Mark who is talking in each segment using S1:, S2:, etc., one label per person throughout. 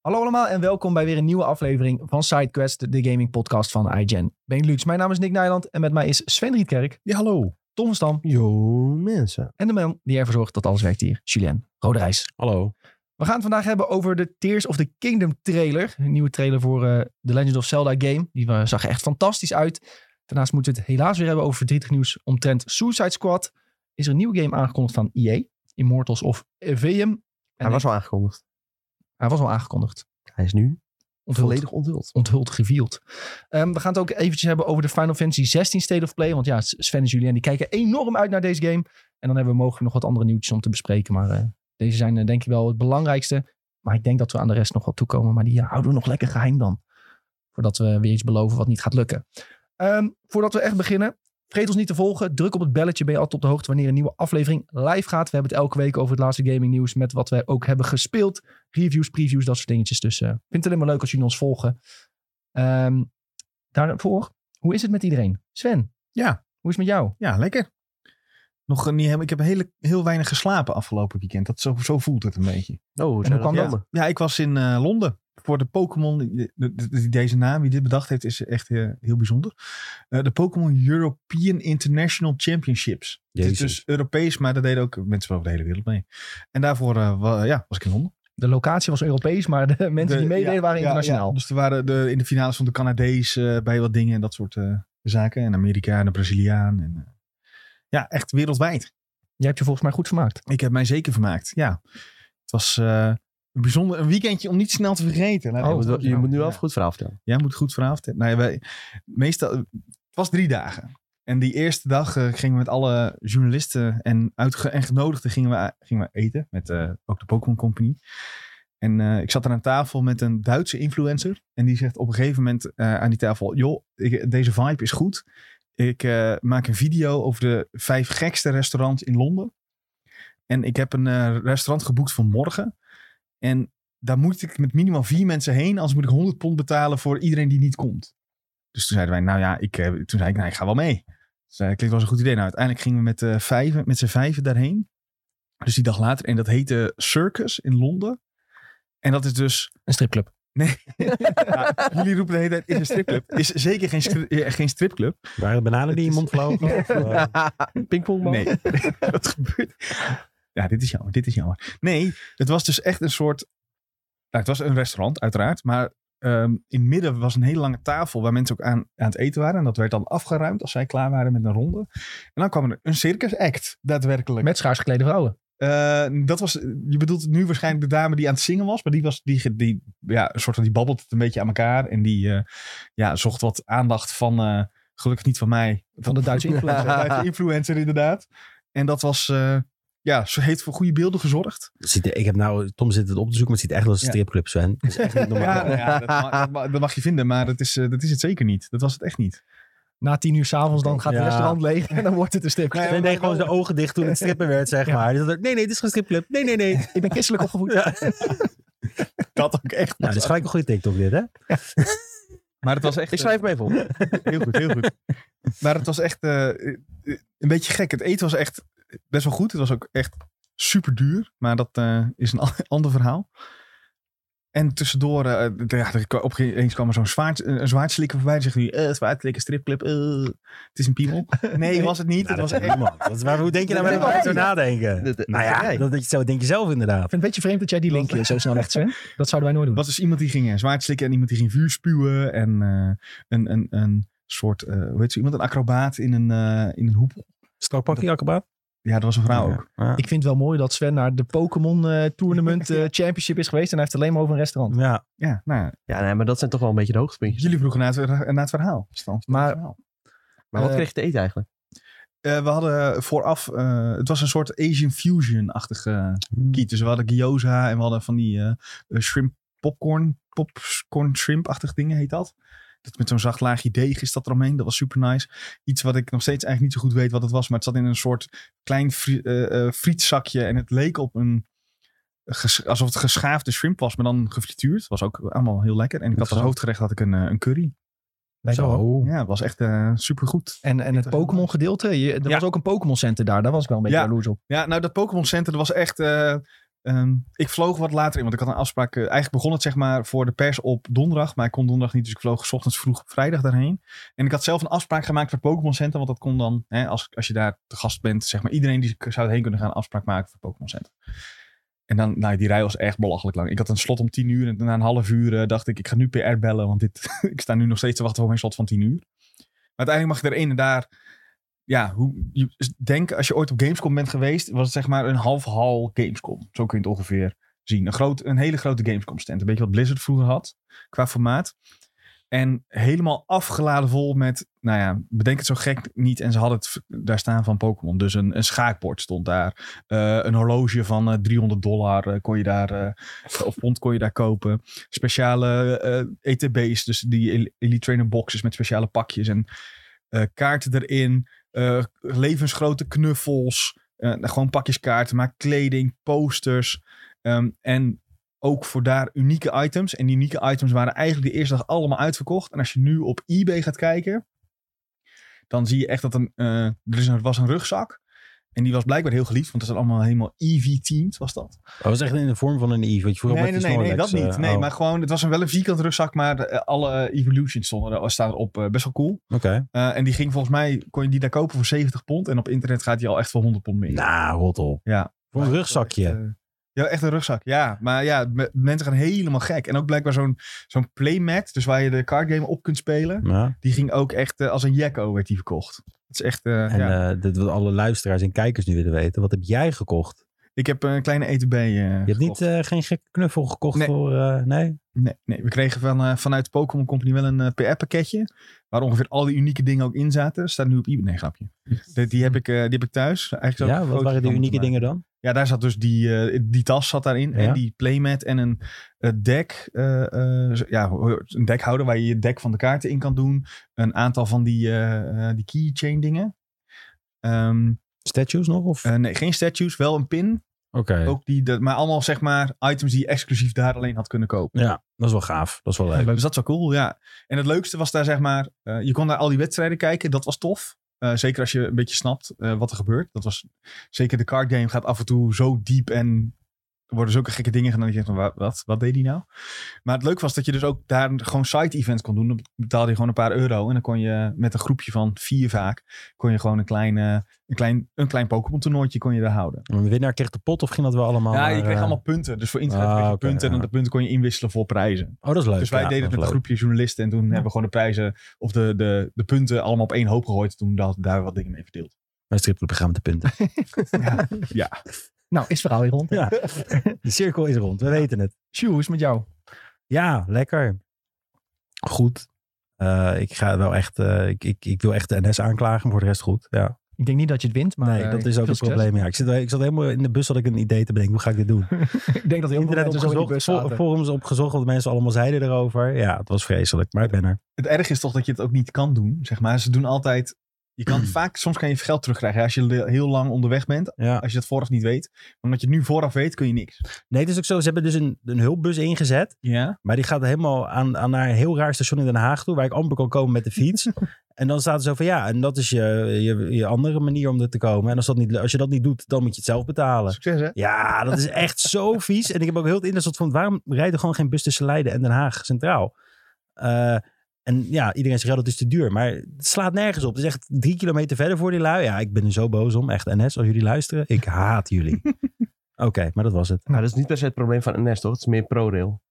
S1: Hallo allemaal en welkom bij weer een nieuwe aflevering van SideQuest, de gaming podcast van iGen Benelux. Mijn naam is Nick Nijland en met mij is Sven Rietkerk,
S2: Ja, hallo.
S1: Tom Stam
S2: Yo, mensen.
S1: en de man die ervoor zorgt dat alles werkt hier, Julien Roderijs.
S2: Hallo.
S1: We gaan het vandaag hebben over de Tears of the Kingdom trailer. Een nieuwe trailer voor eh The Legend of Zelda game. Die eh, zag er echt fantastisch uit. Daarnaast moeten we het helaas weer hebben over verdrietig nieuws omtrent Suicide Squad. Is er een nieuwe game aangekondigd van EA, Immortals of E VM.
S2: Hij was al aangekondigd.
S1: hij was al aangekondigd.
S2: Hij is nu
S1: Onthuld.
S2: volledig onthuld.
S1: onthuld, revealed. Ehm, we gaan het ook eventjes hebben over de Final Fantasy 16 State of Play. Want ja, S- Sven en Julien die kijken enorm uit naar deze game. En dan hebben we mogelijk nog wat andere nieuwtjes om te bespreken. Maar eh, deze zijn eh, denk ik wel het belangrijkste. Maar ik denk dat we aan de rest nog wel toekomen. Maar die eh, houden we nog lekker geheim dan. Voordat we weer iets beloven wat niet gaat lukken. Ehm, voordat we echt beginnen. Vergeet ons niet te volgen. Druk op het belletje. Ben je altijd op de hoogte wanneer een nieuwe aflevering live gaat. We hebben het elke week over het laatste gaming nieuws. Met wat wij ook hebben gespeeld. Reviews, previews, dat soort dingetjes. Dus eh, ik vind het alleen maar leuk als jullie ons volgen. Ehm, daarvoor, hoe is het met iedereen? Sven?
S2: Ja.
S1: Hoe is het met jou?
S2: Ja, lekker. Nog niet helemaal, ik heb heel, heel weinig geslapen afgelopen weekend. Dat zo, zo voelt het een beetje.
S3: Oh,
S1: En hoe kwam
S3: ja.
S1: dat?
S2: Ja, ik was in eh, Londen voor de Pokémon. eh, de- de- de- Deze naam, wie dit bedacht heeft, is echt eh, heel bijzonder. Eh, de Pokémon European International Championships. Het is
S3: Jezus.
S2: dus Europees, maar daar deden ook mensen van over de hele wereld mee. En daarvoor eh, wa- ja, was ik in Londen.
S1: De locatie was Europees, maar de mensen die
S2: De-
S1: meededen
S2: ja,
S1: waren
S2: ja,
S1: internationaal.
S2: ja. Dus er waren de, in de finales van de Canadees eh, bij wat dingen en dat soort eh, zaken. En Amerika en de Braziliaan. En, eh, ja, echt wereldwijd.
S1: Jij hebt je volgens mij goed vermaakt.
S2: Ik heb mij zeker vermaakt. Ja, het was eh, een bijzonder een weekendje om niet snel te vergeten. Nou, Laat ik
S1: Oh,
S2: het
S3: Je
S2: zo
S3: moet, je
S2: zeggen.
S3: moet nu
S2: Ja.
S3: al goed verhaal vertellen.
S2: Jij moet goed vanavond. Nou ja, wij, meestal, het was drie dagen. En die eerste dag eh, gingen we met alle journalisten en, uitge- en genodigden gingen we, gingen we eten. Met eh, ook de Pokémon Company. En eh, ik zat aan een tafel met een Duitse influencer. En die zegt op een gegeven moment eh, aan die tafel... joh, ik- deze vibe is goed. Ik eh, maak een video over de vijf gekste restaurants in Londen. En ik heb een eh, restaurant geboekt voor morgen. En daar moet ik met minimaal vier mensen heen. Anders moet ik 100 pond betalen voor iedereen die niet komt. Dus toen zeiden wij, nou ja, ik, eh, toen zei ik, nou, ik ga wel mee. Dus, eh, klinkt wel eens een goed idee. Nou, uiteindelijk gingen we met, eh vijven, met z'n vijven daarheen. Dus die dag later. En dat heette Circus in Londen. En dat is dus...
S1: Een stripclub.
S2: nou, jullie roepen de hele tijd, is een stripclub. Is zeker geen, stri- eh, geen stripclub.
S3: Waren bananen die in je mond vlogen? Of, eh,
S1: Pingpongman.
S2: Nee, dat gebeurt. Ja, dit is jammer, dit is jammer. Nee, het was dus echt een soort... Nou, het was een restaurant, uiteraard. Maar ehm, in het midden was een hele lange tafel waar mensen ook aan, aan het eten waren. En dat werd dan afgeruimd als zij klaar waren met een ronde. En dan kwam er een circus act, daadwerkelijk.
S1: Met schaars geklede vrouwen.
S2: Eh, dat was, je bedoelt nu waarschijnlijk de dame die aan het zingen was. Maar die was, die, die ja, een soort van, die babbelt het een beetje aan elkaar. En die eh, ja, zocht wat aandacht van, eh, gelukkig niet van mij.
S1: Van de Duitse influencer.
S2: Ja, de influencer inderdaad. En dat was, eh, ja, ze heeft voor goede beelden gezorgd.
S3: ziet er- ik heb nou, Tom zit het op te zoeken, maar het ziet er echt wel als een
S2: Ja.
S3: stripclub, Sven. Dat is echt niet
S2: Ja,
S3: normaal.
S2: nou ja, dat, ma- dat ma- dat mag je vinden, maar dat is, eh, dat is het zeker niet. Dat was het echt niet.
S1: Na tien uur s'avonds dan gaat het
S3: Ja.
S1: restaurant leeg en dan wordt het een stripclub.
S2: Nee,
S3: Sven deed gewoon zijn ogen dicht toen het strippen werd, zeg
S1: Ja.
S3: maar. Die zat er, nee, nee, dit is geen stripclub. Nee, nee, nee.
S1: Ik ben christelijk opgevoed.
S3: Ja.
S2: Dat ook echt
S3: Nou, dit
S4: dus-
S3: is gelijk een goede TikTok dit, hè?
S2: Maar het was echt...
S3: Ik schrijf hem even op.
S2: Heel goed, heel goed. Maar het was echt eh, eh, een beetje gek. Het eten was echt best wel goed. Het was ook echt super duur. Maar dat eh, is een a- ander verhaal. En tussendoor, eh, d- ja, er kwa- opeens kwam er zo'n zwaard, eh, een een zwaardslikker voorbij. En zegt nu, eh zwaardslikker, stripclub, eh, het is een piemel. Nee, was het niet.
S3: Nou,
S2: het
S3: dat
S2: was
S3: was
S2: echt...
S3: man. Dat is, maar hoe denk je nou
S1: Dat
S3: bij
S1: denk ik
S3: zo nadenken?
S2: Dat- dat-
S3: Nou
S2: dat-
S3: ja,
S2: nee.
S3: dat, dat je zo denk je zelf inderdaad.
S1: Ik vind het een beetje vreemd dat jij die linkje zo snel legt, Sven. Dat zouden wij nooit doen.
S2: was dus iemand die ging eh, zwaard slikken en iemand die ging vuur spuwen. En eh, een, een, een soort, eh, hoe heet ze, iemand, een acrobaat in een, eh, in een hoepel.
S3: Strakpak die acrobaat?
S2: Ja, dat was een vrouw ook.
S3: Ja.
S1: Ik vind het wel mooi dat Sven naar de Pokémon eh, Tournament eh, Championship is geweest en hij heeft het alleen maar over een restaurant.
S3: Ja.
S2: Ja, nou ja.
S4: Ja, nee, maar dat zijn toch wel een beetje de hoogtepuntjes.
S2: Jullie vroegen naar het, naar het verhaal. Stand van
S1: Maar-
S2: het verhaal.
S4: Maar wat
S1: Eh,
S4: kreeg je te eten eigenlijk?
S2: Eh, we hadden vooraf, eh, het was een soort Asian fusion-achtige kiet. Dus we hadden gyoza en we hadden van die eh, eh, shrimp popcorn, popcorn shrimp-achtige dingen heet dat. Dat met zo'n zacht laagje deeg is dat eromheen. Dat was super nice. Iets wat ik nog steeds eigenlijk niet zo goed weet wat het was. Maar het zat in een soort klein fri- eh, eh, frietzakje. En het leek op een, ges- alsof het geschaafde shrimp was, maar dan gefrituurd. Was ook allemaal heel lekker. En ik had als hoofdgerecht had ik een, eh, een curry.
S1: Lijkt wel.
S3: Zo.
S2: Ja, het was echt eh, supergoed.
S1: En, en het
S2: was heel
S1: Pokémon gedeelte, je- er
S2: Ja.
S1: was ook een Pokémon Center daar, daar was ik wel een beetje
S2: Ja.
S1: jaloers op.
S2: Ja, nou dat Pokémon Center dat was echt... eh, Ehm, ik vloog wat later in, want ik had een afspraak. eh, eigenlijk begon het zeg maar voor de pers op donderdag, maar ik kon donderdag niet, dus ik vloog 's ochtends vroeg op vrijdag daarheen. En ik had zelf een afspraak gemaakt voor het Pokémon Center, want dat kon dan, hè, als, als je daar te gast bent, zeg maar iedereen die zou heen kunnen gaan, een afspraak maken voor het Pokémon Center. En dan, nou, die rij was echt belachelijk lang. Ik had een slot om tien uur en na een half uur eh, dacht ik, ik ga nu PR bellen, want dit, ik sta nu nog steeds te wachten op mijn slot van tien uur. Maar uiteindelijk mag je er één en daar ja, hoe, je, denk als je ooit op Gamescom bent geweest, was het zeg maar een half hal Gamescom. Zo kun je het ongeveer zien. Een, groot, een hele grote Gamescom stand. Een beetje wat Blizzard vroeger had qua formaat. En helemaal afgeladen vol met, nou ja, bedenk het zo gek niet. En ze hadden het v- daar staan van Pokémon. Dus een, een schaakbord stond daar. Eh, een horloge van eh, 300 dollar eh, kon je daar, eh, of pond kon je daar kopen. Speciale eh, ETB's, dus die El- Elite Trainer boxes met speciale pakjes en eh, kaarten erin. Eh, levensgrote knuffels. eh, gewoon pakjes kaarten, maar kleding, posters. ehm, en ook voor daar unieke items. En die unieke items waren eigenlijk de eerste dag allemaal uitverkocht. En als je nu op eBay gaat kijken, dan zie je echt dat een, eh, er is een, was een rugzak. En die was blijkbaar heel geliefd, want dat is allemaal helemaal EV-teens was dat.
S3: Dat was Oh, echt in de vorm van een Eve. Wat je vroeger
S2: Nee, nee,
S3: met die
S2: nee, nee, dat
S3: Snorlax,
S2: niet.
S3: eh,
S2: nee,
S3: oh,
S2: maar gewoon, het was een, wel een vierkant rugzak, maar eh, alle Evolutions stonden er, staan erop. eh, best wel cool.
S3: Oké.
S2: Eh, en die ging volgens mij, kon je die daar kopen voor 70 pond. En op internet gaat die al echt voor 100 pond meer.
S3: Nou, rot op.
S2: Ja.
S3: Voor een rugzakje.
S2: Echt, eh, ja, echt een rugzak. Ja, maar ja, me- mensen gaan helemaal gek. En ook blijkbaar zo'n zo'n playmat, dus waar je de card game op kunt spelen.
S3: Ja.
S2: Die ging ook echt eh, als een jacko werd die verkocht. Het is echt, eh,
S3: En
S2: ja.
S3: eh, dat wat alle luisteraars en kijkers nu willen weten. Wat heb jij gekocht?
S2: Ik heb een kleine ETB eh
S3: Je hebt niet eh, geen gekke knuffel gekocht
S2: Nee.
S3: voor... eh, nee?
S2: Nee, nee, we kregen van, eh, vanuit Pokémon Company wel een PR-pakketje. Waar ongeveer al die unieke dingen ook in zaten. Staat nu op eBay. Nee, grapje. Die, die, heb, ik, eh, die heb ik thuis. Eigenlijk zou ik
S3: Hm. Ja,
S2: een
S3: wat
S2: foto
S3: waren die
S2: van moeten
S3: unieke
S2: maken.
S3: dingen dan?
S2: Ja, daar zat dus die, eh, die tas zat daarin.
S3: Ja.
S2: En die playmat en een eh, dek. eh, eh, zo- ja, een dekhouder waar je je dek van de kaarten in kan doen. Een aantal van die, eh, eh, die keychain dingen. Ehm,
S3: Statues nog? Of?
S2: eh, nee, geen statues, wel een pin.
S3: Oké.
S2: Ook die, dat, maar allemaal zeg maar items die je exclusief daar alleen had kunnen kopen.
S3: Ja, dat is wel gaaf. Dat is wel leuk.
S2: Dus dat is wel cool, ja. En het leukste was daar zeg maar, eh, je kon naar al die wedstrijden kijken. Dat was tof. Eh, zeker als je een beetje snapt eh, wat er gebeurt. Dat was, zeker de card game gaat af en toe zo diep en er worden zulke gekke dingen gedaan. Dat je denkt van, wa- wat, wat deed die nou? Maar het leuke was dat je dus ook daar gewoon side events kon doen. Dan betaalde je gewoon een paar euro. En dan kon je met een groepje van vier vaak, kon je gewoon een klein, eh, een klein, een klein Pokémon toernooitje kon je daar houden.
S3: Een winnaar kreeg de pot of ging dat wel allemaal?
S2: ja, je
S3: naar,
S2: kreeg
S3: eh,
S2: allemaal punten. Dus voor internet
S3: ah,
S2: kreeg je
S3: oké,
S2: punten. En
S3: ja.
S2: de punten kon je inwisselen voor prijzen.
S3: Oh, dat is leuk.
S2: Dus wij
S3: Ja,
S2: deden het
S3: dat is
S2: met een
S3: leuk.
S2: groepje journalisten. En toen hebben we gewoon de prijzen of de, de, de punten allemaal op één hoop gegooid. Toen daar, daar wat dingen mee verdeeld.
S3: Mijn stripclubprogramma te punten.
S2: Ja.
S1: Nou, is het verhaal weer rond.
S3: ja. De cirkel is rond. We weten het.
S1: Sjoe, hoe is het met jou?
S3: Ja, lekker. Goed. Eh, ik ga wel echt... eh, ik, ik, ik wil echt de NS aanklagen, maar voor de rest goed. Ja.
S1: Ik denk niet dat je het wint, maar
S3: nee,
S1: eh,
S3: dat is ook
S1: veel
S3: het
S1: succes.
S3: probleem. Ja. Ik, zat, ik zat helemaal in de bus, had ik een idee te bedenken. Hoe ga ik dit doen?
S1: Ik denk dat heel veel
S3: Internet
S1: mensen zo in die bus
S3: opgezocht, for-
S1: zaten.
S3: forums opgezocht, wat mensen allemaal zeiden erover. Ja, het was vreselijk, maar ik ben er.
S2: Het erg is toch dat je het ook niet kan doen. Zeg maar. Ze doen altijd. Je kan vaak, soms kan je geld terugkrijgen. hè, Als je le- heel lang onderweg bent.
S3: Ja.
S2: Als je dat vooraf niet weet. Maar Omdat je het nu vooraf weet, kun je niks.
S3: Nee, het is ook zo. Ze hebben dus een, een hulpbus ingezet.
S2: Ja.
S3: Maar die gaat helemaal aan, aan naar een heel raar station in Den Haag toe. Waar ik amper kan komen met de fiets. en dan staat er zo van ja, en dat is je, je, je andere manier om er te komen. En als, dat niet, als je dat niet doet, dan moet je het zelf betalen.
S2: Succes, hè?
S3: Ja, dat is echt zo vies. En ik heb ook heel het internet van waarom rijden er gewoon geen bus tussen Leiden en Den Haag centraal? Eh, en ja, iedereen zegt ja, dat is te duur. Maar het slaat nergens op. Het is echt drie kilometer verder voor die lui. Ja, ik ben er zo boos om. Echt NS, als jullie luisteren. Ik haat jullie. Oké, maar dat was het.
S4: Nou, dat is niet per se het probleem van NS, toch? Het is meer ProRail.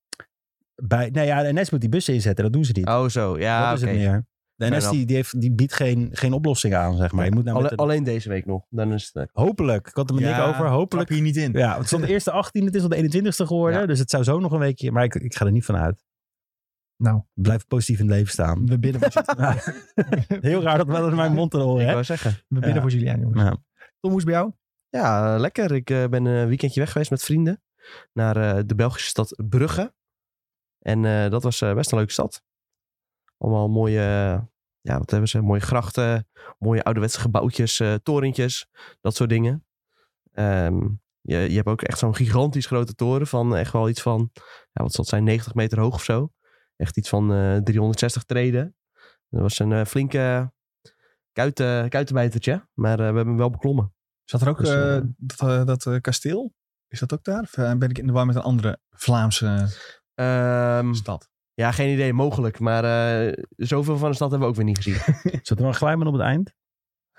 S3: Bij, nee, ja, de NS moet die bussen inzetten. Dat doen ze niet.
S4: Oh, zo. Ja,
S3: dat is
S4: oké.
S3: het meer. De
S4: Fair
S3: NS die, die, heeft, die biedt geen, geen oplossing aan, zeg maar. Je moet nou met
S4: Alle-
S3: een-
S4: Alleen deze week nog. Dan is het... eh,
S3: hopelijk, ik had er met Nick
S2: Ja,
S3: over,
S2: Plak
S3: hopelijk.
S2: hier niet in.
S3: Ja, het stond de eerste 18, het is al de 21ste geworden. Dus het zou zo nog een weekje, maar ik, ik ga er niet van uit.
S1: Nou.
S3: Blijf positief in het leven staan.
S1: We bidden voor, jullie-
S3: Ja, Heel raar dat wel in mijn mond te horen,
S4: Ik
S3: hè?
S4: wou zeggen.
S1: we bidden
S3: Ja.
S1: voor Julian, jongens.
S3: Ja.
S1: Tom, hoe is het bij jou?
S4: Ja, eh, lekker. Ik eh, ben een weekendje weg geweest met vrienden. Naar eh, de Belgische stad Brugge. En eh, dat was eh, best een leuke stad. Allemaal mooie... eh, ja, wat hebben ze? Mooie grachten. Mooie ouderwetse gebouwtjes. eh, torentjes. Dat soort dingen. Ehm, je, je hebt ook echt zo'n gigantisch grote toren. Van echt wel iets van... Ja, wat zal het zijn? 90 meter hoog of zo. Echt iets van eh, 360 treden. Dat was een eh, flinke... Kuiten, kuitenbijtertje. Maar eh, we hebben hem wel beklommen.
S2: Zat er ook
S4: Dus,
S2: eh,
S4: eh,
S2: dat, eh, dat eh, kasteel? Is dat ook daar? Of eh, ben ik in de war met een andere Vlaamse
S4: Ehm,
S2: stad?
S4: ja, geen idee, mogelijk. Maar eh, zoveel van de stad hebben we ook weer niet gezien.
S3: Zat er wel een glijman op het eind?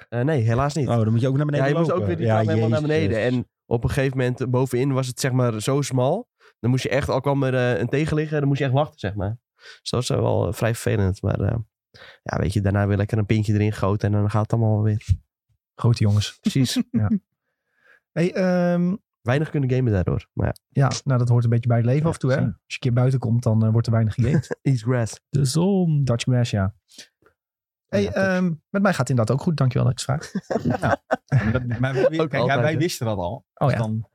S4: Eh, nee, helaas niet.
S3: Oh, dan moet je ook naar beneden
S4: ja, je moest
S3: lopen.
S4: ook weer die
S3: Ja,
S4: trap helemaal naar
S3: jezus.
S4: beneden. En op een gegeven moment, eh, bovenin was het zeg maar zo smal. Dan moest je echt, al kwam er eh, een tegenligger, dan moest je echt wachten, zeg maar. Dus dat was eh, wel eh, vrij vervelend. Maar eh, ja, weet je, daarna weer lekker een pintje erin gegoten en dan gaat het allemaal weer.
S1: Grote jongens.
S4: Precies.
S1: Hey, ehm,
S4: Weinig kunnen gamen daardoor. Maar ja,
S1: ja, nou dat hoort een beetje bij het leven af en toe. Hè? Als
S2: precies.
S1: je een keer buiten komt, dan eh, wordt er weinig gegamed.
S4: eat grass.
S3: De zon.
S1: Dutch Grass, ja. Hey,
S4: Ja,
S1: ehm, met mij gaat het inderdaad ook goed. Dankjewel dat je het vraagt.
S2: Maar dat- maar we- kijk,
S4: altijd,
S2: wij
S4: hè?
S2: wisten dat al.
S1: Oh
S2: Dus
S1: ja.
S2: dan,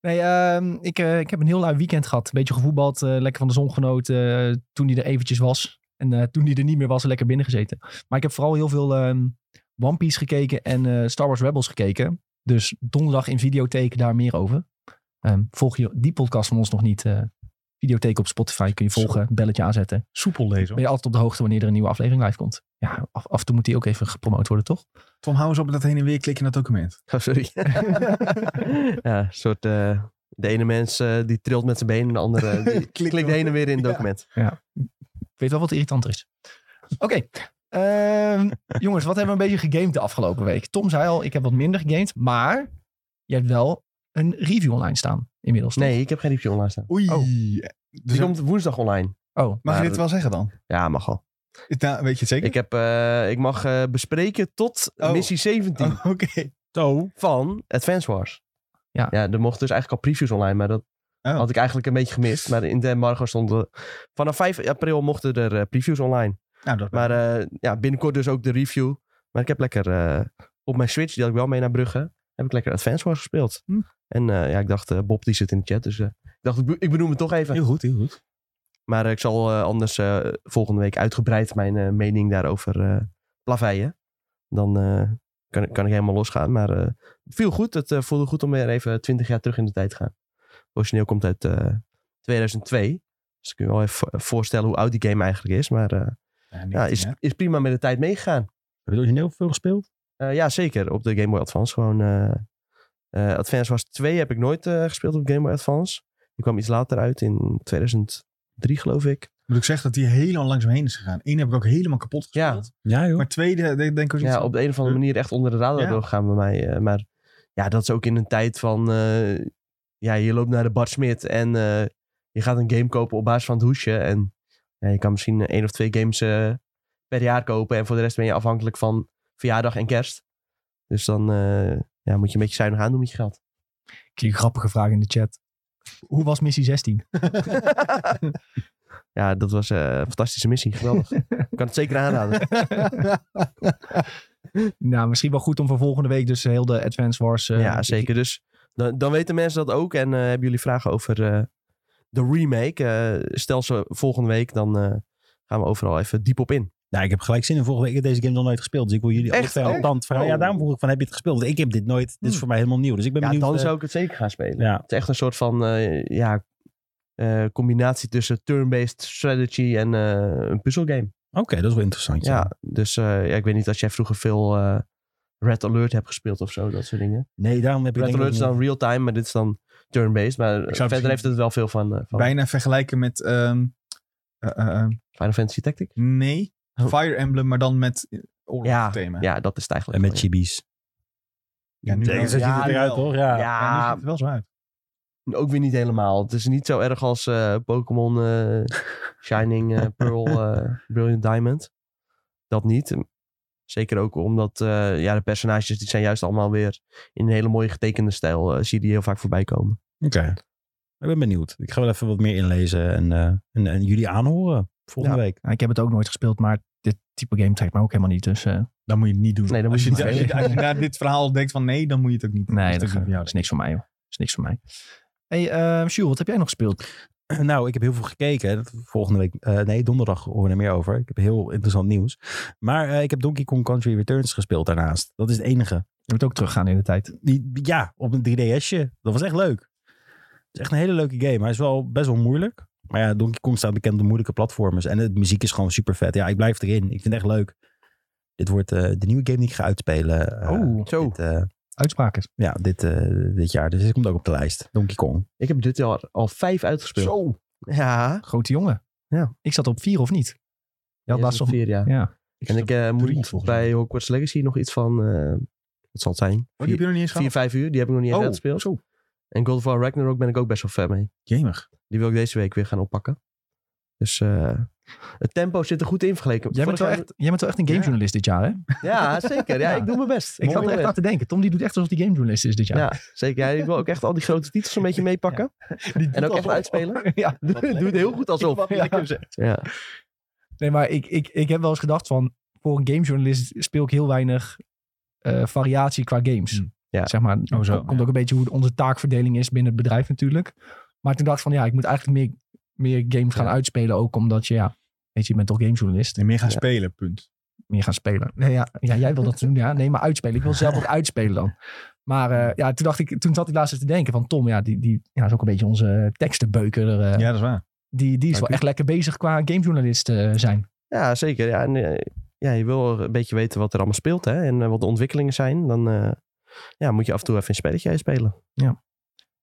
S1: Nee, ehm, ik, eh, ik heb een heel lui weekend gehad. Een beetje gevoetbald, eh, lekker van de zon genoten. eh, toen die er eventjes was. En eh, toen die er niet meer was, lekker binnen gezeten. Maar ik heb vooral heel veel ehm, One Piece gekeken en eh, Star Wars Rebels gekeken. Dus donderdag in videotheek daar meer over. Ehm, volg je die podcast van ons nog niet? eh, videotheek op Spotify kun je volgen, belletje aanzetten.
S2: soepel lezen.
S1: Ben
S2: hoor.
S1: je altijd op de hoogte wanneer er een nieuwe aflevering live komt? Ja, af, af en toe moet die ook even gepromoot worden, toch?
S2: Tom, hou eens op met dat heen en weer klikken in dat document.
S4: Oh, sorry. ja, een soort. eh, de ene mens eh, die trilt met zijn been en de andere eh, die
S2: Klik
S4: klikt heen en weer in het
S2: Ja.
S4: document.
S1: Ik weet wel wat irritanter is. Oké. Ehm, jongens, wat hebben we een beetje gegamed de afgelopen week? Tom zei al, ik heb wat minder gegamed. Maar je hebt wel een review online staan inmiddels. toch?
S4: Nee, ik heb geen review online staan.
S2: Oei.
S1: Oh.
S4: Dus
S2: Dus
S4: die komt woensdag online.
S1: Oh,
S2: mag
S4: maar-
S2: je dit wel zeggen dan?
S4: Ja, mag al.
S2: Is- nou, weet je het zeker?
S4: Ik, heb, eh, ik mag eh, bespreken tot
S2: Oh.
S4: missie 17
S2: Oh, Oké.
S3: Zo.
S4: van Advance Wars.
S1: Ja.
S4: ja, er mochten dus eigenlijk al previews online, maar dat
S2: Oh.
S4: had ik eigenlijk een beetje gemist. Maar in de embargo stonden... Vanaf 5 april mochten er eh, previews online.
S2: Nou, dat
S4: Maar eh, ja, binnenkort dus ook de review. Maar ik heb lekker eh, op mijn Switch, die had ik wel mee naar Brugge, heb ik lekker Advance Wars gespeeld.
S2: Hm.
S4: En eh, ja, ik dacht, eh, Bob die zit in de chat, dus eh, ik dacht, ik, be- ik benoem het toch even.
S3: Heel goed, heel goed.
S4: Maar eh, ik zal eh, anders eh, volgende week uitgebreid mijn eh, mening daarover eh, plaveien. Dan eh, kan, ik- kan ik helemaal losgaan. Maar eh, het viel goed. Het eh, voelde goed om weer even 20 jaar terug in de tijd te gaan. Origineel komt uit eh, 2002. Dus ik kun je wel even vo- voorstellen hoe oud die game eigenlijk is. Maar eh,
S2: ja,
S4: ja,
S2: 19,
S4: is,
S2: hè?
S4: is prima met de tijd meegegaan.
S3: Heb je het origineel veel gespeeld?
S4: Eh, ja, zeker. Op de Game Boy Advance. Gewoon, eh, eh, Advance was 2 heb ik nooit eh, gespeeld op Game Boy Advance. Die kwam iets later uit in 2003 geloof ik.
S2: Moet ik zeggen dat die helemaal langs me heen is gegaan. Eén heb ik ook helemaal kapot
S4: Ja.
S2: gespeeld.
S3: Ja, joh.
S2: Maar tweede de- denk ik ook
S4: Ja, oh. op de een of andere manier echt onder de radar
S2: Ja.
S4: doorgegaan bij mij. eh, maar ja, dat is ook in een tijd van... eh, ja, je loopt naar de Bart Smit en eh, je gaat een game kopen op basis van het hoesje. En ja, je kan misschien eh, één of twee games eh, per jaar kopen. En voor de rest ben je afhankelijk van verjaardag en kerst. Dus dan eh, ja, moet je een beetje zuinig aandoen met je geld.
S1: ik kreeg een grappige vraag in de chat. Hoe was missie 16?
S4: ja, dat was eh, een fantastische missie. Geweldig. Ik kan het zeker aanraden.
S1: nou, misschien wel goed om voor volgende week dus heel de Advance Wars... eh,
S4: ja, zeker. Dus dan, dan weten mensen dat ook. En eh, hebben jullie vragen over eh, de remake? eh, stel ze volgende week, dan eh, gaan we overal even diep op in.
S3: Nou, ik heb gelijk zin in. Vorige week heb ik deze game nog nooit gespeeld. Dus ik wil jullie
S4: Echt?
S3: echt
S4: Oh.
S3: al tand verhaal. Ja, daarom vroeg ik van, heb je het gespeeld? Want ik heb dit nooit. Dit is
S1: Hmm.
S3: voor mij helemaal nieuw. Dus ik ben
S4: Ja,
S3: benieuwd.
S4: dan
S3: eh,
S4: zou ik het zeker gaan spelen.
S3: Ja,
S4: Het is echt een soort van eh, ja, eh, combinatie tussen turn-based strategy en eh, een puzzelgame.
S3: oké, dat is wel interessant. Ja.
S4: Ja, dus eh, ja, ik weet niet als jij vroeger veel eh, Red Alert hebt gespeeld of zo, dat soort dingen.
S3: Nee, daarom heb ik
S4: Red
S3: denk ik
S4: Alert is
S3: ook
S4: dan real-time, maar dit is dan turn-based. Maar verder
S2: misschien
S4: heeft het wel veel van, eh, van
S2: Bijna vergelijken met... ehm, eh, eh, eh,
S4: Final Fantasy Tactics.
S2: nee,
S4: Oh.
S2: Fire Emblem, maar dan met eh, oorlogsthema.
S4: Ja, dat is het
S3: nog- En
S4: eigenlijk.
S3: met chibis.
S2: Ja, nu
S3: Zeker,
S2: wel.
S3: zo ziet
S4: Ja,
S3: het
S2: nu
S3: eruit,
S2: wel.
S3: toch? Ja.
S4: ja,
S2: Ja, nu ziet het wel zo uit.
S4: ook weer niet helemaal. Het is niet zo erg als eh, Pokémon eh, Shining eh, Pearl eh, Brilliant Diamond. Dat niet. Zeker ook omdat eh, ja, de personages die zijn juist allemaal weer in een hele mooie getekende stijl. eh, zie je die heel vaak voorbij komen.
S3: Oké. Ik ben benieuwd. Ik ga wel even wat meer inlezen en, eh, en, en jullie aanhoren volgende
S1: Ja.
S3: week.
S1: Nou, ik heb het ook nooit gespeeld, maar dit type game trekt me ook helemaal niet. Dus eh,
S2: Dan moet je het niet doen.
S4: Nee, dat
S2: als, je,
S4: moet
S2: als,
S4: je
S2: je,
S4: niet
S1: doen.
S2: als je na dit verhaal denkt van nee, dan moet je het ook niet doen.
S1: nee,
S2: is
S1: dus dat,
S2: ook niet voor jou,
S1: is niks voor mij. Joh. Dat is niks voor mij. hey, eh Sjoerd, wat heb jij nog gespeeld?
S3: Nou, ik heb heel veel gekeken. Dat volgende week, eh, nee, donderdag horen we er meer over. Ik heb heel interessant nieuws. Maar eh, ik heb Donkey Kong Country Returns gespeeld daarnaast. Dat is het enige.
S1: Je moet ook teruggaan in de tijd.
S3: Die, ja, op een 3DS'je. Dat was echt leuk. Het is echt een hele leuke game. Hij is wel best wel moeilijk. Maar ja, Donkey Kong staat bekend op moeilijke platformers. En de muziek is gewoon super vet. Ja, ik blijf erin. Ik vind het echt leuk. Dit wordt eh, de nieuwe game die ik ga uitspelen. eh,
S1: oh,
S4: Zo.
S3: dit, eh,
S1: uitspraak is.
S3: Ja, dit, eh, dit jaar. Dus dit komt ook op de lijst. Donkey Kong.
S4: Ik heb dit jaar al vijf uitgespeeld.
S1: Zo.
S4: Ja.
S1: Grote jongen.
S4: Ja.
S1: Ik zat op vier of niet? Je had
S4: Eerst
S1: laatst
S4: op
S1: nog...
S4: vier, ja.
S1: Ja.
S4: En ik
S2: Oh,
S4: eh, moet
S2: drie,
S4: ik
S2: volgens
S4: bij Hogwarts Legacy nog iets van, eh wat zal het zijn?
S2: Oh, die heb je nog niet eens
S4: Vier,
S2: gehad?
S4: vijf uur. Die heb ik nog niet eens
S2: Oh,
S4: uitgespeeld.
S2: zo.
S4: En God of War Ragnarok ben ik ook best wel ver mee.
S2: Jemig.
S4: Die wil ik deze week weer gaan oppakken. Dus eh, het tempo zit er goed in vergeleken.
S1: Jij bent, wel
S4: Vorig
S1: echt, jij bent wel echt een gamejournalist dit jaar, hè?
S4: jaar- Ja, zeker. Ja,
S1: Ja.
S4: ik doe mijn best.
S1: Ik
S4: Mooi
S1: zat er echt
S4: moment.
S1: aan te denken. Tom die doet echt alsof hij gamejournalist is dit
S4: ja.
S1: jaar.
S4: zeker. Ja, ik wil ook echt al die grote titels een beetje meepakken. En ook echt uitspelen.
S1: ja.
S4: Doe doe het heel goed alsof.
S1: Ja.
S4: Ja.
S1: Nee, maar ik, ik, ik heb wel eens gedacht van... Voor een gamejournalist speel ik heel weinig eh, variatie qua games.
S2: Hmm.
S4: Ja.
S1: Zeg maar,
S2: Oh, zo,
S1: komt
S2: ja.
S1: ook een beetje hoe onze taakverdeling is binnen het bedrijf natuurlijk. Maar toen dacht ik van ja, ik moet eigenlijk meer, meer games gaan
S4: Ja.
S1: uitspelen. Ook omdat je, ja, weet je, je bent toch gamejournalist.
S2: En meer gaan
S4: Ja.
S2: spelen, punt.
S1: Meer gaan spelen. Nee, ja, ja, jij wil dat doen, ja. Nee, maar uitspelen. Ik wil zelf ook uitspelen dan. Maar eh, ja, toen, dacht ik, toen zat ik laatst eens te denken van Tom, ja, die, die ja, is ook een beetje onze tekstenbeuker. eh,
S2: Ja, dat is waar.
S1: die, die is
S2: Dank
S1: wel
S2: u.
S1: echt lekker bezig qua gamejournalist eh, zijn.
S4: Ja, zeker. Ja, en, eh, ja, je wil een beetje weten wat er allemaal speelt hè? en eh, wat de ontwikkelingen zijn. Dan eh, ja, moet je af en toe even een spelletje spelen.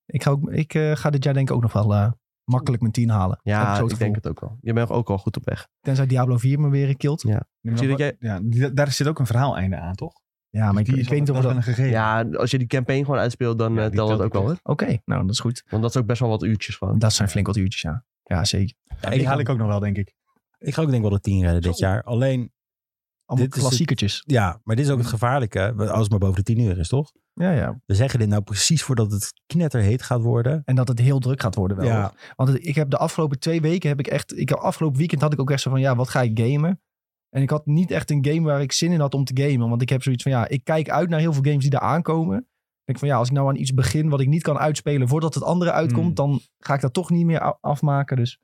S1: Ik ga, ook, ik, eh, ga dit jaar denk ik ook nog wel eh, makkelijk mijn 10 halen. Heb
S4: Ja,
S1: zo
S4: ik
S1: het gevoel.
S4: denk het ook wel. Je bent ook al goed op weg.
S1: Tenzij Diablo 4 me weer kilt.
S4: Ja.
S2: Nee, maar
S4: Zie je
S2: wat- ja, die- daar zit ook een verhaal einde aan, toch?
S1: Ja, maar
S2: Dus
S1: ik,
S2: die
S1: ik
S2: is
S1: weet niet of we
S2: altijd
S1: dat...
S2: wel
S1: Oké,
S2: een gegeven.
S4: Ja, als je die campaign gewoon uitspeelt, dan
S2: Ja,
S4: eh,
S2: die
S4: telt het
S2: telt
S4: ook
S2: niet
S4: wel. Hè?
S1: nou dat is goed.
S4: Want dat is ook best wel wat uurtjes gewoon.
S1: Dat zijn flink wat uurtjes, ja. Ja, zeker.
S2: Ja, die haal ik ook nog wel, denk ik.
S3: Ik ga ook denk ik wel de 10 redden dit jaar. Alleen,
S1: Allemaal
S3: Dit is
S1: klassiekertjes.
S3: ja, maar dit is ook
S2: Hm.
S3: het gevaarlijke. Als het maar boven de 10 uur is, toch?
S1: Ja, ja.
S3: We zeggen dit nou precies voordat het knetterheet gaat worden.
S1: En dat het heel druk gaat worden wel.
S3: Ja.
S1: Want het- ik heb de afgelopen twee weken heb ik echt... Ik heb afgelopen weekend had ik ook echt zo van, ja, wat ga ik gamen? En ik had niet echt een game waar ik zin in had om te gamen. Want ik heb zoiets van, ja, ik kijk uit naar heel veel games die daar aankomen. Ik denk van, ja, als ik nou aan iets begin wat ik niet kan uitspelen voordat het andere uitkomt,
S2: Hmm.
S1: dan ga ik dat toch niet meer a- afmaken. Dus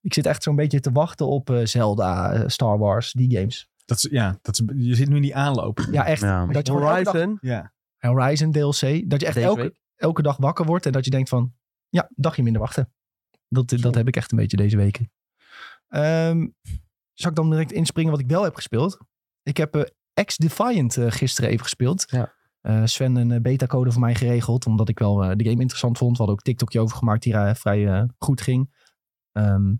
S1: ik zit echt zo'n beetje te wachten op eh, Zelda, eh, Star Wars, die games.
S2: Dat is, ja, dat is, je zit nu in die aanloop.
S1: Ja, echt.
S3: Ja.
S1: Dat je gewoon elke dag-
S4: Horizon,
S2: Ja.
S1: Horizon DLC. Dat je echt
S4: deze
S1: elke,
S4: week.
S1: elke dag wakker wordt en dat je denkt van, ja, een dagje minder wachten. Dat, dat heb ik echt een beetje deze weken. Ehm, zal ik dan direct inspringen wat ik wel heb gespeeld? Ik heb eh X-Defiant eh, gisteren even gespeeld.
S4: Ja.
S1: Eh, Sven een eh, beta-code voor mij geregeld, omdat ik wel eh, de game interessant vond. We hadden ook TikTokje over gemaakt die eh, vrij eh, goed ging. Ehm,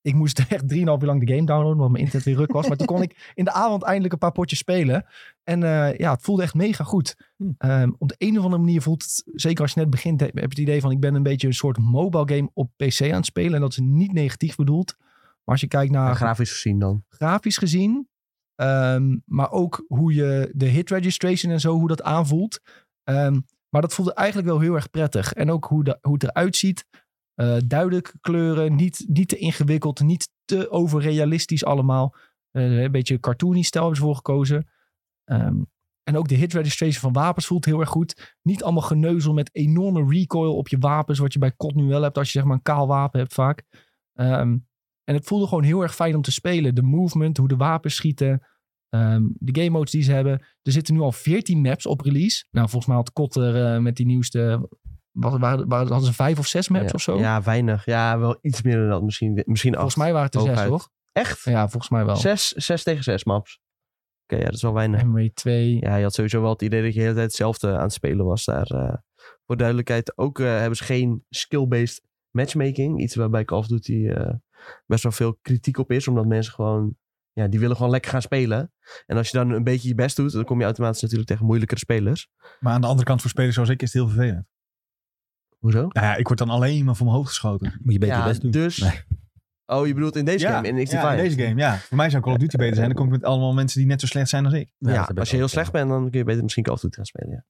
S1: ik moest echt 3,5 uur lang de game downloaden, omdat mijn internet weer ruk was. Maar toen kon ik in de avond eindelijk een paar potjes spelen. En eh, ja, het voelde echt mega goed. Ehm, op de een of andere manier voelt het, zeker als je net begint, heb je het idee van ik ben een beetje een soort mobile game op PC aan het spelen. En dat is niet negatief bedoeld. Maar als je kijkt naar
S4: grafisch gezien dan.
S1: grafisch gezien, ehm, maar ook hoe je de hit registration en zo, hoe dat aanvoelt. Ehm, maar dat voelde eigenlijk wel heel erg prettig. En ook hoe, de, hoe het eruit ziet. Eh, duidelijk kleuren, niet, niet te ingewikkeld, niet te overrealistisch allemaal. Eh, een beetje cartoony stijl hebben ze voor gekozen. Ehm, en ook de hit registration van wapens voelt heel erg goed. Niet allemaal geneuzel met enorme recoil op je wapens, wat je bij COD nu wel hebt als je zeg maar een kaal wapen hebt vaak. Ehm, en het voelde gewoon heel erg fijn om te spelen. De movement, hoe de wapens schieten, ehm, de game modes die ze hebben. Er zitten nu al 14 maps op release. Nou, volgens mij had Kotter eh, met die nieuwste... Wat, waren, waren, hadden ze vijf of zes maps
S4: ja.
S1: of zo?
S4: Ja, weinig. Ja, wel iets meer dan dat. Misschien, misschien
S1: volgens
S4: acht.
S1: mij waren het er zes,
S4: hooguit.
S1: toch?
S4: Echt?
S1: Ja, volgens mij wel.
S4: Zes, zes tegen zes maps. Oké, ja, dat is wel weinig.
S1: MW2.
S4: Ja, je had sowieso wel het idee dat je de hele tijd hetzelfde aan het spelen was daar. eh. voor duidelijkheid, ook eh, hebben ze geen skill-based matchmaking. Iets waarbij Call of Duty eh, best wel veel kritiek op is. Omdat mensen gewoon, ja, die willen gewoon lekker gaan spelen. En als je dan een beetje je best doet, dan kom je automatisch natuurlijk tegen moeilijkere spelers.
S2: Maar aan de andere kant, voor spelers zoals ik, is het heel vervelend.
S4: Hoezo?
S2: Nou ja, ik word dan alleen maar voor mijn hoofd geschoten.
S3: Moet je beter
S4: ja,
S3: je best doen.
S4: dus...
S3: Nee.
S4: Oh, je bedoelt in deze
S2: ja,
S4: game? In X
S2: ja, in deze game, ja. Voor mij zou Call of Duty beter zijn. Dan kom ik met allemaal mensen die net zo slecht zijn als ik.
S4: Ja,
S3: dat heb ik
S4: als je
S3: ook,
S4: heel
S3: ja.
S4: slecht bent, dan kun je beter misschien Call of Duty gaan spelen. Ja.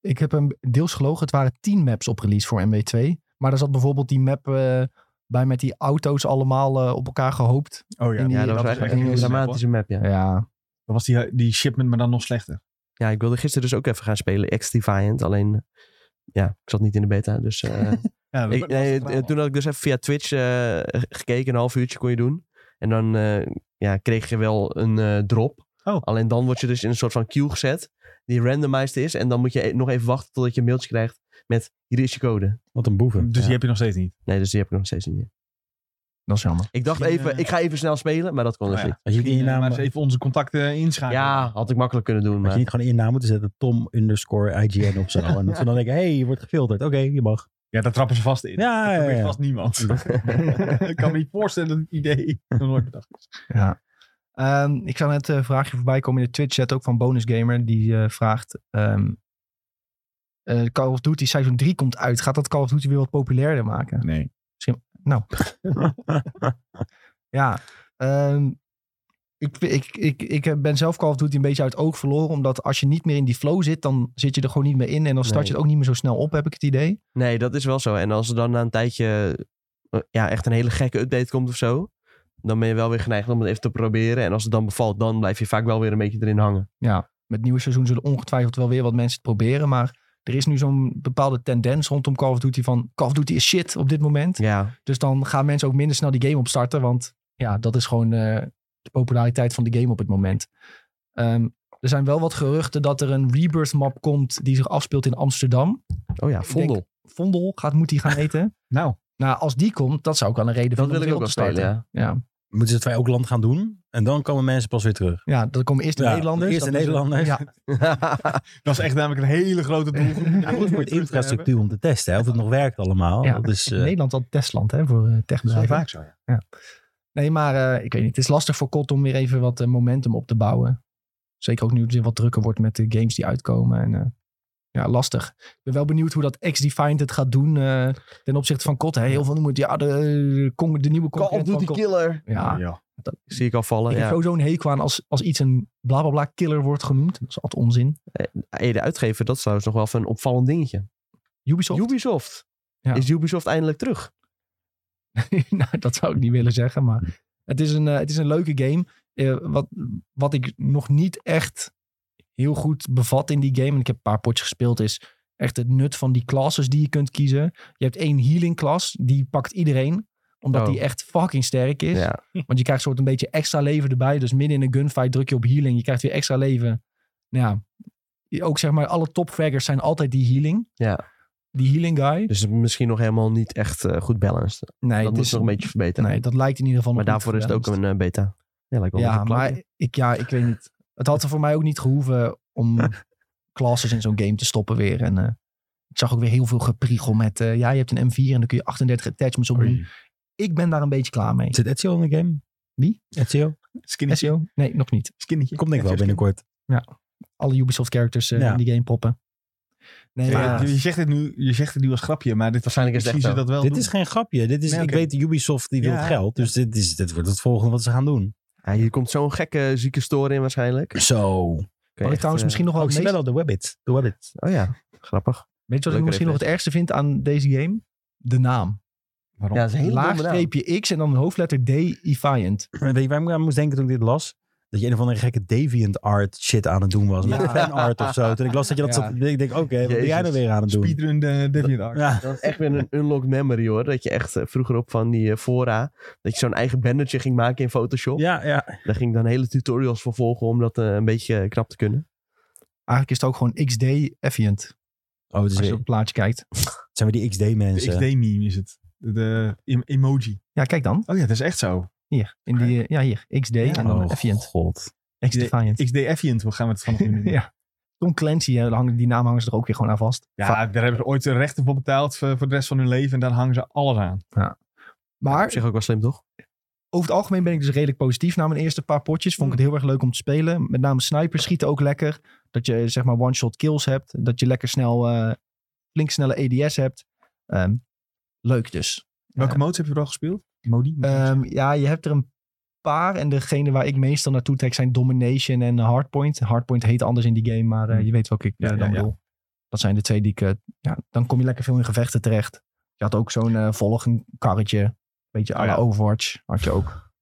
S1: Ik heb hem deels gelogen. Het waren 10 maps op release voor MW2. Maar er zat bijvoorbeeld die map eh, bij met die auto's allemaal eh, op elkaar gehoopt.
S2: Oh
S1: In die-
S4: Ja,
S1: Ja,
S4: dat,
S1: dat
S4: was eigenlijk
S1: is
S4: een
S1: echt een
S4: dramatische map, ja.
S1: Ja,
S2: Dan was die, die shipment maar dan nog slechter.
S4: Ja, ik wilde gisteren dus ook even gaan spelen, X-Defiant. Alleen, ja, ik zat niet in de beta, dus... eh,
S2: Ja, dat
S4: Ik,
S2: was het
S4: nee,
S2: verhaal.
S4: toen had ik dus even via Twitch eh, gekeken, een half uurtje kon je doen. En dan eh, ja, kreeg je wel een eh, drop.
S2: Oh.
S4: Alleen dan word je dus in een soort van queue gezet, die randomized is. En dan moet je e- nog even wachten totdat je een mailtje krijgt met hier is je code.
S3: Wat een boeven.
S2: Dus
S4: Ja.
S2: die heb je nog steeds niet.
S4: Nee, dus die heb ik nog steeds niet.
S1: Dat is jammer.
S4: Ik dacht
S2: Misschien,
S4: even,
S2: eh,
S4: ik ga even snel spelen, maar dat kon dus
S2: Oh ja.
S4: niet.
S3: Had je, niet in je naam,
S2: maar eens even onze contacten
S1: ah,
S2: inschakelen.
S4: Ja, had ik makkelijk kunnen doen.
S3: had je
S4: Maar...
S3: niet gewoon in je naam moeten zetten Tom underscore IGN of zo. En dat ze dan denken, hé, hey, je wordt gefilterd. Oké, je mag.
S2: ja, daar trappen ze vast in.
S3: Ja,
S2: dat
S3: ja,
S2: probeert
S3: ja.
S2: vast niemand. ik kan me niet voorstellen dat het idee nog nooit bedacht is.
S1: Ja. Ehm, ik zag net een vraagje voorbij komen in de Twitch-chat ook van Bonus Gamer. Die eh, vraagt... ehm, eh, Call of Duty Seizoen 3 komt uit. Gaat dat Call of Duty weer wat populairder maken? Nou.
S2: Nee.
S1: Ja. ehm, ik, ik, ik, ik ben zelf Call of Duty een beetje uit het oog verloren. Omdat als je niet meer in die flow zit, dan zit je er gewoon niet meer in. En dan start je
S4: Nee.
S1: het ook niet meer zo snel op, heb ik het idee.
S4: Nee, dat is wel zo. En als er dan na een tijdje eh, ja, echt een hele gekke update komt of zo, dan ben je wel weer geneigd om het even te proberen. En als het dan bevalt, dan blijf je vaak wel weer een beetje erin hangen.
S1: Met het nieuwe seizoen zullen ongetwijfeld wel weer wat mensen het proberen. Maar er is nu zo'n bepaalde tendens rondom Call of Duty van... Call of Duty is shit op dit moment.
S4: Ja,
S1: Dus dan gaan mensen ook minder snel die game opstarten. Want ja, dat is gewoon eh, de populariteit van de game op het moment. Ehm, er zijn wel wat geruchten dat er een rebirth map komt die zich afspeelt in Amsterdam.
S4: oh ja,
S1: Ik denk-
S4: Vondel.
S1: Vondel gaat, moet die gaan eten.
S2: Nou,
S1: nou, als die komt, dat zou ook wel een reden
S4: Dat
S1: vinden
S4: wil ik
S1: om
S4: ook wel
S1: het weer op te
S4: spelen,
S1: starten.
S4: ja.
S1: Ja.
S3: Moeten ze twee ook land gaan doen? En dan komen mensen pas weer terug.
S1: Ja, dan komen eerst de
S3: Ja,
S1: Nederlanders.
S3: eerst de
S1: Dat is- eh,
S3: Nederlanders.
S1: Ja,
S2: Dat is echt namelijk een hele grote doelgroep.
S3: Ja, goed voor de infrastructuur om te testen. Hè, of het nog werkt allemaal.
S1: Ja.
S3: Dat is, eh,
S1: Nederland al testland hè, voor eh,
S2: Dat is wel
S1: techbedrijven.
S2: vaak zo, ja.
S1: Nee, maar eh, ik weet niet. Het is lastig voor Kot om weer even wat eh, momentum op te bouwen. Zeker ook nu het weer wat drukker wordt met de games die uitkomen. En, eh, ja, lastig. Ik ben wel benieuwd hoe dat X-Defined het gaat doen eh, ten opzichte van Kot. Hè. Heel veel noemen het, ja, de, con- de nieuwe
S4: Call of
S1: concurrent van
S4: Duty
S1: Kot.
S4: Killer.
S1: Ja,
S2: Ja.
S4: Zie ik al vallen,
S1: ik heb
S4: ja.
S1: sowieso een hekel aan als, als iets een blablabla killer wordt genoemd. Dat is altijd onzin.
S4: Hey, de uitgever, dat is trouwens nog wel even een opvallend dingetje.
S1: Ubisoft?
S4: Ubisoft.
S1: Ja.
S4: Is Ubisoft eindelijk terug?
S1: nou, dat zou ik niet willen zeggen, maar het is een, eh, het is een leuke game. Eh, wat, wat ik nog niet echt heel goed bevat in die game, en ik heb een paar potjes gespeeld, is echt het nut van die classes die je kunt kiezen. Je hebt één healing class, die pakt iedereen, omdat
S4: Oh.
S1: die echt fucking sterk is.
S4: Ja.
S1: Want je krijgt soort een beetje extra leven erbij. Dus midden in een gunfight druk je op healing, je krijgt weer extra leven. Nou ja, ook zeg maar alle topfraggers zijn altijd die healing.
S4: Ja.
S1: Die healing guy.
S4: Dus misschien nog helemaal niet echt eh, goed balanced.
S1: Nee,
S4: dat
S1: het
S4: moet nog een beetje verbeteren.
S1: Nee, dat lijkt in ieder geval
S4: maar
S1: nog niet
S4: daarvoor is het ook
S1: gebalanced.
S4: een eh, beta. Ja, lijkt wel
S1: Ja,
S4: een plaatje.
S1: maar ik, ja, ik weet niet. Het had er voor mij ook niet gehoeven om classes in zo'n game te stoppen weer. En eh, ik zag ook weer heel veel gepriegel met... eh, ja, je hebt een M4 en dan kun je 38 attachments op doen. Ik ben daar een beetje klaar mee.
S3: Zit Ezio in de game?
S1: Wie?
S3: Ezio?
S2: Skinnetje.
S1: SEO? Nee, nog niet.
S2: Skinnetje.
S3: Komt denk ik wel binnenkort.
S1: Alle Ubisoft-characters eh,
S3: Ja.
S1: in die game proppen. Nee,
S2: Ja,
S1: maar-
S2: Je, je zegt het nu, je zegt het nu als grapje, maar dit
S4: Waarschijnlijk is het
S2: precies
S4: echt zo.
S2: dat wel
S3: Dit
S2: doen.
S3: is geen grapje. Dit is,
S2: Nee,
S3: ik
S2: oké.
S3: weet, Ubisoft die wil
S2: Ja.
S3: geld. Dus dit, is, dit wordt het volgende wat ze gaan doen.
S4: Ja, hier komt zo'n gekke zieke store in waarschijnlijk. Kun
S3: Zo.
S4: je
S1: Wat ik
S4: echt,
S1: trouwens
S4: eh,
S1: misschien nog wel
S3: Oh,
S1: het
S3: ik zie
S1: meest-
S3: wel al de Webbit. De Webbit.
S4: Oh ja, grappig.
S1: Weet je wat ik
S4: Leuke
S1: misschien nog het ergste vind aan deze game? De naam.
S4: Ja, dat is een hele domme naam.
S1: Laagstreepje X en dan hoofdletter D, Defiant.
S3: Weet je waar ik aan moest denken toen ik dit las? Dat je een of andere gekke deviant art shit aan het doen was.
S1: Ja.
S3: Met fanart of zo. Toen ik las dat je dat
S1: Ja.
S3: zat. Ik denk, oké, wat ben
S4: Jezus.
S3: jij nou weer aan het doen?
S2: Speedrun eh, de Deviant Art.
S3: Ja.
S4: Dat is echt weer een unlocked memory hoor. Dat je echt eh, vroeger op van die eh, fora, dat je zo'n eigen bannertje ging maken in Photoshop.
S3: Ja, ja.
S4: Daar ging ik dan hele tutorials voor volgen om dat eh, een beetje eh, knap te kunnen.
S1: Eigenlijk is het ook gewoon XD Efficient.
S3: Oh, het
S1: Als
S3: is
S1: je
S3: weer-
S1: op het plaatje kijkt.
S3: het zijn we die
S2: De
S3: XD-mensen.
S2: XD-meme is het. De, de em- emoji.
S1: Ja, kijk dan.
S2: Oh ja, dat is echt zo.
S1: Hier, in die, eh, ja, hier. XD en dan
S3: Oh,
S1: Efficient.
S3: god.
S1: X Defiant.
S2: XD Efficient, hoe gaan we het vanaf nu doen?
S1: ja. Tom Clancy, hè, daar hangen- die naam hangen ze er ook weer gewoon aan vast. Va-
S2: Ja, daar hebben ze ooit de rechten voor betaald eh, voor, voor de rest van hun leven. En daar hangen ze alles aan.
S4: Op
S1: Maar
S4: zich ook wel slim toch?
S1: over het algemeen ben ik dus redelijk positief. Na mijn eerste paar potjes vond ik het heel erg leuk om te spelen. Met name snipers schieten ook lekker. Dat je zeg maar one-shot kills hebt. Dat je lekker snel, eh flink snelle EDS hebt. Ehm, leuk dus.
S2: Welke
S1: Ja.
S2: modes heb je er al gespeeld? Modi?
S3: Eh,
S1: Ehm, ja, je hebt er een paar. En degene waar ik meestal naartoe trek zijn Domination en Hardpoint. Hardpoint heet anders in die game, maar eh, je weet welke ik eh,
S2: Hmm. Ja, ja,
S1: dan
S2: ja.
S1: wil. Dat zijn de twee die ik... eh, ja, dan kom je lekker veel in gevechten terecht. Je had ook zo'n eh volgend karretje. Beetje à
S2: Oh,
S1: la
S2: ja.
S1: Overwatch had je ook.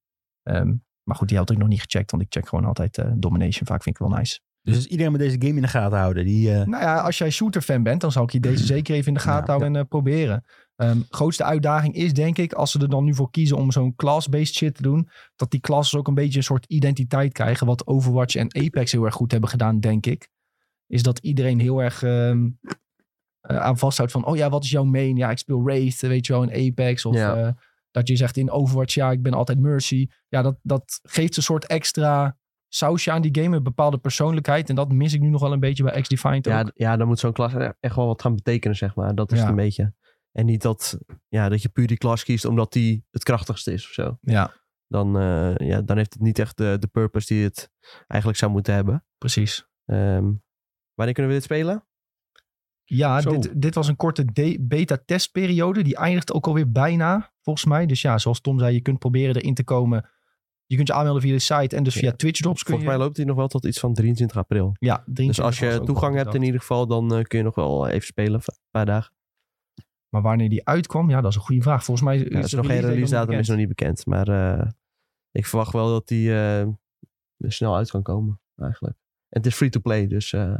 S1: Ehm, maar goed, die had ik nog niet gecheckt. Want ik check gewoon altijd eh, Domination. Vaak vind ik wel nice.
S3: Dus iedereen moet deze game in de gaten houden. Die, eh,
S1: Nou ja, als jij shooter-fan bent, dan zou ik je deze zeker even in de gaten
S3: Ja.
S1: houden en eh, proberen. Ehm grootste uitdaging is, denk ik, als ze er dan nu voor kiezen om zo'n class-based shit te doen, dat die classes ook een beetje een soort identiteit krijgen, wat Overwatch en Apex heel erg goed hebben gedaan, denk ik. Is dat iedereen heel erg ehm, eh, aan vasthoudt van, oh ja, wat is jouw main? Ja, ik speel Wraith, weet je wel, in Apex. Of
S4: Ja.
S1: eh, Dat je zegt in Overwatch, ja, ik ben altijd Mercy. Ja, dat, dat geeft een soort extra sausje aan die game. Een bepaalde persoonlijkheid. En dat mis ik nu nog wel een beetje bij X-Defined
S4: Ja,
S1: ook.
S4: d- ja, dan moet zo'n klas e- echt wel wat gaan betekenen, zeg maar. Dat is
S1: Ja.
S4: het een beetje. En niet dat, ja, dat je puur die klas kiest omdat die het krachtigste is of zo.
S1: Ja,
S4: Dan, eh, ja, dan heeft het niet echt de, de purpose die het eigenlijk zou moeten hebben.
S1: precies.
S4: Ehm, wanneer kunnen we dit
S1: Dus
S4: spelen?
S1: Ja,
S2: Zo.
S1: dit, dit was een korte de- beta-testperiode. Die eindigt ook alweer bijna, volgens mij. Dus ja, zoals Tom zei, je kunt proberen erin te komen. Je kunt je aanmelden via de site en dus
S4: Ja.
S1: via Twitch Drops kun
S4: Volgens
S1: je...
S4: mij loopt die nog wel tot iets van 23 april.
S1: ja,
S4: Dus
S1: 23
S4: als
S1: was
S4: je
S1: ook
S4: toegang
S1: al
S4: hebt in
S1: bedacht.
S4: ieder geval, dan eh, kun je nog wel even spelen. v- Een paar dagen.
S1: Maar wanneer die uitkwam, ja, dat is een goede vraag. Volgens mij is,
S4: Ja, er is
S1: de
S4: nog geen
S1: release
S4: release
S1: date
S4: datum, is nog niet bekend. Maar eh, ik verwacht wel dat die eh, er snel uit kan komen, eigenlijk. En het is free to play, dus eh,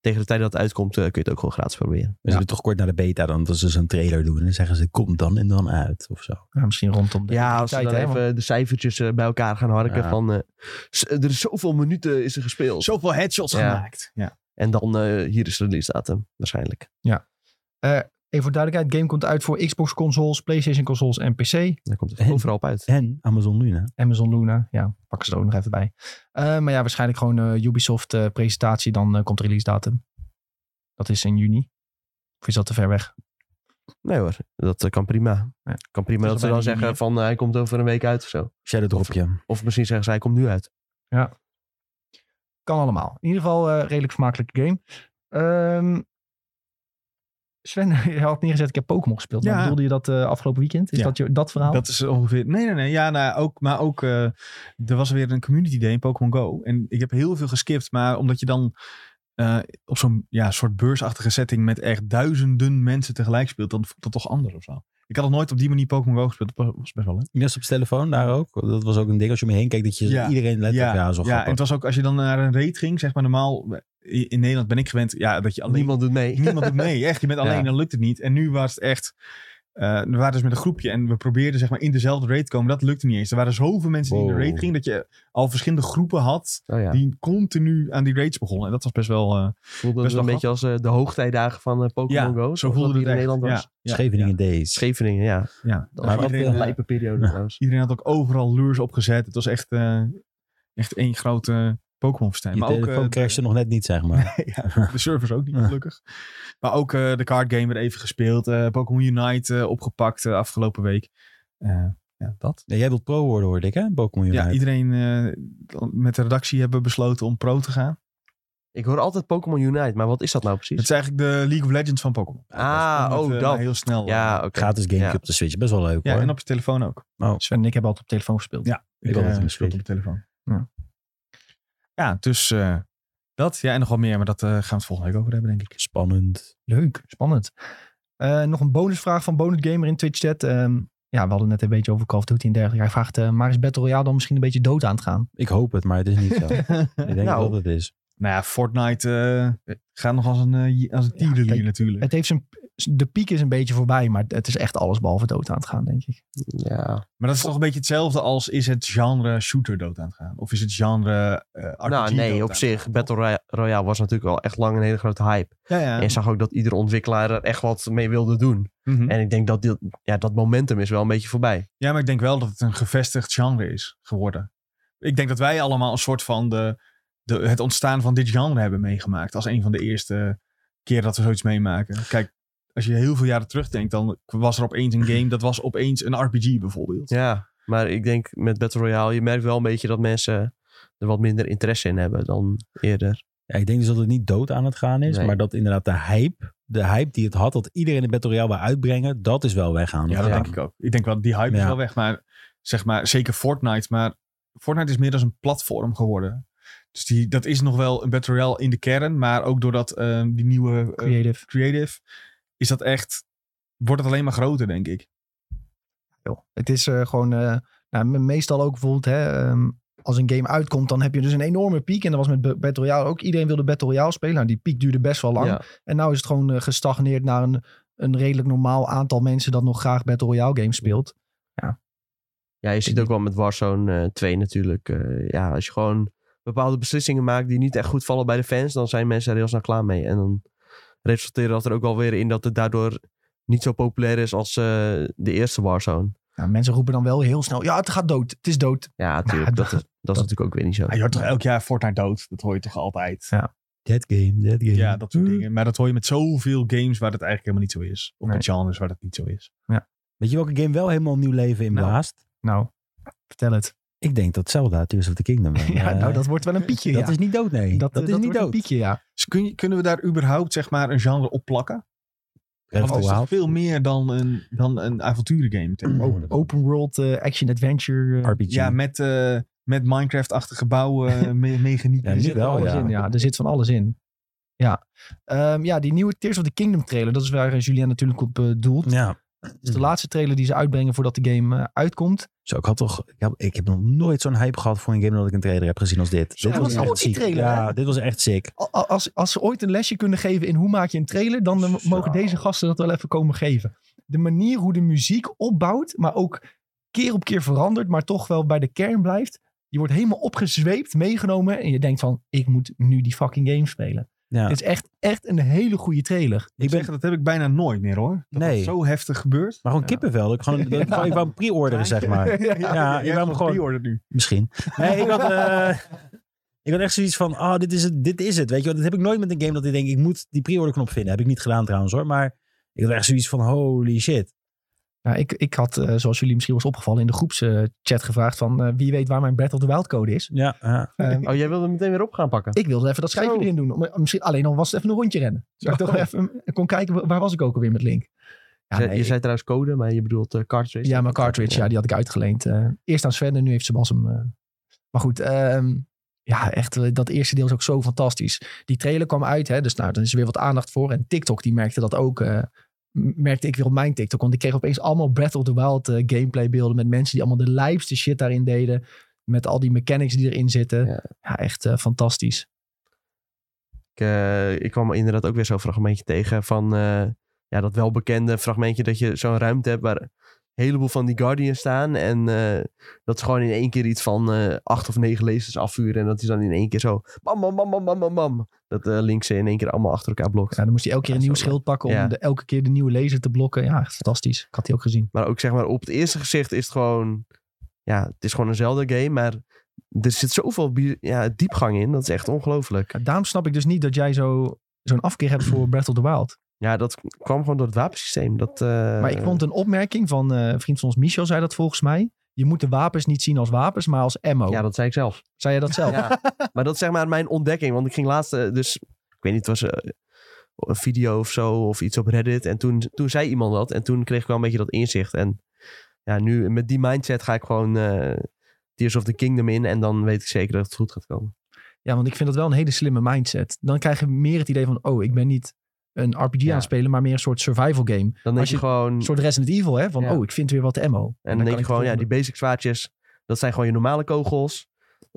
S4: tegen de tijd dat het uitkomt eh, kun je het ook gewoon gratis proberen.
S3: We zullen toch kort naar de beta dan. Dat ze zo'n trailer doen. En dan zeggen ze, komt dan en dan uit. Of zo.
S1: Ja, misschien rondom de
S4: Ja, als we
S1: tijd,
S4: dan
S1: hè,
S4: even
S1: want-
S4: de cijfertjes eh, bij elkaar gaan harken
S3: Ja.
S4: van... eh, s- er is zoveel minuten is er gespeeld.
S2: Zoveel headshots
S4: Ja.
S2: gemaakt. Ja.
S4: En dan eh, hier is de release datum, waarschijnlijk.
S1: Even voor duidelijkheid, game komt uit voor Xbox consoles, Playstation consoles en PC.
S4: Daar komt het
S3: En-
S4: overal op uit.
S3: En Amazon Luna.
S1: Amazon Luna, ja, pakken ze er ook nog even bij. Eh, maar ja, waarschijnlijk gewoon eh, Ubisoft eh, presentatie, dan eh, komt de release datum. Dat is in juni. Of is dat te ver weg?
S4: Nee hoor, dat eh, kan prima.
S1: Ja.
S4: Kan prima
S1: is
S4: dat
S1: al
S4: ze
S1: bijna
S4: dan zeggen
S1: juni, hè?
S4: van eh, hij komt over een week uit of zo.
S3: Shadow dropje.
S4: Of misschien zeggen ze hij komt nu uit.
S1: Kan allemaal. In ieder geval eh, redelijk vermakelijke game. Ehm, Sven, je had neergezet, ik heb Pokémon gespeeld. Maar
S2: Ja.
S1: bedoelde je dat eh, afgelopen weekend? Is
S2: Ja.
S1: dat je, dat verhaal?
S2: Dat is ongeveer. Nee, nee, nee. Ja, nou, ook, maar ook. eh, er was weer een community day in Pokémon Go. En ik heb heel veel geskipt. Maar omdat je dan eh, op zo'n ja, soort beursachtige setting. met echt duizenden mensen tegelijk speelt. dan voelt dat toch anders of zo. Ik had nog nooit op die manier Pokémon Go gespeeld. Dat was- was best wel leuk.
S3: Net als op de telefoon daar ook. Dat was ook een ding als je om je heen kijkt. Dat je
S2: Ja.
S3: iedereen let op. Ja, zo
S2: ja, en
S3: grappig.
S2: het was ook als je dan naar een raid ging. zeg maar normaal. eh, In in Nederland ben ik gewend. Ja, dat je alleen.
S4: Niemand doet mee.
S2: Niemand doet mee. Echt, je bent alleen,
S4: Ja.
S2: dan lukt het niet. En nu was het echt. eh, we waren dus met een groepje en we probeerden zeg maar in dezelfde raid te komen. Dat lukte niet eens. Er waren zoveel mensen die in de
S3: Wow.
S2: raid gingen dat je al verschillende groepen had
S4: Oh ja.
S2: die continu aan die raids begonnen. En dat was best wel. eh,
S4: voelde het
S2: best
S4: een
S2: wel
S4: beetje als eh, de hoogtijdagen van eh, Pokémon
S2: ja,
S4: Go.
S2: zo
S4: zoals
S2: voelde
S4: dat
S2: het
S4: hier in
S2: echt.
S4: Nederland was.
S2: Ja,
S3: Scheveningen
S2: ja,
S3: Days.
S4: Scheveningen, ja.
S2: ja.
S4: Dat
S3: Maar
S4: was
S3: wat,
S4: altijd
S2: eh,
S4: een lijpe periode
S3: ja.
S4: trouwens.
S2: Iedereen had ook overal lures opgezet. Het was echt, eh, echt één grote Pokémon-verstijn.
S3: Je
S2: Maar ook
S3: telefoon
S2: eh, de-
S3: crashte nog net niet, zeg maar.
S2: ja, de servers ook niet,
S3: Ja.
S2: gelukkig. Maar ook eh, de card game weer even gespeeld. eh, Pokémon Unite eh, opgepakt eh, afgelopen week. Eh, ja, dat.
S3: Nee, jij wilt pro worden, hoorde ik, hè? Pokémon Unite.
S2: Ja, iedereen eh, met de redactie hebben besloten om pro te gaan.
S4: Ik hoor altijd Pokémon Unite, maar wat is dat nou
S2: Het is
S4: precies?
S2: eigenlijk de League of Legends van Pokémon.
S4: Ah,
S2: Om het,
S4: oh
S2: eh,
S4: dat.
S2: Heel snel. eh,
S4: Ja, oké.
S3: Gratis gamepje
S4: Ja.
S3: op de Switch. Best wel leuk,
S2: ja,
S3: hoor.
S2: en op je telefoon ook.
S1: Sven en ik hebben altijd op telefoon gespeeld.
S2: Ja.
S3: Ik had het
S2: eh,
S3: in
S2: speel
S3: de
S2: het
S3: Switch.
S2: op de telefoon.
S1: Ja.
S2: Ja, dus eh, dat. Ja, en nog wel meer. Maar dat eh, gaan we het volgende week over hebben, denk ik.
S3: Spannend.
S1: Leuk, spannend. Eh, nog een bonusvraag van Bonus Gamer in Twitch chat. Ehm, ja, we hadden het net een beetje over Call of Duty en dergelijke. Hij vraagt, eh, maar is Battle Royale dan misschien een beetje dood aan het gaan?
S3: Ik hoop het, maar het is niet zo. ik denk
S4: Nou.
S3: dat het is.
S2: nou ja, Fortnite eh, gaat nog als een, eh, als een tierenlier
S1: kijk,
S2: natuurlijk.
S1: Het heeft zijn, de piek is een beetje voorbij, maar het is echt alles behalve dood aan het gaan, denk ik.
S4: Ja.
S2: Maar dat is toch een beetje hetzelfde als is het genre shooter dood aan het gaan? Of is het genre eh RPG
S4: Nou
S2: dood
S4: nee,
S2: aan
S4: op
S2: het
S4: zich.
S2: gaan?
S4: Battle Roy- Royale was natuurlijk wel echt lang een hele grote hype.
S2: Ja, ja.
S4: En je zag ook dat iedere ontwikkelaar er echt wat mee wilde doen.
S2: Mhm.
S4: En ik denk dat dit- ja, dat momentum is wel een beetje voorbij.
S2: ja, maar ik denk wel dat het een gevestigd genre is geworden. Ik denk dat wij allemaal een soort van de, de, het ontstaan van dit genre hebben meegemaakt. Als een van de eerste keer dat we zoiets meemaken. Kijk, als je heel veel jaren terugdenkt, dan was er opeens een game. Dat was opeens een RPG bijvoorbeeld.
S4: Ja, maar ik denk met Battle Royale, je merkt wel een beetje dat mensen er wat minder interesse in hebben dan eerder.
S3: Ja, ik denk dus dat het niet dood aan het gaan is,
S4: Nee.
S3: maar dat inderdaad de hype, de hype die het had, dat iedereen de Battle Royale wil uitbrengen, dat is wel weggaan.
S2: Ja, dat denk ik ook. Ik denk wel, die hype is
S3: Ja.
S2: wel weg. Maar zeg maar, zeker Fortnite. Maar Fortnite is meer als een platform geworden. Dus die, dat is nog wel een Battle Royale in de kern. Maar ook doordat eh, die nieuwe eh,
S1: Creative.
S2: creative, is dat echt, wordt het alleen maar groter, denk ik.
S1: joh. Het is eh, gewoon, eh, nou, me- meestal ook bijvoorbeeld, hè, ehm, als een game uitkomt, dan heb je dus een enorme piek. En dat was met B- Battle Royale ook. Iedereen wilde Battle Royale spelen. Nou, die piek duurde best wel lang.
S4: Ja.
S1: En nou is het gewoon eh, gestagneerd naar een, een redelijk normaal aantal mensen dat nog graag Battle Royale games speelt.
S4: ja, je ziet ook wel met Warzone eh, 2 natuurlijk. eh, ja, als je gewoon bepaalde beslissingen maakt die niet echt goed vallen bij de fans, dan zijn mensen er heel snel klaar mee. En dan resulteert dat er ook wel weer in dat het daardoor niet zo populair is als eh, de eerste Warzone.
S1: Nou, mensen roepen dan wel heel snel, ja, het gaat dood. Het is dood.
S4: Ja, natuurlijk. dat,
S1: dat-
S4: is, dat, is natuurlijk ook weer niet zo.
S2: je hoort toch elk jaar Fortnite dood? Dat hoor je toch altijd?
S3: Dead game, dead game.
S2: Ja, dat soort dingen. Maar dat hoor je met zoveel games waar dat eigenlijk helemaal niet zo is. Of met genres waar dat niet zo is.
S3: Weet je welke game wel helemaal nieuw leven inblaast?
S1: Nou, vertel het.
S3: Ik denk dat Zelda Tears of the Kingdom. eh,
S1: Ja, nou, dat wordt wel een piekje.
S3: dat
S1: ja. eh,
S3: is niet dood, nee. Dat,
S2: eh,
S3: is niet
S1: wordt een
S3: dood.
S1: piekje, ja.
S2: Dus kun je- kunnen we daar überhaupt zeg maar een genre op plakken?
S3: Breath
S2: Want
S3: of the
S2: het is toch
S3: Wild,
S2: Oh, veel meer dan een, dan een avonturengame
S3: Mm.
S2: tegenwoordig.
S1: Open world, eh, action adventure. eh,
S3: RPG.
S2: Ja, met, eh, met Minecraft-achtige bouwen, me mechaniek.
S3: Ja,
S1: er
S3: nu
S1: zit
S3: wel,
S1: van alles
S3: oh ja.
S1: in. Ja, er zit van alles in. Ja. Ehm, ja, die nieuwe Tears of the Kingdom trailer, dat is waar eh, Julien natuurlijk op eh, doelt.
S3: ja.
S1: Dat is de laatste trailer die ze uitbrengen voordat de game eh, uitkomt.
S3: Zo, ik had toch... Ik heb, ik heb nog nooit zo'n hype gehad voor een game dat ik een trailer heb gezien als dit.
S1: Ja,
S3: dit
S1: want ook die trailer,
S3: Ja,
S1: hè?
S3: dit was echt sick.
S1: Al- al- Als, als ze ooit een lesje kunnen geven in hoe maak je een trailer, dan eh, mogen
S3: Zo.
S1: deze gasten dat wel even komen geven. De manier hoe de muziek opbouwt, maar ook keer op keer verandert, maar toch wel bij de kern blijft. Je wordt helemaal opgezweept, meegenomen en je denkt van, ik moet nu die fucking game spelen.
S3: Ja.
S1: Het is echt, echt een hele goede trailer.
S2: Ik ben... dat heb ik bijna nooit meer hoor. Dat
S3: Nee.
S2: dat zo heftig gebeurt.
S3: Maar gewoon kippenvel. Ik, gewoon, dat ik, gewoon- ik wou hem pre-orderen, zeg maar.
S1: Ja.
S3: Ja,
S2: jij
S3: ik wou hem
S2: hebt
S3: gewoon...
S2: pre-order nu.
S3: Misschien. Nee, ik had, eh, ik had echt zoiets van, ah, dit is het, dit is het. Weet je wel, dat heb ik nooit met een game dat ik denk, ik moet die pre-order knop vinden. Heb ik niet gedaan trouwens hoor, maar ik had echt zoiets van, holy shit.
S1: Ja, ik, ik had, eh, zoals jullie misschien was opgevallen, in de groepschat chat gevraagd van eh, wie weet waar mijn Battle of the Wild code is.
S3: Ja, ja.
S1: Eh,
S4: Oh, jij wilde hem meteen weer op gaan pakken.
S1: ik wilde even dat schrijfje
S4: Zo.
S1: erin doen. Om, om misschien, alleen al was het even een rondje rennen. Zodat ik toch even eh, kon kijken, wa- waar was ik ook alweer met Link? Ja,
S4: Je-
S1: nee,
S4: je zei trouwens code, maar je bedoelt eh, cartridge.
S1: ja mijn cartridge, ja, die had ik uitgeleend. Eh, eerst aan Sven en nu heeft Sebas hem. eh. Maar goed, ehm, ja, echt, eh, dat eerste deel is ook zo fantastisch. Die trailer kwam uit, hè, dus nou, dan is er weer wat aandacht voor. En TikTok, die merkte dat ook. eh, m- merkte ik weer op mijn TikTok, want ik kreeg opeens allemaal Breath of the Wild eh, gameplay beelden met mensen die allemaal de lijpste shit daarin deden. Met al die mechanics die erin zitten. Ja,
S4: Ja.
S1: echt eh, fantastisch.
S4: Ik, eh, ik kwam inderdaad ook weer zo'n fragmentje tegen van eh, ja, dat welbekende fragmentje dat je zo'n ruimte hebt waar een heleboel van die Guardians staan. En eh, dat ze gewoon in één keer iets van eh, acht of negen lasers afvuren. En dat is dan in één keer zo bam, bam, bam, bam, bam, bam, bam. Dat eh links ze in één keer allemaal achter elkaar blokt.
S1: Ja, dan moest hij elke keer een
S4: Ja,
S1: nieuw
S4: zo.
S1: schild pakken om
S4: Ja.
S1: de, elke keer de nieuwe laser te blokken. Ja, echt fantastisch. Ik had die ook gezien.
S4: Maar ook zeg maar op het eerste gezicht is het gewoon... Ja, het is gewoon een Zelda-game, maar er zit zoveel bi- ja, diepgang in. Dat is echt ongelooflijk.
S1: Ja, daarom snap ik dus niet dat jij zo, zo'n afkeer hebt voor Breath of the Wild.
S4: Ja, dat k- kwam gewoon door het wapensysteem. Dat, eh,
S1: Maar ik vond een opmerking van eh, een vriend van ons, Michel, zei dat volgens mij. Je moet de wapens niet zien als wapens, maar als ammo.
S4: Ja, dat zei ik zelf.
S1: Zei jij dat zelf?
S4: Ja, maar dat is zeg maar mijn ontdekking. Want ik ging laatst, eh, dus ik weet niet, het was eh, een video of zo of iets op Reddit. En toen, toen zei iemand dat en toen kreeg ik wel een beetje dat inzicht. En ja, nu met die mindset ga ik gewoon eh, Tears of the Kingdom in. En dan weet ik zeker dat het goed gaat komen.
S1: Ja, want ik vind dat wel een hele slimme mindset. Dan krijg je meer het idee van, oh, ik ben niet een RPG aan
S4: Ja.
S1: het spelen, maar meer een soort survival game.
S4: Dan denk
S1: Als
S4: je,
S1: je-
S4: gewoon,
S1: Een soort Resident Evil, hè? Van,
S4: Ja.
S1: oh, ik vind weer wat ammo.
S4: en
S1: dan
S4: dan denk
S1: kan
S4: je
S1: ik
S4: gewoon, ja, die
S1: volgende-
S4: basic zwaardjes, dat zijn gewoon je normale kogels.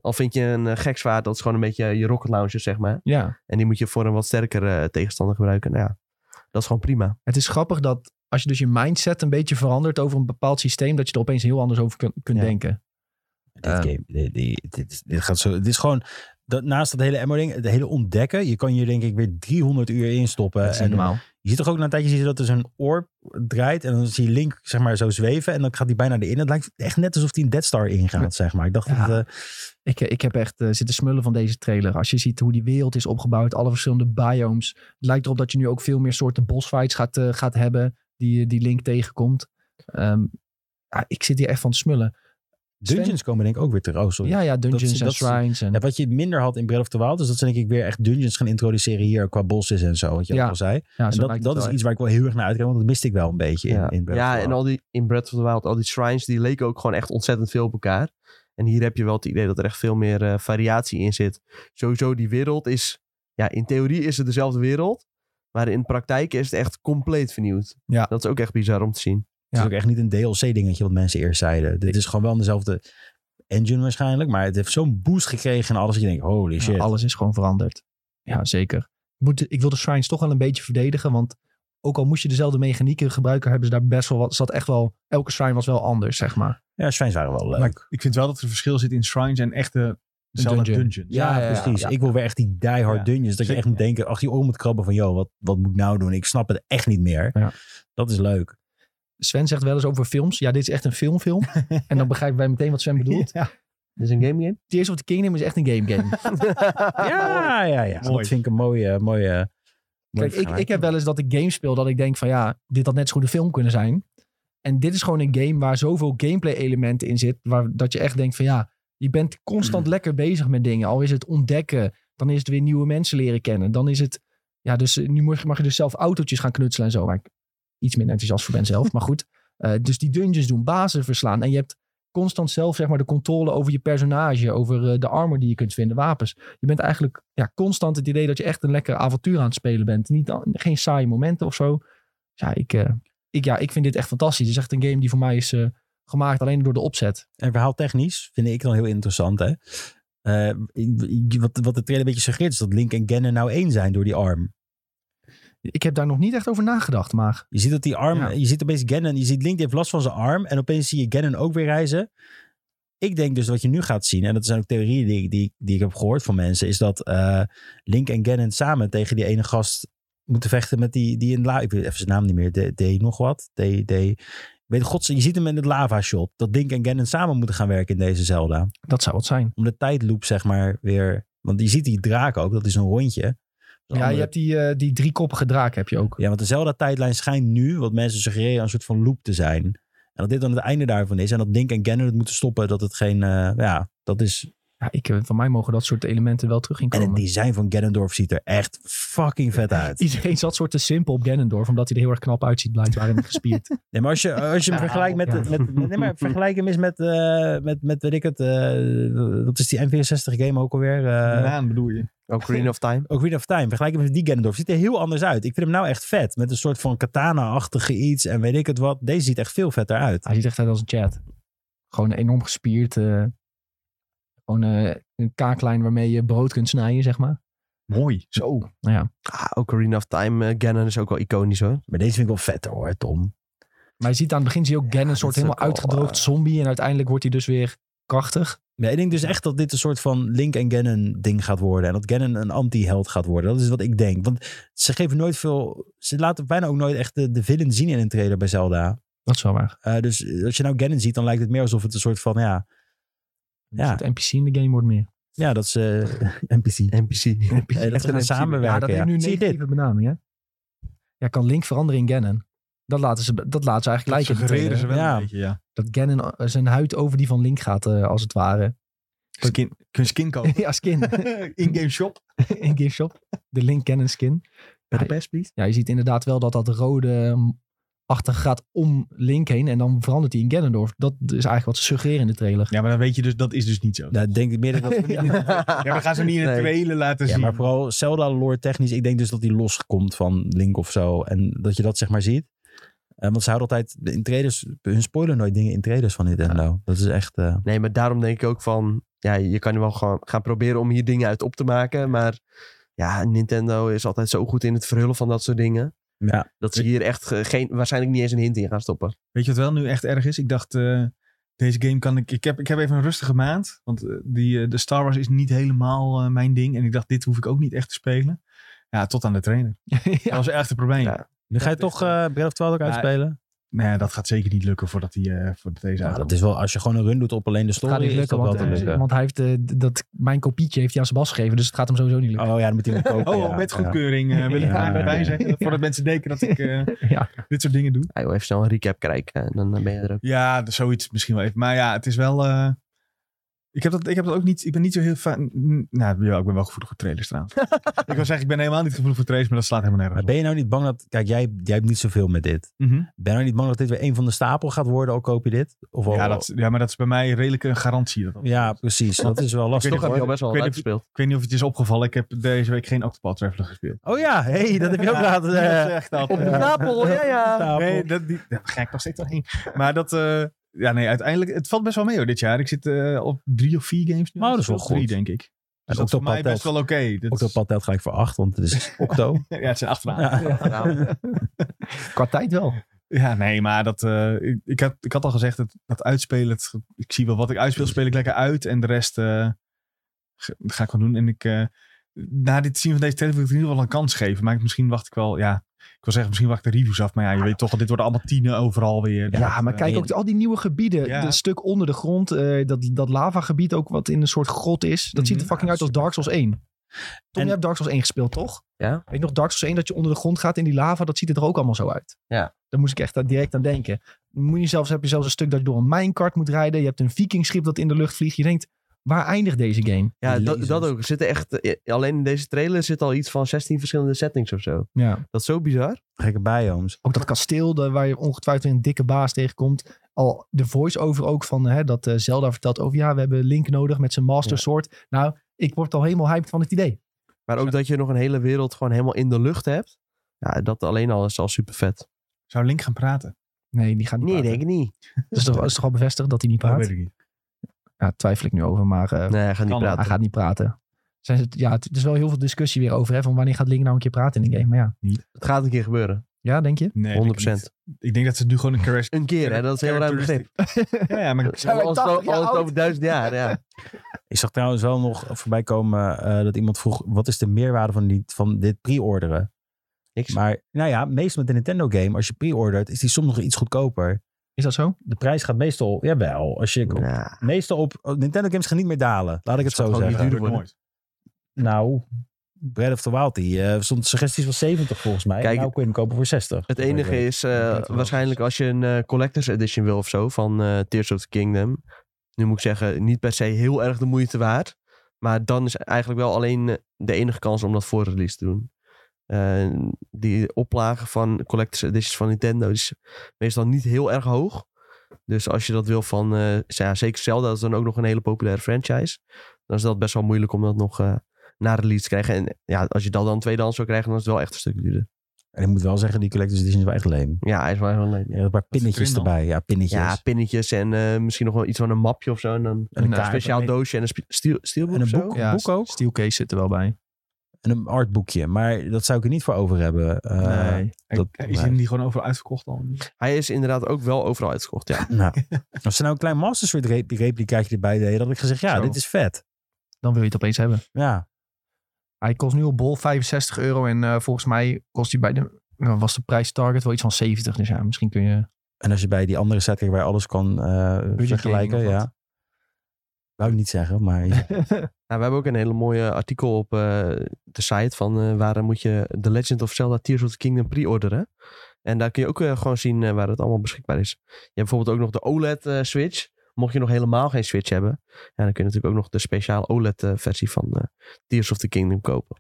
S4: Al vind je een eh, gek zwaard, dat is gewoon een beetje je rocket launcher, zeg maar.
S1: Ja.
S4: En die moet je voor een wat sterkere eh, tegenstander gebruiken. Nou ja, dat is gewoon prima.
S1: Het is grappig dat als je dus je mindset een beetje verandert over een bepaald systeem, dat je er opeens heel anders over kun- kunt
S4: Ja.
S1: denken.
S3: Dit
S1: Eh.
S3: game, dit, dit, dit, dit gaat zo, dit is gewoon, dat, naast dat hele ammo ding, het hele ontdekken, je kan hier denk ik weer 300 uur in stoppen.
S4: Eh,
S1: Dat is niet
S3: en
S1: normaal.
S3: Je ziet toch ook na een tijdje zie je dat er zo'n orb draait en dan zie je Link zeg maar zo zweven en dan gaat hij bijna erin. Het lijkt echt net alsof hij een Dead Star ingaat, zeg maar. Ik dacht
S1: Ja.
S3: dat... eh,
S1: Ik, ik heb echt eh, zitten smullen van deze trailer. Als je ziet hoe die wereld is opgebouwd, alle verschillende biomes. Het lijkt erop dat je nu ook veel meer soorten bossfights gaat, eh, gaat hebben die, eh, die Link tegenkomt. Ehm, ja, ik zit hier echt van te smullen.
S3: Dungeons komen denk ik ook weer terug. Oh, sorry.
S1: Ja, ja, dungeons
S3: Dat-
S1: en
S3: dat-
S1: shrines. En,
S3: Ja, wat je minder had in Breath of the Wild, dus dat ze denk ik weer echt dungeons gaan introduceren hier qua bosses en zo, wat je
S1: Ja.
S3: ook al zei.
S1: ja,
S3: En
S1: zo
S3: dat
S1: lijkt
S3: dat
S1: het
S3: is
S1: wel.
S3: iets waar ik wel heel erg naar uitkijk, want dat miste ik wel een beetje in,
S4: Ja,
S3: in Breath of
S4: ja
S3: the
S4: en
S3: Wild.
S4: al die, in Breath of the Wild, al die shrines, die leken ook gewoon echt ontzettend veel op elkaar. En hier heb je wel het idee dat er echt veel meer eh, variatie in zit. Sowieso, die wereld is, ja, in theorie is het dezelfde wereld. Maar in de praktijk is het echt compleet vernieuwd.
S1: Ja.
S4: Dat is ook echt bizar om te zien.
S3: Het
S1: Ja.
S3: is ook echt niet een DLC-dingetje wat mensen eerst zeiden. Dit is gewoon wel dezelfde engine waarschijnlijk, maar het heeft zo'n boost gekregen en alles dat je denkt, holy
S1: Ja,
S3: shit.
S1: alles is gewoon veranderd. Ja, zeker. Ik Moet, ik wil de shrines toch wel een beetje verdedigen, want ook al moest je dezelfde mechanieken gebruiken, hebben ze daar best wel wat. Zat echt wel, elke shrine was wel anders, zeg maar.
S3: Ja, Shrines waren wel leuk.
S2: Maar ik- ik vind wel dat er een verschil zit in shrines en echte zelfde
S1: dungeon.
S2: dungeons.
S3: Ja,
S1: Ja, ja, ja,
S3: precies.
S1: ja.
S3: Ik wil weer echt die die hard
S2: Ja.
S3: dungeons. Dat je
S2: Zeker.
S3: echt moet denken, ach die oor moet krabben van, joh, wat, wat moet ik nou doen? Ik snap het echt niet meer.
S1: Ja.
S3: Dat is leuk.
S1: Sven zegt wel eens over films. Ja, dit is echt een filmfilm. en dan begrijpen wij meteen wat Sven bedoelt.
S2: Ja.
S4: Dit is een game game.
S1: Tears of the Kingdom is echt een game game. Ah,
S3: Ja, ja, ja.
S2: Mooi.
S3: Dat vind ik een mooie... mooie
S1: Kijk, ik, ik heb wel eens dat ik games speel dat ik denk van ja, dit had net zo goed een film kunnen zijn. En dit is gewoon een game waar zoveel gameplay elementen in zit. Waar, dat je echt denkt van ja, je bent constant lekker bezig met dingen. Al is het ontdekken, dan is het weer nieuwe mensen leren kennen. Dan is het, ja dus eh, nu mag, mag je dus zelf autootjes gaan knutselen en zo. Waar ik iets minder enthousiast voor ben zelf, maar goed. Eh, dus die dungeons doen, bazen verslaan. En je hebt constant zelf zeg maar de controle over je personage. Over eh, de armor die je kunt vinden, wapens je bent eigenlijk ja, constant het idee dat je echt een lekker avontuur aan het spelen bent. Niet, geen saaie momenten of zo. Dus Ja, ik, eh, ik, ja, ik vind dit echt fantastisch. Het is echt een game die voor mij is eh, gemaakt alleen door de opzet.
S3: En verhaaltechnisch vind ik dan heel interessant, hè. Eh, wat, wat de trailer een beetje suggereert is dat Link en Ganon nou één zijn door die arm.
S1: Ik heb daar nog niet echt over nagedacht, maar
S3: Je ziet dat die arm,
S1: Ja.
S3: je ziet opeens Gannon, je ziet Link die heeft last van zijn arm. En opeens zie je Gannon ook weer reizen. Ik denk dus wat je nu gaat zien, en dat zijn ook theorieën die, ik- die, die ik heb gehoord van mensen, is dat eh, Link en Gannon samen tegen die ene gast moeten vechten met die, die in la. Ik weet even zijn naam niet meer, D, D nog wat, D, D. Ik Weet gods, je ziet hem in het lava shot. Dat Link en Gannon samen moeten gaan werken in deze Zelda.
S1: dat zou wat zijn.
S3: Om de tijdloop zeg maar weer, want je ziet die draak ook, dat is een rondje. Dat is een
S1: Ja,
S3: andere
S1: je hebt die, eh, die driekoppige draak heb je ook.
S3: ja, want de Zelda-tijdlijn schijnt nu, wat mensen suggereren, een soort van loop te zijn. En dat dit dan het einde daarvan is. En dat Link en Ganon het moeten stoppen, dat het geen... eh, ja, dat is...
S1: Ja, ik, eh, van mij mogen dat soort elementen wel terug in
S3: En het
S1: komen.
S3: design van Ganondorf ziet er echt fucking vet uit.
S1: Iedereen zat soort te simpel op Ganondorf, omdat hij er heel erg knap uitziet blijkbaar en gespierd.
S3: Nee, maar als je, als je hem
S1: Ja,
S3: vergelijkt met...
S1: ja.
S3: met nee, maar vergelijk hem eens met, eh, met, met weet ik het... eh, dat is die N64-game ook alweer. eh
S2: Banaan bedoel je.
S4: Ocarina Oh, of Time.
S3: Ocarina of Time, vergelijk hem met die Ganondorf. Ziet er heel anders uit. Ik vind hem nou echt vet. Met een soort van katana-achtige iets en weet ik het wat. Deze ziet echt veel vetter uit.
S1: Hij ziet echt uit als een chat. Gewoon enorm gespierd. eh, gewoon eh, een kaaklijn waarmee je brood kunt snijden, zeg maar.
S2: Mooi. Zo.
S1: Nou ja.
S4: Ah, Ocarina of Time. eh, Ganon is ook wel iconisch hoor.
S3: Maar deze vind ik wel vetter hoor, Tom.
S1: Maar je ziet aan het begin zie je ook Ganon een soort
S4: dat is
S1: helemaal
S4: ook al,
S1: uitgedroogd
S4: eh,
S1: zombie. En uiteindelijk wordt hij dus weer krachtig.
S3: Ja, ik denk dus echt dat dit een soort van Link en Ganon ding gaat worden. En dat Ganon een anti-held gaat worden. Dat is wat ik denk. Want ze geven nooit veel... Ze laten bijna ook nooit echt de, de villain zien in een trailer bij Zelda.
S1: Dat is wel waar.
S3: Eh, dus als je nou Ganon ziet, dan lijkt het meer alsof het een soort van... Ja, Ja.
S1: Het NPC in de game wordt meer.
S3: ja dat ze... NPC.
S4: NPC. NPC.
S3: Eh, dat ze gaan samenwerken.
S1: Ja, dat heeft nu een
S3: Zie je dit?
S1: negatieve benaming, hè? Ja, kan Link veranderen in Ganon. Dat laten ze, dat laten ze eigenlijk lijken. in de
S2: Suggereren ze
S1: trailer.
S2: wel
S3: Ja.
S2: een beetje, ja.
S1: Dat Ganon eh, zijn huid over die van Link gaat, eh, als het ware.
S2: Skin, kun je skin kopen.
S1: ja, skin.
S2: In-game shop.
S1: in Game Shop. De Link Ganon skin.
S4: Bij de pers, please.
S1: Ja, je ziet inderdaad wel dat dat rode achter gaat om Link heen. En dan verandert hij in Ganondorf. Dat is eigenlijk wat ze suggereren in de trailer.
S2: Ja, maar dan weet je dus, dat is dus niet zo.
S3: Nou, ik denk meer dat dat...
S2: Ja, we gaan ze niet in de
S4: Nee.
S2: trailer laten
S3: Ja,
S2: zien.
S3: maar vooral Zelda lore technisch. Ik denk dus dat die loskomt van Link of zo. En dat je dat zeg maar ziet. Eh, want ze houden altijd in trailers... Hun spoiler nooit dingen in trailers van Nintendo. Dat is echt... eh,
S4: Nee, maar daarom denk ik ook van... Ja, je kan wel gewoon gaan proberen om hier dingen uit op te maken. Maar ja, Nintendo is altijd zo goed in het verhullen van dat soort dingen.
S3: ja.
S4: Dat ze hier echt eh, geen, waarschijnlijk niet eens een hint in gaan stoppen.
S2: Weet je wat wel nu echt erg is? Ik dacht, eh, deze game kan ik... Ik heb, ik heb even een rustige maand. Want eh, die, eh, de Star Wars is niet helemaal eh, mijn ding. En ik dacht, dit hoef ik ook niet echt te spelen. Ja, tot aan de trainer. Dat was echt een probleem.
S4: Ja.
S3: Nu ga je
S2: Dat is,
S3: toch eh Breath of the Wild ook
S2: ja,
S3: uitspelen?
S2: Nee, dat gaat zeker niet lukken voordat, die, eh voordat deze
S3: Ja,
S2: uitkomt.
S3: dat is wel, als je gewoon een run doet op alleen de
S1: gaat
S3: story,
S1: niet
S3: is
S1: lukken,
S3: dat wel
S1: want,
S3: te
S1: eh,
S3: lukken.
S1: want hij heeft, eh, d- dat, mijn kopietje heeft hij aan Sebas gegeven, dus het gaat hem sowieso niet lukken.
S3: Oh ja, dan moet hij hem kopen.
S2: Oh,
S3: ja.
S2: met
S3: Ja.
S2: goedkeuring eh, wil ik
S3: Ja.
S2: graag
S3: Ja.
S2: bij zeggen. Voordat mensen denken dat ik eh,
S1: Ja.
S2: dit soort dingen doe.
S4: Hij wil even snel een recap krijgen. En dan eh, ben je er ook.
S2: Ja, d- zoiets misschien wel even. Maar ja, het is wel. eh, ik, heb dat, ik heb dat ook niet. Ik ben niet zo heel fan. n- Nou, ja, ik ben wel gevoelig voor trailers trouwens. ik wil zeggen, ik ben helemaal niet gevoelig voor trailers, maar dat slaat helemaal
S3: Maar
S2: nergens
S3: ben je nou niet bang dat... Kijk, jij, jij hebt niet zoveel met dit.
S2: op. Mhm.
S3: Ben je nou niet bang dat dit weer een van de stapel gaat worden, al koop je dit? Of al,
S2: ja, dat, ja, maar dat is bij mij redelijk een garantie. Dat dat-
S3: ja, precies. Dat is wel lastig.
S2: weet
S4: Toch
S2: niet,
S4: heb je al best wel wat
S2: Ik weet
S4: uitgespeeld.
S2: Ik weet niet of het is opgevallen. Ik heb deze week geen Octopath Traveler gespeeld.
S3: Oh ja, hey, dat heb je ook
S2: Ja,
S3: laten...
S2: dat
S3: eh,
S2: zegt dat.
S3: de
S2: Ja.
S4: Napel, ja ja.
S3: stapel.
S2: Nee, dat, die, daar ga ik nog steeds wel heen. Maar dat, eh, ja, nee, uiteindelijk, het valt best wel mee hoor, dit jaar. Ik zit eh, op drie of vier games nu.
S3: Oh, dat is wel
S2: Drie,
S3: goed.
S2: denk ik. Dus dat is
S3: En
S2: voor
S3: Octopath
S2: mij best wel
S3: telt-
S2: oké. Dat is-
S3: Octopad telt gelijk voor acht, want het is Octo.
S2: Ja, het zijn acht vragen.
S3: Ja.
S4: Ja.
S3: Oh.
S1: Qua tijd wel.
S2: Ja, nee, maar dat, eh, ik, ik, had, ik had al gezegd dat, dat uitspelen, het, ik zie wel wat ik uitspeel, speel ik lekker uit. En de rest eh, ga, ga ik gewoon doen. En ik, eh, na dit zien van deze trailer wil ik het in ieder geval een kans geven. Maar ik- misschien wacht ik wel, ja. Ik wil zeggen, misschien wacht ik de reviews af. Maar ja, je weet toch, dit worden allemaal tienen overal weer.
S1: Ja,
S2: Dus,
S1: maar
S2: eh,
S1: kijk ook al die nieuwe gebieden.
S2: Ja.
S1: Dat stuk onder de grond, eh, dat, dat lavagebied ook wat in een soort grot is. Dat ziet er
S2: Mhm.
S1: fucking
S3: Ja,
S1: uit als Dark Souls 1. Tom,
S3: En-
S1: jij hebt Dark Souls 1 gespeeld, toch?
S4: Ja.
S1: Weet je nog, Dark Souls 1, dat je onder de grond gaat in die lava, dat ziet het er ook allemaal zo uit.
S4: Ja.
S1: Daar moest ik echt aan- direct aan denken. Moet je zelfs, heb je zelfs een stuk dat je door een minecart moet rijden. Je hebt een vikingschip dat in de lucht vliegt. Je denkt, waar eindigt deze game?
S4: Ja,
S3: Die
S4: dat,
S3: lasers.
S4: dat ook. Er Zitten echt, eh, alleen in deze trailer zit al iets van 16 verschillende settings of zo.
S1: Ja.
S4: Dat is zo bizar.
S3: Gekke biomes.
S1: Ook dat kasteel daar waar je ongetwijfeld weer een dikke baas tegenkomt. Al de voice-over ook van hè, dat eh, Zelda vertelt over... ja, we hebben Link nodig met zijn Master
S4: Ja.
S1: Sword. Nou, ik word al helemaal hyped van het idee.
S4: Maar ook dat je nog een hele wereld gewoon helemaal in de lucht hebt. Ja, dat alleen al is al super vet.
S2: Zou Link gaan praten?
S1: Nee, die gaat niet
S4: Nee,
S1: praten.
S4: denk ik niet.
S1: Dat is toch, is toch al bevestigd dat hij niet
S2: Dat
S1: praat?
S2: weet ik niet.
S1: Ja, twijfel ik nu over, maar eh,
S4: Nee, hij gaat niet
S2: Kan wel.
S1: hij
S4: praten.
S1: gaat niet praten. Zijn ze, ja, het er is wel heel veel discussie weer over, hè, van wanneer gaat Link nou een keer praten in de game. Maar ja,
S4: Het gaat een keer gebeuren.
S1: ja denk je?
S2: Nee,
S4: 100%.
S2: denk ik niet. Ik denk dat ze nu gewoon een character...
S4: Een keer, hè? Dat is heel ruim begrip.
S2: characteristic- Ja, ja, oh, maar
S1: Zijn wij
S4: Al is het
S1: 80 jaar
S4: al is het
S1: oud?
S4: over duizend jaar, ja.
S3: Ik zag trouwens wel nog voorbij komen eh, dat iemand vroeg... wat is de meerwaarde van, die, van dit pre-orderen?
S4: Niks.
S3: Maar nou ja, meestal met een Nintendo game... als je pre-ordert, is die soms nog iets goedkoper.
S1: Is dat zo?
S3: De prijs gaat meestal... Jawel, als je...
S4: Ja.
S3: Meestal op... oh, Nintendo games gaan niet meer dalen. Laat ik het zo
S2: gewoon niet
S3: zeggen.
S2: duurder nooit.
S3: Nou, Breath of the Wild, die eh, stond suggesties was 70 volgens mij.
S4: Kijk,
S3: nou kun je hem kopen voor 60.
S4: Het enige is eh,
S3: weet het wel.
S4: waarschijnlijk als je een eh, collector's edition wil of zo van eh, Tears of the Kingdom. Nu moet ik zeggen, niet per se heel erg de moeite waard. Maar dan is eigenlijk wel alleen eh, de enige kans om dat voor release te doen. Eh, die oplagen van collector's editions van Nintendo is meestal niet heel erg hoog. Dus als je dat wil van, eh, ja, zeker Zelda, dat is dan ook nog een hele populaire franchise. Dan is dat best wel moeilijk om dat nog eh na release te krijgen. En ja, als je dat dan tweedehands zou krijgen, dan is het wel echt een stuk duurder.
S3: En ik moet wel zeggen, die collector's edition is wel echt leem.
S4: Ja, hij is wel heel leuk.
S3: Ja, een paar pinnetjes
S2: erin dan?
S3: erbij. Ja, pinnetjes.
S4: Ja, pinnetjes en eh, misschien nog wel iets van een mapje of zo. En dan
S3: en een
S1: Ja,
S4: een
S3: kaart.
S4: speciaal
S3: en-
S4: doosje en een spe- stiel, stielboek
S3: En een
S4: of zo.
S3: boek, boek ook.
S1: Steelcase zit er wel bij.
S3: En een artboekje. Maar dat zou ik er niet voor over hebben. Eh, Dat-
S2: En Is
S3: nee.
S2: die gewoon overal uitverkocht al?
S4: Hij is inderdaad ook wel overal uitgekocht, ja.
S3: Nou, als ze nou een klein Master Sword rep- replicaatje erbij deden, had ik gezegd, ja,
S1: Zo.
S3: dit is vet.
S1: Dan wil je het opeens hebben.
S3: Ja,
S1: Hij kost nu op bol 65 euro en eh, volgens mij kost hij bij de... nou, Was de prijs target wel iets van 70? Dus ja, misschien kun je...
S3: en als je bij die andere site kijkt waar je alles kan eh, vergelijken,
S1: of wat?
S3: ja. Wou ik niet zeggen, maar ja.
S4: Nou, we hebben ook een hele mooie artikel op eh, de site van eh, waar moet je The Legend of Zelda Tears of the Kingdom pre-orderen. En daar kun je ook eh, gewoon zien eh, waar het allemaal beschikbaar is. Je hebt bijvoorbeeld ook nog de OLED eh, Switch. Mocht je nog helemaal geen Switch hebben, ja, dan kun je natuurlijk ook nog de speciale OLED eh, versie van eh, Tears of the Kingdom kopen.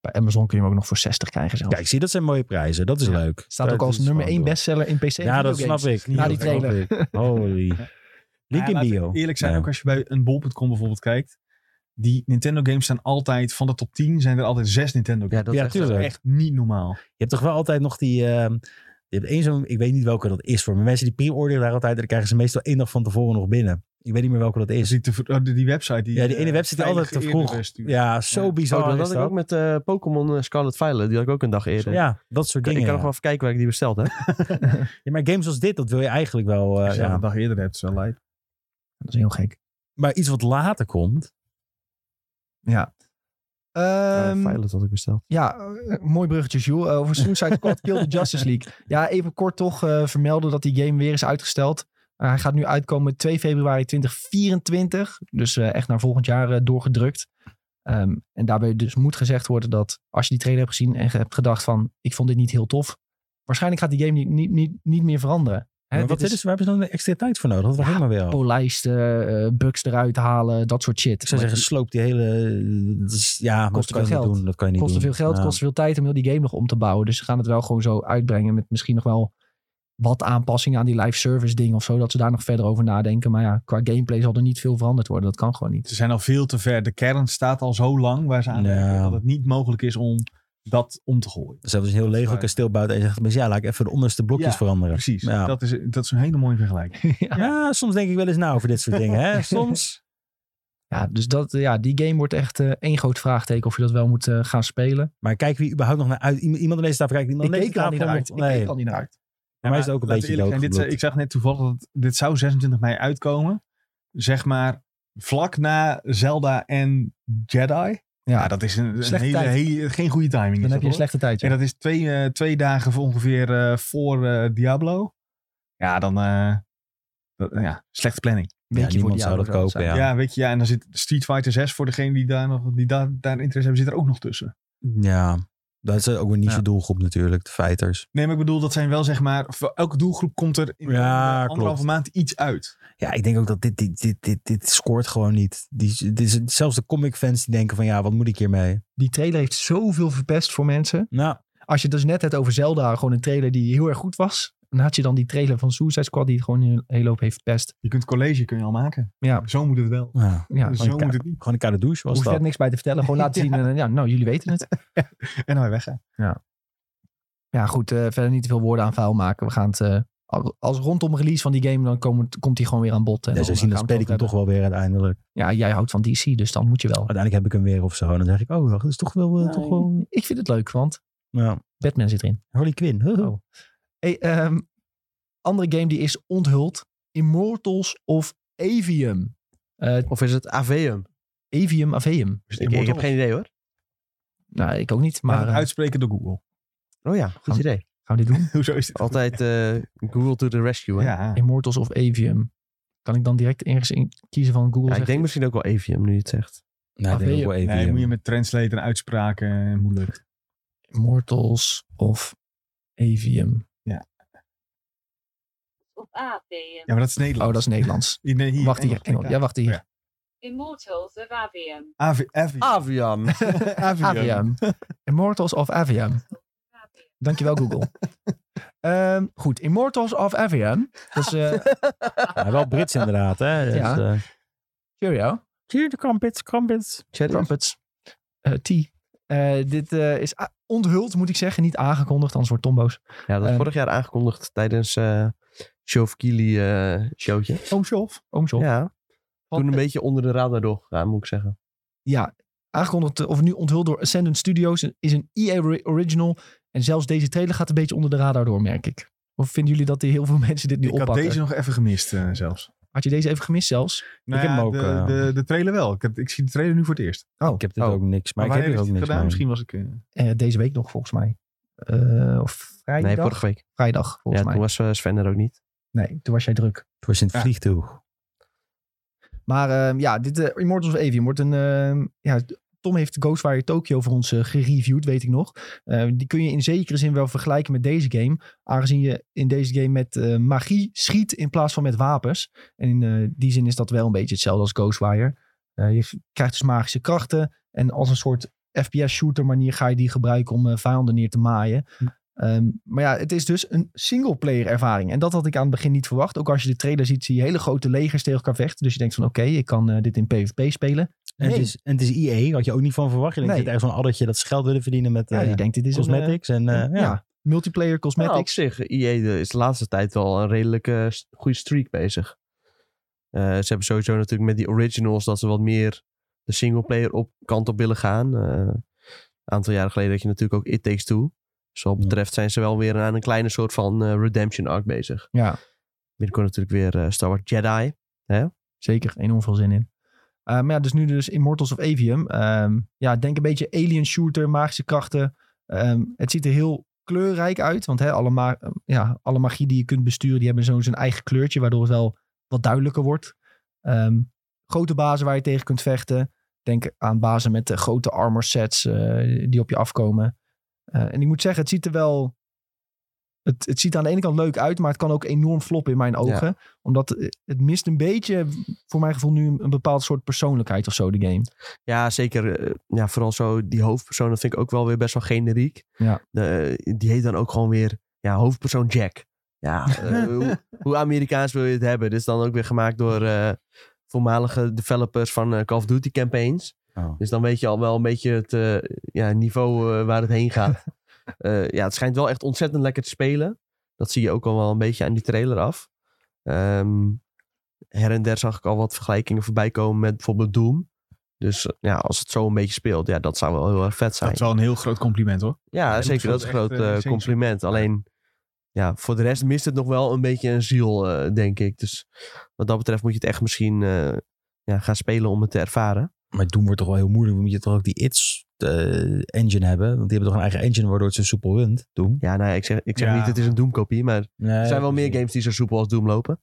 S1: Bij Amazon kun je hem ook nog voor 60 krijgen zelfs.
S3: Kijk, zie, dat zijn mooie prijzen. Dat is
S1: Ja.
S3: leuk.
S1: Staat ook
S3: Dat
S1: als
S3: is
S1: nummer
S3: gewoon
S1: 1
S3: door.
S1: bestseller in PC. en
S3: Ja, dat
S1: videogames.
S3: snap ik.
S1: Na die
S3: Dat snap
S1: trailer.
S3: ik. Holy.
S2: Ja,
S3: Link in
S2: laten we
S3: bio.
S2: Eerlijk zijn,
S3: Ja.
S2: ook als je bij een bol.com bijvoorbeeld kijkt. Die Nintendo games staan altijd, van de top 10 zijn er altijd zes Nintendo games.
S4: Ja, dat
S3: Ja,
S4: is echt, eh,
S3: tuurlijk.
S2: Echt niet normaal.
S3: Je hebt toch wel altijd nog die... ehm, je hebt één zo'n... Ik weet niet welke dat is voor me. Mensen die pre-orderen daar altijd, dan krijgen ze meestal één dag van tevoren nog binnen. Ik weet niet meer welke dat
S2: Dus
S3: is.
S2: die, te, oh, die die website. Die,
S3: Ja, die ene
S2: eh,
S3: website die
S2: veilig
S3: altijd te
S2: eerder
S3: vroeg-
S2: stuurt.
S3: Ja, zo
S2: Ja.
S3: bizar
S4: Oh, dat
S3: is
S4: had ik
S3: dat.
S4: ook met eh, Pokémon eh, Scarlet Violet. Die had ik ook een dag eerder.
S3: Ja, dat soort
S4: Ik kan
S3: dingen.
S4: nog
S3: ja.
S4: wel even kijken waar ik die besteld heb.
S3: Ja, maar games als dit, dat wil je eigenlijk wel. eh,
S2: Als je dat
S3: ja.
S2: een dag eerder hebt, is wel lijp.
S1: Dat is heel gek.
S3: Maar iets wat later komt.
S1: Ehm,
S4: Ja, Violet had ik besteld.
S1: ja, eh, mooi bruggetje, Jules. Eh, over Suicide Squad Kill the Justice League. Ja, even kort toch eh, vermelden dat die game weer is uitgesteld. Eh, hij gaat nu uitkomen 2 februari 2024. Dus eh, echt naar volgend jaar eh, doorgedrukt. Ehm, en daarbij dus moet gezegd worden dat als je die trailer hebt gezien en ge- hebt gedacht van... ik vond dit niet heel tof. Waarschijnlijk gaat die game niet, niet, niet, niet meer veranderen. Hè,
S3: Maar
S1: dit
S3: wat dit is, waar hebben ze dan extra tijd voor nodig? Dat wacht
S1: Ja,
S3: ik maar wel.
S1: polijsten, eh, bugs eruit halen, dat soort shit.
S3: Ik zou
S1: Maar
S3: zeggen, sloop die hele. eh, dat is- Ja, maar
S1: Kost
S3: dat kan je
S1: veel
S3: niet
S1: geld.
S3: doen. Dat kan je niet
S1: kost te
S3: doen.
S1: veel geld,
S3: Ja.
S1: kost te veel tijd om heel die game nog om te bouwen. Dus ze gaan het wel gewoon zo uitbrengen met misschien nog wel wat aanpassingen aan die live service ding of zo. Dat ze daar nog verder over nadenken. Maar ja, qua gameplay zal er niet veel veranderd worden. Dat kan gewoon niet.
S2: Ze zijn al veel te ver. De kern staat al zo lang waar ze aan
S3: Ja.
S2: werken, dat het niet mogelijk is om dat om te gooien.
S3: Zelfs als je dus een heel
S2: Dat is
S3: Lego
S2: waar.
S3: kasteel bouwt en je zegt, mensen, ja, laat ik even de onderste blokjes
S2: Ja,
S3: veranderen.
S2: Precies.
S3: Ja.
S2: Dat, is, dat is een hele mooie vergelijking.
S3: Ja. soms denk ik wel eens na over dit soort dingen. Hè? Soms.
S1: Ja, dus dat, eh, ja, die game wordt echt eh, één groot vraagteken of je dat wel moet eh, gaan spelen.
S3: Maar kijk wie überhaupt nog naar uit. Iemand iemand aan deze tafel kijkt. Iemand aan deze tafel nog-
S1: Ik
S3: Nee,
S1: keek al niet naar uit.
S3: voor mij is het ook een
S2: laten we
S3: beetje
S2: eerlijk zijn, dit,
S3: doodgebloed.
S2: eh, Ik zag net toevallig dat dit zou 26 mei uitkomen. Zeg maar vlak na Zelda en Jedi.
S1: Ja.
S2: Ja, dat is een, een
S1: Slechte
S2: hele,
S1: tijd.
S2: hele- geen goede timing. is
S1: Dan heb
S2: dat,
S1: je een
S2: hoor.
S1: slechte tijd. ja.
S2: En dat is twee, eh, twee dagen voor ongeveer eh, voor eh, Diablo. Ja, dan... eh, dat- ja, slechte planning.
S1: Weet je
S3: niemand
S1: voor
S3: zou
S1: die
S3: dat
S1: ouderen
S3: kopen,
S1: zijn.
S2: Ja. weet je. Ja, en dan zit Street Fighter 6 voor degene die daar, nog, die daar, daar interesse hebben, zit er ook nog tussen.
S3: Ja, dat is ook een niche
S1: Ja.
S3: doelgroep natuurlijk, de fighters.
S2: Nee, maar ik bedoel, dat zijn wel zeg maar... Voor elke doelgroep komt er in
S3: Ja,
S2: eh, anderhalve
S3: klopt.
S2: maand iets uit.
S3: Ja, ik denk ook dat dit, dit, dit, dit, dit scoort gewoon niet. Die, dit is, zelfs de comic fans die denken van ja, wat moet ik hiermee?
S1: Die trailer heeft zoveel verpest voor mensen.
S3: Nou,
S1: Als je dus net het over Zelda, gewoon een trailer die heel erg goed was. Dan had je dan die trailer van Suicide Squad die het gewoon een hele hoop heeft verpest.
S2: Je kunt college kun je al maken.
S1: Ja.
S2: Zo moet het wel.
S3: ja,
S1: Ja,
S2: Zo moet het niet.
S3: gewoon een koude douche was
S1: hoef je
S3: dat.
S1: er niks bij te vertellen. Gewoon laten zien. En, eh, ja, nou, jullie weten het.
S2: En dan weer weg. hè.
S1: Ja, goed. eh, verder niet te veel woorden aan vuil maken. We gaan het... eh, al- als rondom release van die game, dan komen- komt hij gewoon weer aan bod. En
S3: Ja,
S1: dan,
S3: ze
S1: eh,
S3: zien dat
S1: gaan we het
S3: speel ik hem
S1: over
S3: toch Ah. wel weer uiteindelijk.
S1: hebben. Ja, jij houdt van DC, dus dan moet je wel.
S3: Uiteindelijk heb ik hem weer of zo. En dan zeg ik, oh, dat is toch wel... eh, toch wel
S1: Ik vind het leuk, want
S3: ja.
S1: Batman zit erin.
S3: Harley Quinn.
S1: Oh. Hey, ehm, andere game die is onthuld. Immortals of Avium. Eh,
S4: Of is het AVM?
S1: Avium, Avium.
S4: Ik, ik heb geen idee hoor.
S1: Nou, ik ook niet, maar
S2: Maar
S1: eh,
S2: uitspreken door Google.
S4: Oh ja, goed
S1: Gaan-
S4: idee.
S1: gaan we dit doen?
S2: Hoezo is dit?
S4: Altijd eh, Google to the rescue. Hè? Ja,
S2: Ja.
S1: Immortals of Avium. Kan ik dan direct ergens in kiezen van Google?
S4: ik
S1: zegt
S4: denk misschien ook wel AVM nu je het zegt.
S3: Nee, ik denk ook wel even.
S2: Nee, moet je met translate en uitspraken eh, moeilijk.
S1: Immortals of Avium.
S5: of Avium.
S2: Ja, maar dat is
S1: Oh,
S2: Nederlands.
S1: dat is Nederlands.
S2: Nee, hier,
S1: wacht hier,
S2: Engels.
S1: Engels. Ja, wacht hier.
S2: Ja.
S5: Immortals of Avium.
S2: AV, AV.
S4: Ah, Avian.
S2: AV.
S1: Avium. Immortals of Avium. Dankjewel, Google. Ehm, goed, Immortals of Avium. Dat is... eh
S3: Ja, wel Brits inderdaad, hè. Dus,
S1: Ja.
S3: eh,
S1: cheerio.
S3: Cheer the crumpets, crumpets.
S1: Trumpets. Eh, T. Eh, dit eh, is a- onthuld, moet ik zeggen. Niet aangekondigd, anders wordt Tombo's.
S4: Ja, dat is
S1: Eh.
S4: vorig jaar aangekondigd tijdens eh Show Kili eh showtje.
S1: Oom Sjof. Oom Sjof.
S4: Ja,
S1: Want,
S4: toen een
S1: eh,
S4: beetje onder de radar doorgegaan, moet ik zeggen.
S1: ja, aangekondigd eh, of nu onthuld door Ascendant Studios. Is een EA ori- original. En zelfs deze trailer gaat een beetje onder de radar door, merk ik. Of vinden jullie dat die heel veel mensen dit nu
S2: Ik had
S1: oppakken?
S2: deze nog even gemist eh, zelfs.
S1: Had je deze even gemist zelfs?
S2: Nou
S3: heb
S2: ja,
S3: hem ook,
S2: de,
S3: eh,
S2: de, de trailer wel. Ik, heb, ik zie de trailer nu voor het eerst.
S1: Oh,
S3: Ik heb dit
S4: Oh.
S3: ook niks, maar, ik heb
S2: wanneer
S3: hier
S2: heeft
S3: ook
S2: hij het
S3: niks
S2: gedaan?
S3: mee.
S2: Misschien was ik... eh,
S1: eh, deze week nog, volgens mij. Eh, of vrijdag?
S4: Nee, vorige week.
S1: Vrijdag,
S4: Ja,
S1: volgens
S4: toen
S1: mij.
S4: was eh, Sven er ook niet.
S1: Nee, toen was jij druk.
S3: Toen was je in het
S2: Ja.
S3: vliegtuig.
S1: Maar ehm, ja, dit, eh, Immortals of Avium wordt een... ehm, ja, Tom heeft Ghostwire Tokyo voor ons eh, gereviewd, weet ik nog. Eh, die kun je in zekere zin wel vergelijken met deze game. Aangezien je in deze game met eh, magie schiet in plaats van met wapens. En in eh, die zin is dat wel een beetje hetzelfde als Ghostwire. Eh, je v- krijgt dus magische krachten. En als een soort FPS-shooter manier ga je die gebruiken om eh, vijanden neer te maaien. Ehm, maar ja, het is dus een single-player ervaring. En dat had ik aan het begin niet verwacht. Ook als je de trailer ziet, zie je hele grote legers tegen elkaar vechten. Dus je denkt van oké, ik kan eh, dit in PvP spelen.
S3: En, het
S1: Nee.
S3: is, en het is IE, had je ook niet van verwacht. Je denkt,
S1: Nee.
S3: nee. ergens zo'n addertje dat ze geld willen verdienen met
S1: Ja,
S3: eh,
S1: je denkt dit is een, eh,
S3: cosmetics. En, eh,
S1: ja.
S3: ja.
S1: multiplayer
S4: Nou, op
S1: cosmetics.
S4: zich, IE is de laatste tijd wel een redelijke eh, st- goede streak bezig. Eh, ze hebben sowieso natuurlijk met die originals dat ze wat meer de singleplayer op kant op willen gaan. Eh, Een aantal jaren geleden had je natuurlijk ook It Takes Two. Dus wat
S3: Ja.
S4: betreft zijn ze wel weer aan een kleine soort van eh, redemption arc bezig.
S1: ja.
S4: Binnenkort natuurlijk weer eh, Star Wars Jedi.
S1: Zeker, enorm veel zin in. Eh, maar ja, dus nu dus Immortals of Avium. Ehm, ja, denk een beetje alien shooter, magische krachten. Ehm, het ziet er heel kleurrijk uit, want hè, alle, ma- ja, alle magie die je kunt besturen, die hebben zo'n zijn eigen kleurtje, waardoor het wel wat duidelijker wordt. Ehm, grote bazen waar je tegen kunt vechten. Denk aan bazen met eh, grote armor sets eh, die op je afkomen. Eh, en ik moet zeggen, het ziet er wel... Het, het ziet er aan de ene kant leuk uit, maar het kan ook enorm floppen in mijn ogen. Omdat eh, het mist een beetje, voor mijn gevoel, nu een, een bepaald soort persoonlijkheid of zo, de game.
S4: Ja, zeker. eh, ja, vooral zo die hoofdpersoon, dat vind ik ook wel weer best wel generiek.
S1: Ja.
S4: De, eh, die heet dan ook gewoon weer ja, hoofdpersoon Jack. Ja, eh, hoe, hoe Amerikaans wil je het hebben? Dit is dan ook weer gemaakt door eh, voormalige developers van eh, Call of Duty campaigns.
S3: Oh.
S4: Dus dan weet je al wel een beetje het eh, ja, niveau eh, waar het heen gaat. Eh, ja, het schijnt wel echt ontzettend lekker te spelen. Dat zie je ook al wel een beetje aan die trailer af. Ehm, her en der zag ik al wat vergelijkingen voorbij komen met bijvoorbeeld Doom. Dus eh, ja, als het zo een beetje speelt, ja, dat zou wel heel erg vet
S2: Dat
S4: zijn.
S2: is wel een heel groot compliment hoor.
S4: Ja,
S2: dat
S4: zeker.
S2: vond
S4: Dat is een
S2: ik echt,
S4: groot
S2: eh,
S4: eh,
S2: zeker.
S4: compliment. Alleen, ja, voor de rest mist het nog wel een beetje een ziel, eh, denk ik. Dus wat dat betreft moet je het echt misschien eh, ja, gaan spelen om het te ervaren.
S3: Maar doen wordt toch wel heel moeilijk. Dan moet je toch ook die ITS eh, engine hebben. Want die hebben toch een eigen engine waardoor het zo soepel runt. Doom.
S4: Ja, nee, ik zeg, ik zeg
S2: Ja.
S4: niet het is een Doom-kopie, maar er
S3: Nee,
S4: zijn wel meer games die zo soepel als Doom lopen.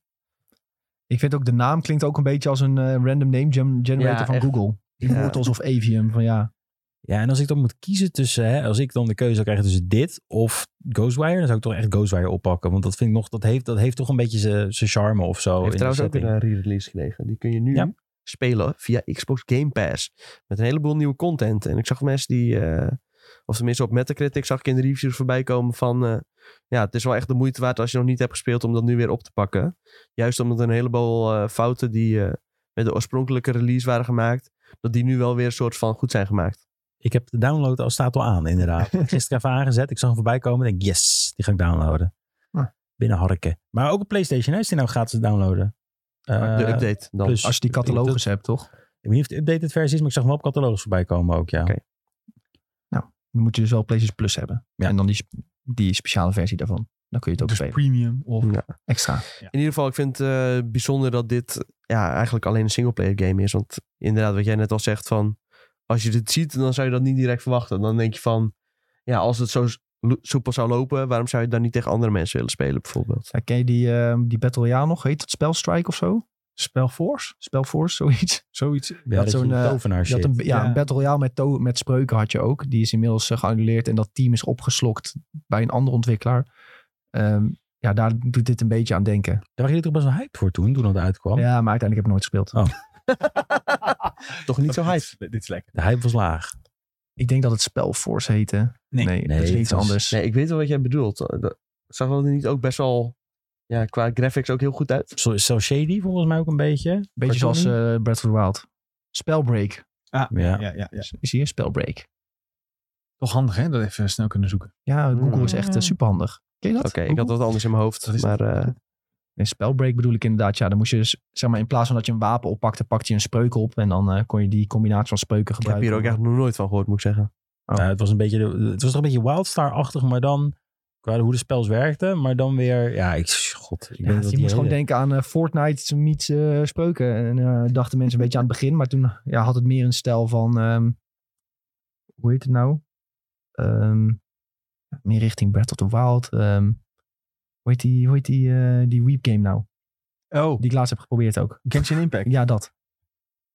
S1: Ik vind ook de naam klinkt ook een beetje als een eh, random name gen- generator
S4: Ja,
S1: van
S4: echt.
S1: Google. Immortals of Avium. Van ja,
S3: Ja, en als ik dan moet kiezen tussen, hè, als ik dan de keuze zou krijgen tussen dit of Ghostwire, dan zou ik toch echt Ghostwire oppakken. Want dat vind ik nog, dat heeft, dat heeft toch een beetje zijn zijn charme of zo. in
S4: Heeft
S3: de
S4: trouwens ook een
S3: setting.
S4: eh, re-release gekregen. Die kun je nu
S3: Ja.
S4: spelen via Xbox Game Pass. Met een heleboel nieuwe content. En ik zag mensen die, eh, of tenminste op Metacritic zag ik in de reviews voorbij komen van... eh, ja, het is wel echt de moeite waard als je nog niet hebt gespeeld om dat nu weer op te pakken. Juist omdat een heleboel eh, fouten die eh, met de oorspronkelijke release waren gemaakt... dat die nu wel weer een soort van goed zijn gemaakt.
S3: Ik heb de download al staat al aan, inderdaad. Gisteren even aangezet. Ik zag hem voorbij komen. en denk, yes, die ga ik downloaden.
S1: Ah.
S3: Binnen harken. Maar ook op PlayStation hè, is die nou gratis te downloaden. Eh,
S4: de update dan.
S3: plus-
S1: als je die catalogus hebt, toch?
S3: Ik weet niet of de updated versie is, maar ik zag hem wel op catalogus voorbij komen ook, ja.
S4: Oké.
S1: Dan moet je dus wel PlayStation Plus hebben.
S3: Ja.
S1: En dan die, sp- die speciale versie daarvan. Dan kun je het ook
S2: Dus
S1: spelen.
S2: premium of...
S4: Ja.
S1: Extra.
S4: In ieder geval, ik vind het eh, bijzonder dat dit ja, eigenlijk alleen een singleplayer game is. Want inderdaad, wat jij net al zegt van... Als je dit ziet, dan zou je dat niet direct verwachten. Dan denk je van... Ja, als het zo s- lo- soepel zou lopen... waarom zou je dan niet tegen andere mensen willen spelen bijvoorbeeld?
S1: Ja, ken je die, ehm, die Battle Royale nog? Heet het Spelstrike of zo? Spelforce? Spelforce, zoiets.
S2: Zoiets.
S3: Ja,
S1: had
S3: dat
S1: zo'n,
S3: je
S1: eh,
S3: tovenaar
S1: Je had
S3: shit.
S1: een, ja,
S2: ja.
S1: een Battle Royale met, to- met spreuken had je ook. Die is inmiddels eh, geannuleerd en dat team is opgeslokt bij een andere ontwikkelaar. Ehm, ja, daar doet dit een beetje aan denken.
S3: Daar waren jullie toch best wel hyped voor toen, toen dat uitkwam.
S1: Ja, maar uiteindelijk heb ik nooit gespeeld.
S3: Oh.
S4: Toch niet zo hype.
S2: Dit, dit is lekker.
S3: De hype was laag.
S1: Ik denk dat het Spelforce heette. Nee,
S2: Nee.
S1: dat is
S3: Nee,
S1: iets
S3: het was-
S1: anders.
S4: Nee, ik weet wel wat jij bedoelt. Eh, dat- Zag dat er niet ook best wel... Ja, qua graphics ook heel goed uit?
S3: Zo, zo shady volgens mij ook een beetje.
S1: beetje zoals
S3: Cartoony.
S1: eh Breath of the Wild. Spellbreak.
S2: Ah,
S3: Ja.
S2: ja. Ja, ja,
S1: Is hier Spellbreak.
S2: Toch handig hè, dat even snel kunnen zoeken.
S1: Ja, Google
S4: Hmm.
S1: is echt eh, superhandig. Ken je dat?
S4: Oké, ik had
S1: Google?
S4: wat anders in mijn hoofd.
S2: Dat is-
S4: Maar eh,
S1: Nee, spellbreak bedoel ik inderdaad. Ja, dan moest je dus, zeg maar, in plaats van dat je een wapen oppakte, pakte je een spreuk op. En dan eh, kon je die combinatie van spreuken
S4: ik heb
S1: gebruiken.
S4: hier ook echt nog nooit van gehoord, moet ik zeggen.
S1: Oh.
S3: Nou, het, was een beetje de- het was toch een beetje Wildstar-achtig, maar dan qua hoe de spels werkten. Maar dan weer, ja, ik, god. Ik
S1: Ja,
S3: weet
S1: je
S3: dat
S1: moest gewoon denken aan eh, Fortnite meets eh, spreuken. En eh, dachten mensen een beetje aan het begin. Maar toen ja, had het meer een stijl van... ehm, hoe heet het nou? Ehm, meer richting Breath of the Wild. ehm, hoe heet die, hoe heet die, eh, die Weep game nou?
S2: Oh,
S1: Die ik laatst heb geprobeerd ook.
S2: Genshin Impact.
S1: Ja, dat.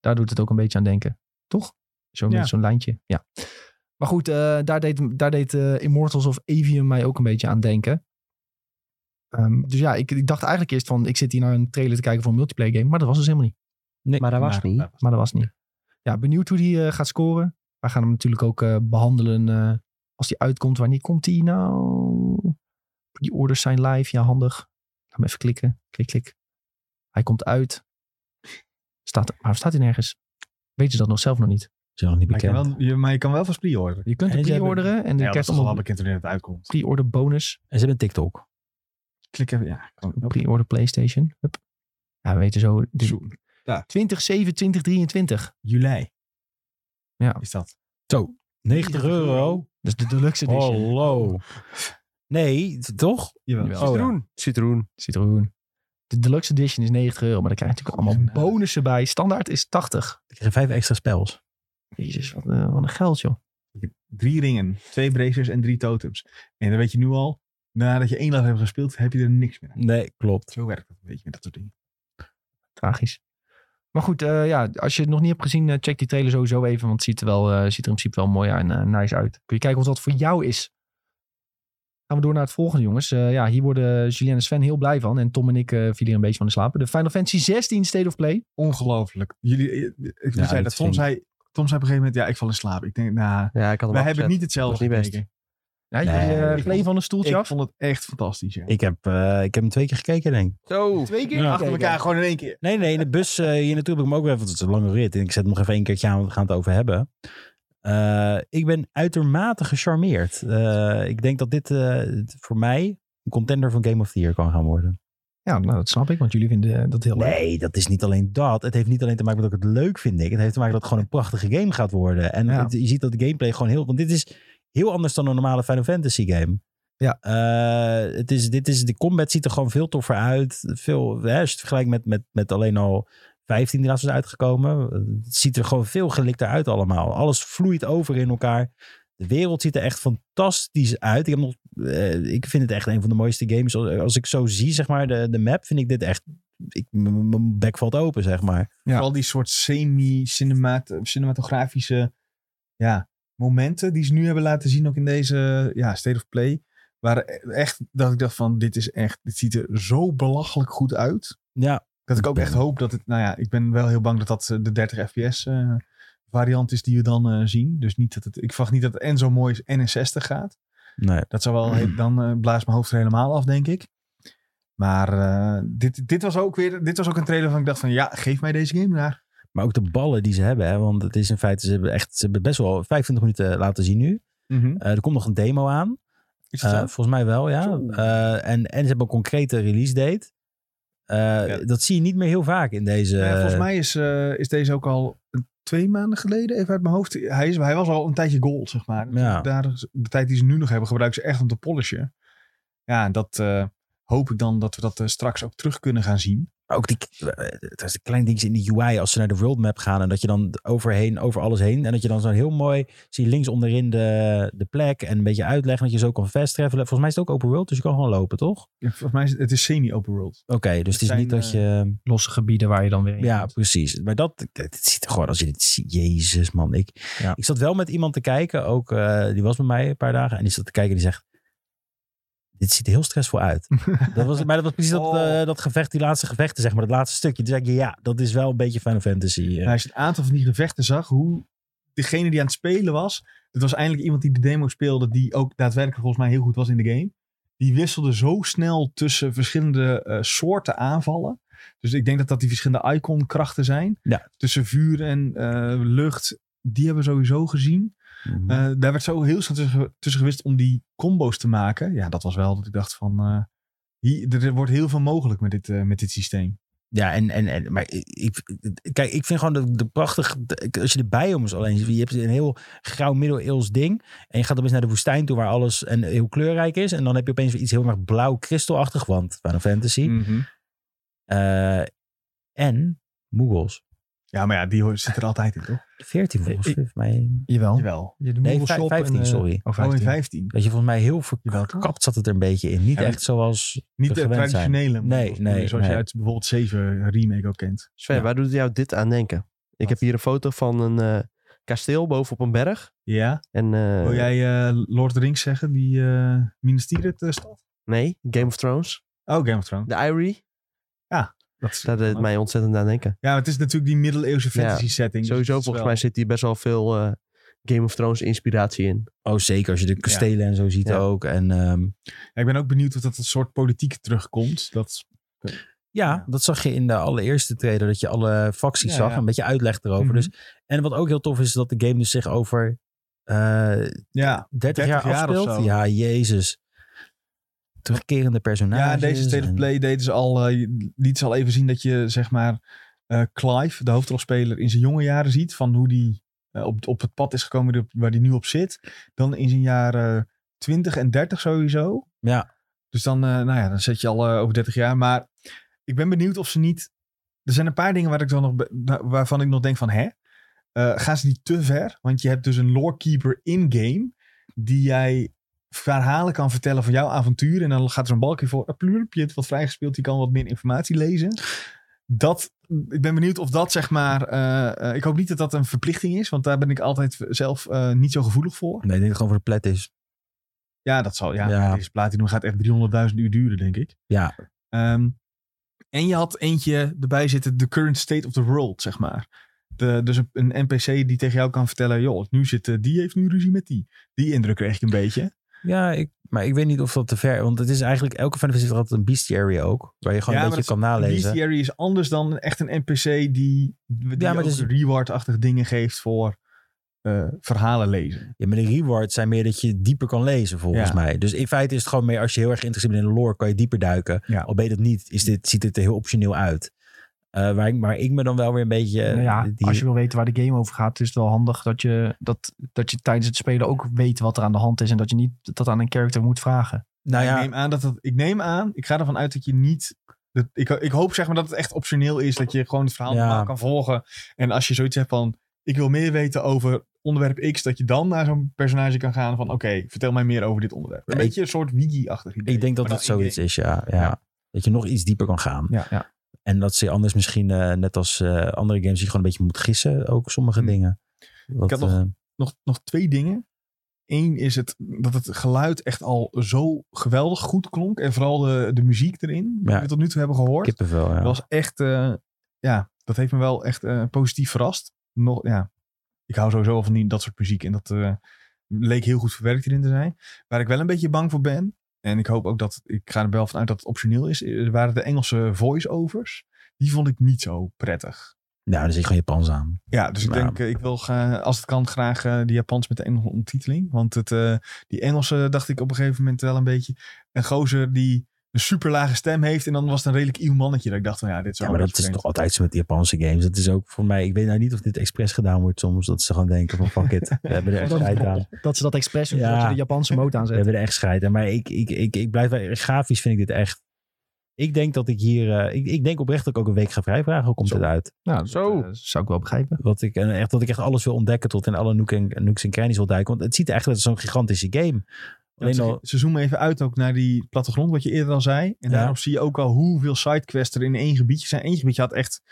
S1: Daar doet het ook een beetje aan denken. Toch? Zo met
S2: Ja.
S1: zo'n lijntje. Ja. Maar goed, eh, daar deed, daar deed eh, Immortals of Avium mij ook een beetje aan denken. Ehm, dus ja, ik, ik dacht eigenlijk eerst van... ik zit hier naar een trailer te kijken voor een multiplayer game. Maar dat was dus helemaal niet.
S4: Maar dat was
S2: Maar-
S4: niet.
S1: Maar dat was niet. Ja, benieuwd hoe die eh, gaat scoren. Wij gaan hem natuurlijk ook eh, behandelen eh, als die uitkomt. Wanneer komt die nou? Die orders zijn live. Ja, handig. Laat me even klikken. Klik, klik. Hij komt uit. Staat, waarom staat hij nergens? Weten ze dat nog zelf nog niet?
S3: Is nog niet
S2: Maar je, kan
S3: bekend.
S2: wel, je, maar je kan wel vast pre-orderen.
S1: Je kunt
S3: En
S1: het
S3: ze hebben-
S1: pre-orderen en
S2: Ja,
S1: je
S2: dat is
S1: krijgt
S2: toch wel
S1: allemaal
S2: bekend wanneer het uitkomt.
S1: pre-order bonus.
S3: En ze hebben een TikTok.
S2: Klik even, ja. gewoon op.
S1: Pre-order PlayStation. Hup. Ja, we weten zo. dit-
S2: Zo, ja.
S1: 2027, 2023.
S2: Juli.
S1: Ja.
S2: Is dat?
S3: 90 euro.
S1: Dat is de deluxe edition.
S3: Hallo. Nee, t- toch?
S2: Jawel.
S1: Jawel.
S3: Oh, ja.
S4: Citroen. Citroen.
S1: Citroen. De deluxe edition is 90 euro, maar daar krijg je natuurlijk allemaal
S2: Ja.
S1: bonussen bij. Standaard is 80.
S3: Ik krijg vijf extra spels.
S1: Jezus, wat, eh, wat een geld, joh.
S2: Drie ringen, twee bracers en drie totems. En dan weet je nu al, nadat je één dag hebt gespeeld, heb je er niks meer aan.
S3: Nee, klopt.
S2: Zo werkt dat een beetje met dat soort dingen.
S1: Tragisch. Maar goed, eh, ja, als je het nog niet hebt gezien, eh, check die trailer sowieso even. Want het ziet er, wel, eh, ziet er in principe wel mooi en eh, nice uit. Kun je kijken of dat voor jou is. Gaan we door naar het volgende, jongens. Eh, ja, hier worden Julien en Sven heel blij van. En Tom en ik eh, vielen hier een beetje van de slapen. De Final Fantasy 16 State of Play.
S2: Ongelooflijk. Jullie, eh, ik
S3: Ja,
S2: zei
S3: dat
S2: dat. Tom
S3: ging-
S2: zei, Tom zei op een gegeven moment, ja, ik val in slaap. Ik denk, nou,
S4: Ja, ik had hem
S2: wij hebben
S4: afgezet.
S2: niet
S4: Dat
S2: hetzelfde
S4: is niet best.
S2: gekeken.
S1: Ja, jullie
S3: Nee,
S1: eh,
S2: ik
S1: gleden van een stoeltje
S2: Ik
S1: af.
S2: vond het echt fantastisch, ja.
S3: Ik heb, eh, ik heb hem twee keer gekeken, denk ik.
S4: Zo.
S1: Twee keer
S3: Ja.
S2: Achter elkaar gewoon in één keer.
S3: Nee, nee, in de bus eh, hier naartoe heb ik hem ook weer, want het is een lange rit. En ik zet hem nog even één keertje aan, want we gaan het over hebben. Eh, ik ben uitermate gecharmeerd. Eh, ik denk dat dit eh, voor mij een contender van Game of the Year kan gaan worden.
S1: Ja, nou, dat snap ik, want jullie vinden eh, dat heel leuk.
S3: Nee, dat is niet alleen dat. Het heeft niet alleen te maken met dat ik het leuk vind. Ik. Het heeft te maken dat het gewoon een prachtige game gaat worden. En
S1: Ja.
S3: het- je ziet dat de gameplay gewoon heel... Want dit is heel anders dan een normale Final Fantasy game.
S1: Ja.
S3: Eh, het is, dit is, de combat ziet er gewoon veel toffer uit. Veel, hè, als je het vergelijkt met, met, met alleen al 15 die laatst is uitgekomen. Het ziet er gewoon veel gelikter uit allemaal. Alles vloeit over in elkaar. De wereld ziet er echt fantastisch uit. Ik, heb nog, eh, ik vind het echt een van de mooiste games. Als, als ik zo zie, zeg maar, de, de map, vind ik dit echt... ik- m- m- Mijn bek valt open, zeg maar.
S1: Ja.
S2: Vooral die soort semi-cinematografische ja, momenten die ze nu hebben laten zien, ook in deze ja, State of Play. Waren e-, echt dat ik dacht van, dit is echt, dit ziet er zo belachelijk goed uit.
S3: Ja,
S2: Dat ik ook echt hoop dat het, nou ja, ik ben wel heel bang dat dat eh, de 30 fps eh, variant is die we dan eh, zien. Dus niet dat het, ik verwacht niet dat het en zo mooi is en in 60 gaat.
S3: nee.
S2: Dat zou wel, he- dan eh, blaast mijn hoofd er helemaal af, denk ik. Maar eh, dit, dit was ook weer, dit was ook een trailer van ik dacht van, ja, geef mij deze game daar.
S3: Maar ook de ballen die ze hebben, hè, want het is in feite, ze hebben, echt, ze hebben best wel 25 minuten laten zien nu. Eh, er komt nog een demo aan.
S2: Is dat
S3: Eh,
S2: zo?
S3: volgens mij wel, ja.
S4: Zo.
S3: Eh, en, en ze hebben een concrete release date. Eh, Dat zie je niet meer heel vaak in deze.
S2: Nou ja, volgens mij is, eh, is deze ook al twee maanden geleden, even uit mijn hoofd. Hij, is, hij was al een tijdje gold, zeg maar.
S3: Ja.
S2: Daar, is- de tijd die ze nu nog hebben, gebruiken ze echt om te polishen. Ja, en dat eh, hoop ik dan dat we dat eh, straks ook terug kunnen gaan zien.
S3: Ook die, eh, het is een klein dingetje in de UI als ze naar de world map gaan. En dat je dan overheen, over alles heen. En dat je dan zo'n heel mooi, zie je links onderin de, de plek. En een beetje uitleg. En dat je zo kan fast travelen. Volgens mij is het ook open world, dus je kan gewoon lopen, toch?
S2: Ja, Volgens mij is het, het is semi-open world.
S3: Oké, dus het is
S2: zijn,
S3: niet dat
S2: eh,
S3: je...
S1: Losse gebieden waar je dan weer in
S3: Ja,
S1: komt.
S3: precies. Maar dat, het ziet er gewoon als je dit ziet. Jezus, man. Ik,
S1: Ja.
S3: ik zat wel met iemand te kijken, ook, eh, die was bij mij een paar dagen. En die zat te kijken en die zegt, dit ziet er heel stressvol uit. dat was, maar dat was precies dat,
S2: Oh.
S3: eh, dat gevecht, die laatste gevechten, zeg maar. Dat laatste stukje. Toen zei ik, ja, dat is wel een beetje Final Fantasy. eh.
S2: Nou, als je het aantal van die gevechten zag, hoe degene die aan het spelen was. Het was eindelijk iemand die de demo speelde, die ook daadwerkelijk volgens mij heel goed was in de game. Die wisselde zo snel tussen verschillende eh, soorten aanvallen. Dus ik denk dat dat die verschillende icon-krachten zijn.
S3: Ja.
S2: Tussen vuur en eh, lucht. Die hebben we sowieso gezien.
S3: Mhm.
S2: Eh, daar werd zo heel snel tussen, tussen gewist om die combo's te maken. Ja, dat was wel dat ik dacht van... eh, hier, er wordt heel veel mogelijk met dit, eh, met dit systeem.
S3: Ja, en, en, en maar ik- ik, kijk, ik vind gewoon de, de prachtig, de- als je de biomes alleen ziet, je hebt een heel grauw middeleeuws ding en je gaat opeens naar de woestijn toe waar alles en heel kleurrijk is en dan heb je opeens weer iets heel erg blauw kristalachtig, want Final Fantasy. Eh, en Moogles.
S2: Ja, maar ja, die hoort- zit er altijd in, toch?
S3: 14 volgens
S1: Ik-
S3: mij.
S1: Jawel.
S2: Jawel.
S1: Je de
S3: Nee,
S1: Moogles
S3: vij-
S1: op en,
S3: 15,
S1: eh,
S3: sorry.
S1: Oh,
S2: Gewoon
S1: 15.
S2: 15.
S3: Weet je, volgens mij heel
S2: Jawel, toch?
S3: verkapt zat het er een beetje in. Niet
S2: Ja,
S3: echt zoals...
S2: Niet de
S3: gewend zijn.
S2: traditionele.
S3: Nee,
S2: models,
S3: nee,
S2: Zoals
S3: nee.
S2: je uit bijvoorbeeld 7 remake ook kent.
S4: Sven,
S3: Ja.
S4: waar doet jou dit aan denken? Ik
S2: Wat?
S4: heb hier een foto van een eh, kasteel bovenop een berg.
S2: Ja.
S4: En, eh,
S2: Wil jij eh, Lord of the Rings zeggen? Die eh Minas Tirith eh, stad?
S4: Nee, Game of Thrones.
S2: Oh, Game of Thrones.
S4: De Irie.
S2: Dat is,
S4: Daar deed het mij ontzettend aan denken.
S2: Ja, maar het is natuurlijk die middeleeuwse
S4: Ja,
S2: fantasy setting. dus
S4: Sowieso,
S2: het is
S4: volgens
S2: wel-
S4: mij zit hier best wel veel eh, Game of Thrones inspiratie in.
S3: Oh, zeker. Als je de kastelen en zo ziet
S4: Ja.
S3: ook. En ehm,
S2: Ja, ik ben ook benieuwd of dat een soort politiek terugkomt. Dat,
S3: Ja,
S2: Ja.
S3: dat zag je in de allereerste trailer, dat je alle facties
S2: Ja,
S3: zag.
S2: ja.
S3: Een beetje uitleg erover.
S2: Mhm.
S3: dus, en wat ook heel tof is, is dat de game dus zich over eh 30,
S2: ja.
S3: jaar,
S2: jaar of
S3: afspeelt.
S2: zo.
S3: Ja, jezus. Terugkerende personages.
S2: ja, in deze State of
S3: en-
S2: Play deden ze al, eh, liet ze al even zien dat je, zeg maar, eh, Clive, de hoofdrolspeler, in zijn jonge jaren ziet. Van hoe die eh, op, op het pad is gekomen die- waar hij nu op zit. Dan in zijn jaren 20 en 30 sowieso.
S3: Ja.
S2: Dus dan, eh, nou ja, dan zet je al eh, over 30 jaar. Maar ik ben benieuwd of ze niet. Er zijn een paar dingen waar ik dan nog be- da- waarvan ik nog denk van hè? Eh, gaan ze niet te ver? Want je hebt dus een lorekeeper in-game. Die jij verhalen kan vertellen van jouw avontuur. En dan gaat er een balkje voor. eh, plurp, je hebt wat vrijgespeeld. Die kan wat meer informatie lezen. Dat, ik ben benieuwd of dat zeg maar. eh, eh, ik hoop niet dat dat een verplichting is. Want daar ben ik altijd zelf eh, niet zo gevoelig voor.
S3: Nee, ik denk dat het gewoon voor de plet is.
S2: Ja, dat zal. Ja,
S3: Ja.
S2: maar Deze platinum gaat echt 300.000 uur duren, denk ik.
S3: Ja,
S2: Ehm, en je had eentje erbij zitten, de current state of the world, zeg maar. De, dus een, een NPC die tegen jou kan vertellen, joh, nu zit, eh, die heeft nu ruzie met die. Die indruk kreeg ik een beetje.
S3: ja ik, maar ik weet niet of dat te ver... Want het is eigenlijk... Elke Final Fantasy heeft altijd een bestiary ook. Waar je gewoon
S2: Ja,
S3: een
S2: maar
S3: beetje
S2: dat
S3: kan nalezen.
S2: Bestiary is anders dan echt een NPC die, die
S3: maar
S2: ook
S3: dus-
S2: reward-achtig dingen geeft voor eh, verhalen lezen.
S3: Ja, maar de rewards zijn meer dat je dieper kan lezen, volgens
S2: Ja.
S3: mij. Dus in feite is het gewoon meer, als je heel erg geïnteresseerd bent in de lore, kan je dieper duiken.
S2: Ja.
S3: Al ben je dat niet, is dit, ziet het er heel optioneel uit. Eh waar, ik, maar ik me dan wel weer een beetje... eh,
S1: Nou ja,
S3: die-
S1: als je wil weten waar de game over gaat, is het wel handig dat je, dat, dat je tijdens het spelen ook weet wat er aan de hand is. En dat je niet dat aan een character moet vragen.
S3: nou
S2: ik,
S3: ja,
S2: neem aan dat dat, ik neem aan, ik ga ervan uit dat je niet Dat, ik, ik hoop zeg maar dat het echt optioneel is. Dat je gewoon het verhaal
S3: Ja.
S2: normaal kan volgen. En als je zoiets hebt van... Ik wil meer weten over onderwerp X. Dat je dan naar zo'n personage kan gaan van... Oké, vertel mij meer over dit onderwerp. Een
S3: Ja, ik-
S2: beetje een soort wiki-achtig idee.
S3: Ik denk dat
S2: Maar
S3: dat
S2: dan in
S3: zoiets
S2: game.
S3: is, ja, ja.
S2: Ja.
S3: Dat je nog iets dieper kan gaan.
S2: Ja, ja.
S3: En dat ze anders misschien, eh, net als eh, andere games, je gewoon een beetje moet gissen. Ook sommige
S2: Hmm.
S3: dingen. Wat,
S2: had nog-
S3: eh,
S2: Nog, nog twee dingen. Eén is het, dat het geluid echt al zo geweldig goed klonk. En vooral de, de muziek erin. Die
S3: Ja.
S2: we tot nu toe hebben gehoord.
S3: kippenvel, ja.
S2: Dat was echt, eh, ja, dat heeft me wel echt eh, positief verrast. Nog, ja, ik hou sowieso al van die, dat soort muziek. En dat eh, leek heel goed verwerkt erin te zijn. Waar ik wel een beetje bang voor ben. En ik hoop ook dat, ik ga er wel vanuit dat het optioneel is. eh, Waren de Engelse voice-overs. Die vond ik niet zo prettig.
S3: Nou, daar zit gewoon Japans aan.
S2: Ja, dus ik
S3: Nou.
S2: denk, eh, ik wil ga- als het kan graag eh die Japans met de Engelse ondertiteling. Want het, eh, die Engelse dacht ik op een gegeven moment wel een beetje. Een gozer die een super lage stem heeft. En dan was het een redelijk iel mannetje. Dat ik dacht van ja, dit
S3: Ja,
S2: zou
S3: maar
S2: wel
S3: dat is
S2: eens
S3: toch altijd zo met Japanse games. Dat is ook voor mij, ik weet nou niet of dit expres gedaan wordt soms. Dat ze gewoon denken van fuck it, we hebben er echt
S1: Dat-
S3: scheid aan.
S1: Dat ze dat expres doen,
S3: Ja.
S1: zodat je de Japanse mode
S3: We
S1: aanzet.
S3: hebben er echt scheid aan. Maar ik, ik, ik, ik blijf, wel- grafisch vind ik dit echt... Ik denk dat ik hier, eh, ik, ik denk oprecht dat ik ook een week ga vrijvragen. Hoe komt
S1: Zo.
S3: het uit?
S1: Nou, dat,
S2: Zo.
S1: eh, zou ik wel begrijpen.
S3: Wat ik, en echt, dat ik echt alles wil ontdekken tot in alle noek en, nooks en crannies wil duiken. Want het ziet er echt uit als zo'n gigantische game.
S2: Ja,
S3: Alleen
S2: ze-
S3: al,
S2: Ze zoomen even uit ook naar die plattegrond, wat je eerder al zei. En
S3: Ja.
S2: daarop zie je ook al hoeveel sidequests er in één gebiedje zijn. Eén gebiedje had echt...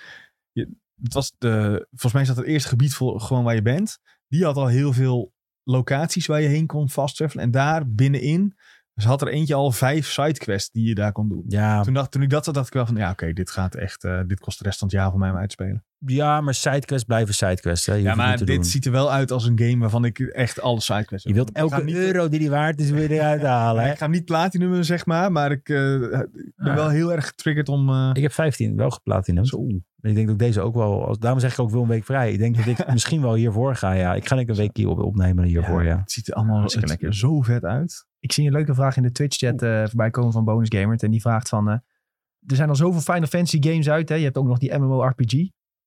S2: Je, het was de, volgens mij zat het eerste gebied voor, gewoon waar je bent. Die had al heel veel locaties waar je heen kon vasttreffelen. En daar binnenin dus had er eentje al vijf sidequests die je daar kon doen.
S3: ja,
S2: Toen, dacht, toen ik dat zat, dacht ik wel van... Ja, oké, dit gaat echt... eh, dit kost de rest van het jaar voor mij om uit te spelen.
S3: ja, maar sidequests blijven sidequests. Hè. Je hoeft
S2: Ja,
S3: het
S2: maar
S3: niet te
S2: dit
S3: doen.
S2: ziet er wel uit als een game waarvan ik echt alle sidequests
S3: Je wilt
S2: wil. Ik ga
S3: elke
S2: niet-
S3: euro die die waard is, wil je eruit halen.
S2: Ja,
S3: Hè?
S2: ik ga hem niet platinumen, zeg maar. Maar ik eh, ik ben
S3: Ah.
S2: wel heel erg getriggerd om... eh,
S3: Ik heb 15 wel geplatinum.
S2: zo,
S3: Ik denk dat ik deze ook wel... Als, daarom zeg ik ook wil een week vrij. Ik denk dat ik misschien wel hiervoor ga, ja. Ik ga denk ik een week hier op, opnemen hiervoor, ja.
S2: Het ziet er allemaal
S1: Hartstikke
S2: het-
S1: lekker.
S2: zo vet uit.
S1: Ik zie een leuke vraag in de Twitch-chat eh, voorbij komen van Bonus Gamert. En die vraagt van, eh, er zijn al zoveel Final Fantasy games uit. Hè? Je hebt ook nog die MMORPG.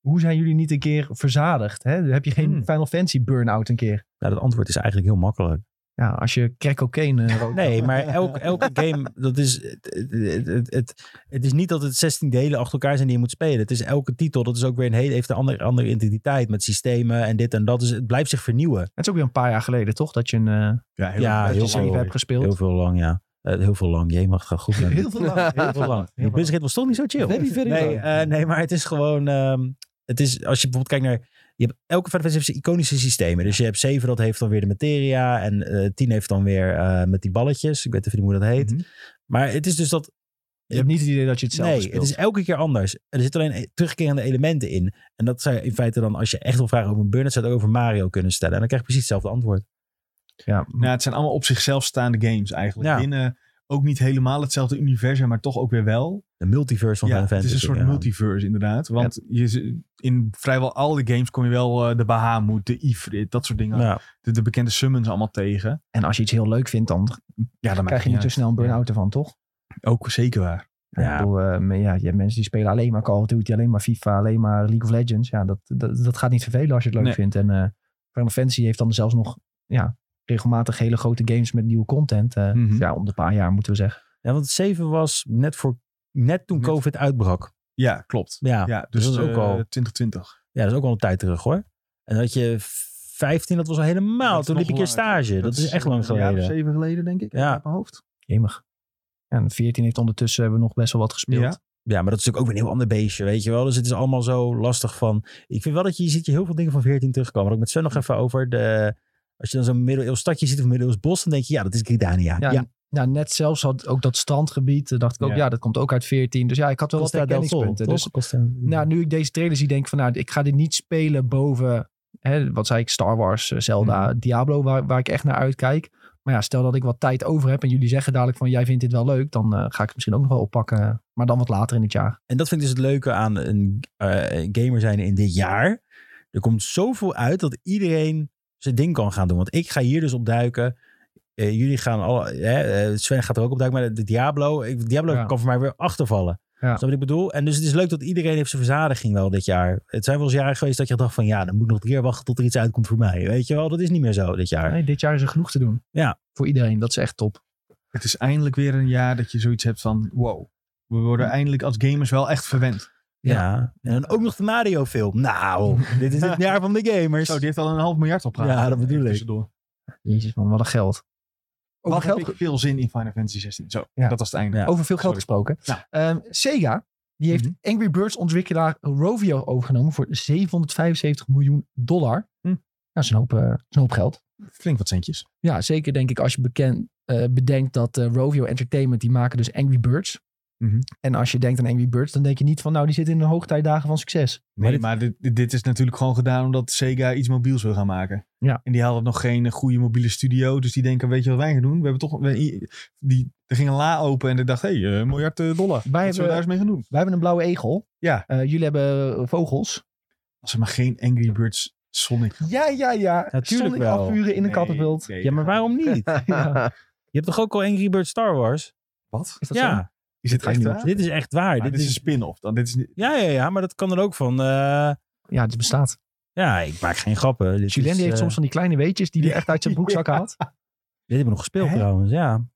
S1: Hoe zijn jullie niet een keer verzadigd? Hè? Heb je geen
S2: Hmm.
S1: Final Fantasy burn-out een keer?
S3: Nou, dat antwoord is eigenlijk heel makkelijk.
S1: Ja, als je crack cocaine eh, rookt.
S3: Nee, maar elk, elke game, dat is, het, het, het, het, het is niet dat het 16 delen achter elkaar zijn die je moet spelen. Het is elke titel, dat is ook weer een hele, heeft een andere, andere identiteit met systemen en dit en dat. Dus het blijft zich vernieuwen.
S1: Het is ook weer een paar jaar geleden, toch? Dat je een eh
S2: Ja, heel,
S3: Ja,
S2: erg.
S3: heel
S1: serie
S3: veel.
S1: hebt gespeeld.
S3: Heel veel lang, ja. Eh, heel veel lang, jee mag gaan goed. met me.
S1: Heel veel lang.
S3: heel veel lang. Die
S1: Heel
S3: busrit was toch niet zo chill.
S1: Very, very
S3: nee,
S1: lang.
S3: eh, nee, maar het is gewoon, ehm, het is, als je bijvoorbeeld kijkt naar, je hebt, elke Final Fantasy heeft zijn iconische systemen. Dus je hebt 7, dat heeft dan weer de materia en eh 10 heeft dan weer eh, met die balletjes. Ik weet even niet hoe dat heet.
S2: Mhm.
S3: Maar het is dus dat
S1: Je hebt niet het idee dat je hetzelfde
S3: nee,
S1: speelt.
S3: het is elke keer anders. Er zitten alleen e- terugkerende elementen in. En dat zou je in feite dan, als je echt wil vragen over een burn-out, zou je het ook over Mario kunnen stellen. En dan krijg je precies hetzelfde antwoord.
S1: ja,
S2: Nou, het zijn allemaal op zichzelf staande games eigenlijk.
S3: Ja.
S2: Binnen ook niet helemaal hetzelfde universum, maar toch ook weer wel.
S3: De multiverse van
S2: Ja,
S3: Final
S2: het
S3: Fantasy.
S2: is een soort
S3: ja.
S2: multiverse inderdaad. Want je, z- in vrijwel alle games kom je wel eh, de Bahamut, de Ifrit, dat soort dingen.
S3: Ja.
S2: De, de bekende summons allemaal tegen.
S1: En als je iets heel leuk vindt, dan
S2: Ja, dan
S1: krijg je niet zo snel een burn-out ervan, toch?
S2: Ook zeker waar.
S1: Ja.
S3: Ja.
S1: Ik bedoel, eh, maar ja, je hebt mensen die spelen alleen maar Call of Duty, alleen maar FIFA, alleen maar League of Legends. Ja, dat, dat, dat gaat niet vervelen als je het leuk
S2: Nee.
S1: vindt. En eh Final Fantasy heeft dan zelfs nog ja, regelmatig hele grote games met nieuwe content. eh,
S2: Mhm.
S1: Ja, om de paar jaar moeten we zeggen.
S3: Ja, want 7 was net, voor, net toen
S2: Net-
S3: COVID uitbrak.
S2: Ja, klopt.
S3: Ja. Ja.
S2: Ja, dus,
S3: dat is ook
S2: eh,
S3: al-
S2: 2020.
S3: dat is ook al een tijd terug hoor. En dat je 15, dat was al helemaal.
S2: Dat is
S3: toen liep
S2: nog
S3: ik een
S2: langer.
S3: stage. Dat, is echt
S2: eh,
S3: lang
S2: een jaar of
S3: geleden.
S2: zeven geleden, denk ik.
S3: Ja.
S2: Uit mijn hoofd.
S1: Jemig. Ja, en 14 heeft ondertussen hebben we nog best wel wat gespeeld.
S2: Ja.
S3: Ja, maar dat is natuurlijk ook weer een heel ander beestje, weet je wel. Dus het is allemaal zo lastig van... Ik vind wel dat je, je ziet je heel veel dingen van 14 terugkomen. Ook met Sven nog even over de... Als je dan zo'n middeleeuws stadje ziet of middeleeuws bos, dan denk je, ja, dat is Gridania.
S1: Ja,
S3: Ja,
S1: en- Nou, net zelfs had ook dat strandgebied, eh, dacht ik ook,
S2: Ja.
S1: ja, dat komt ook uit 14. Dus ja, ik had wel wat
S3: Costa del Sol,
S1: herkenningspunten. Dus
S3: toch? Costa-
S1: nou,
S2: Mhm.
S1: nu ik deze trailer zie, denk ik van nou, ik ga dit niet spelen boven, hè, wat zei ik, Star Wars, eh, Zelda,
S2: Mhm.
S1: Diablo, waar, waar ik echt naar uitkijk. Maar ja, stel dat ik wat tijd over heb en jullie zeggen dadelijk van jij vindt dit wel leuk, dan eh, ga ik het misschien ook nog wel oppakken. Maar dan wat later in het jaar.
S3: En dat vind ik dus het leuke aan een eh, gamer zijn in dit jaar. Er komt zoveel uit dat iedereen zijn ding kan gaan doen. Want ik ga hier dus op duiken. Eh, jullie gaan alle... Hè, eh, Sven gaat er ook op duiken, maar de Diablo... Ik, Diablo
S1: Ja.
S3: kan voor mij weer achtervallen.
S1: Ja.
S3: Snap je wat ik bedoel? En dus het is leuk dat iedereen heeft zijn verzadiging wel dit jaar. Het zijn wel eens jaren geweest dat je dacht van... Ja, dan moet ik nog een keer wachten tot er iets uitkomt voor mij. Weet je wel, dat is niet meer zo dit jaar.
S1: Nee, dit jaar is er genoeg te doen.
S3: Ja.
S1: Voor iedereen, dat is echt top.
S2: Het is eindelijk weer een jaar dat je zoiets hebt van... Wow, We worden eindelijk als gamers wel echt verwend.
S3: Ja. En dan ook nog de Mario-film. Nou, dit is het jaar van de gamers.
S2: Zo, die heeft al een half miljard opgehaald.
S3: Ja, dat bedoel ik.
S2: Tussendoor.
S1: Jezus man, wat een geld. Over,
S2: Wat
S1: geld,
S2: heb ik veel zin in Final Fantasy 16. Zo,
S1: Ja.
S2: dat was het einde.
S3: Ja.
S1: over veel geld
S2: Sorry.
S1: gesproken.
S2: Ja.
S1: Ehm, Sega, die heeft
S2: Mhm.
S1: Angry Birds ontwikkelaar Rovio overgenomen voor 775 miljoen dollar.
S2: Hm.
S1: Nou, dat is een hoop, eh, dat is een hoop geld.
S2: Flink wat centjes.
S1: Ja, zeker denk ik als je bekend, eh, bedenkt dat eh, Rovio Entertainment, die maken dus Angry Birds.
S2: Mhm.
S1: En als je denkt aan Angry Birds, dan denk je niet van nou, die zitten in de hoogtijdagen van succes.
S2: Nee, maar, dit, dit is natuurlijk gewoon gedaan omdat Sega iets mobiels wil gaan maken.
S1: Ja.
S2: En die hadden nog geen eh, goede mobiele studio. Dus die denken, weet je wat wij gaan doen? We hebben toch... we- die, er ging een la open en ik dacht, hé, hey, eh, een miljard eh, dollar.
S1: Wij
S2: Wat zullen we daar
S1: hebben,
S2: eens mee gaan doen?
S1: wij hebben een blauwe egel.
S2: Ja.
S1: Eh, jullie hebben eh, vogels.
S2: Als er maar geen Angry Birds Sonic...
S1: Ja, ja, ja.
S3: Natuurlijk
S1: Sonic
S3: wel.
S1: afvuren in een kattenwild.
S2: Nee, nee,
S3: Ja, maar waarom niet?
S1: Ja.
S3: Je hebt toch ook al Angry Birds Star Wars?
S2: Wat?
S1: Is dat zo?
S3: Ja,
S2: Is
S3: dus
S2: dit echt waar?
S3: dit is echt waar.
S2: Maar
S3: dit is,
S2: een spin-off. Dan, dit is niet...
S3: ja, ja, ja, maar dat kan er ook van. eh,
S1: Ja, dit bestaat.
S3: ja, ik maak geen grappen. Dit
S1: Julien
S3: is,
S1: die heeft
S3: eh,
S1: soms van die kleine weetjes die hij echt uit zijn broekzak haalt.
S3: Dit hebben we nog gespeeld
S2: Hè?
S3: trouwens, ja.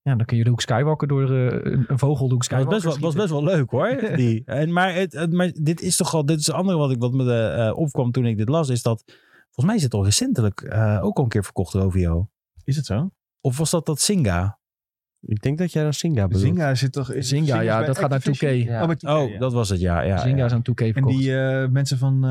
S1: Ja, dan kun je de Hoek Skywalker door eh, een, een vogel de Hoek
S3: Dat was
S1: Skywalker
S3: best, wel, was
S1: schieten.
S3: best wel leuk hoor. Die. En, maar, het, het- maar dit is toch al, dit is het andere wat, ik, wat me eh, opkwam toen ik dit las, is dat, volgens mij is het al recentelijk eh, ook al een keer verkocht, Rovio.
S2: Is het zo?
S3: Of was dat dat Singa?
S4: Ik denk dat jij naar Singa bedoelt.
S2: Zynga zit toch... is-
S1: Zynga,
S2: is
S1: ja,
S2: bij
S1: dat gaat naar 2K.
S2: Activision.
S1: Ja.
S2: Oh, bij 2K,
S3: Oh,
S2: ja.
S3: dat was het, ja. ja,
S1: Zynga
S3: ja.
S1: is aan 2K
S2: En
S1: verkocht.
S2: die eh, mensen van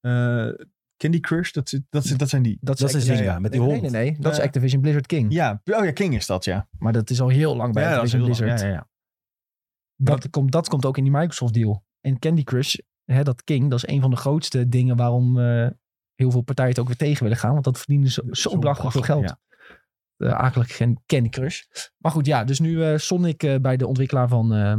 S2: eh, eh, Candy Crush, dat, zit- dat, zit- dat zijn die.
S3: dat is
S1: Activision.
S3: Zynga, met die
S1: Nee,
S3: hond.
S1: Nee, nee, nee. Dat is
S2: Eh,
S1: Activision Blizzard King.
S2: Ja, oh ja, King is dat, ja.
S1: Maar dat is al heel lang bij
S2: ja, dat is
S1: Activision
S2: heel
S1: Blizzard.
S2: lang. Ja, ja, ja.
S1: Dat, komt, dat komt ook in die Microsoft deal. En Candy Crush, hè, dat King, dat is een van de grootste dingen waarom eh, heel veel partijen het ook weer tegen willen gaan. Want dat verdienen ze zo,
S2: Zo'n
S1: belachelijk veel geld.
S2: belachelijk,
S1: Eh akelig geen Candy Crush. Maar goed, ja, dus nu eh, Sonic eh, bij de ontwikkelaar van... eh,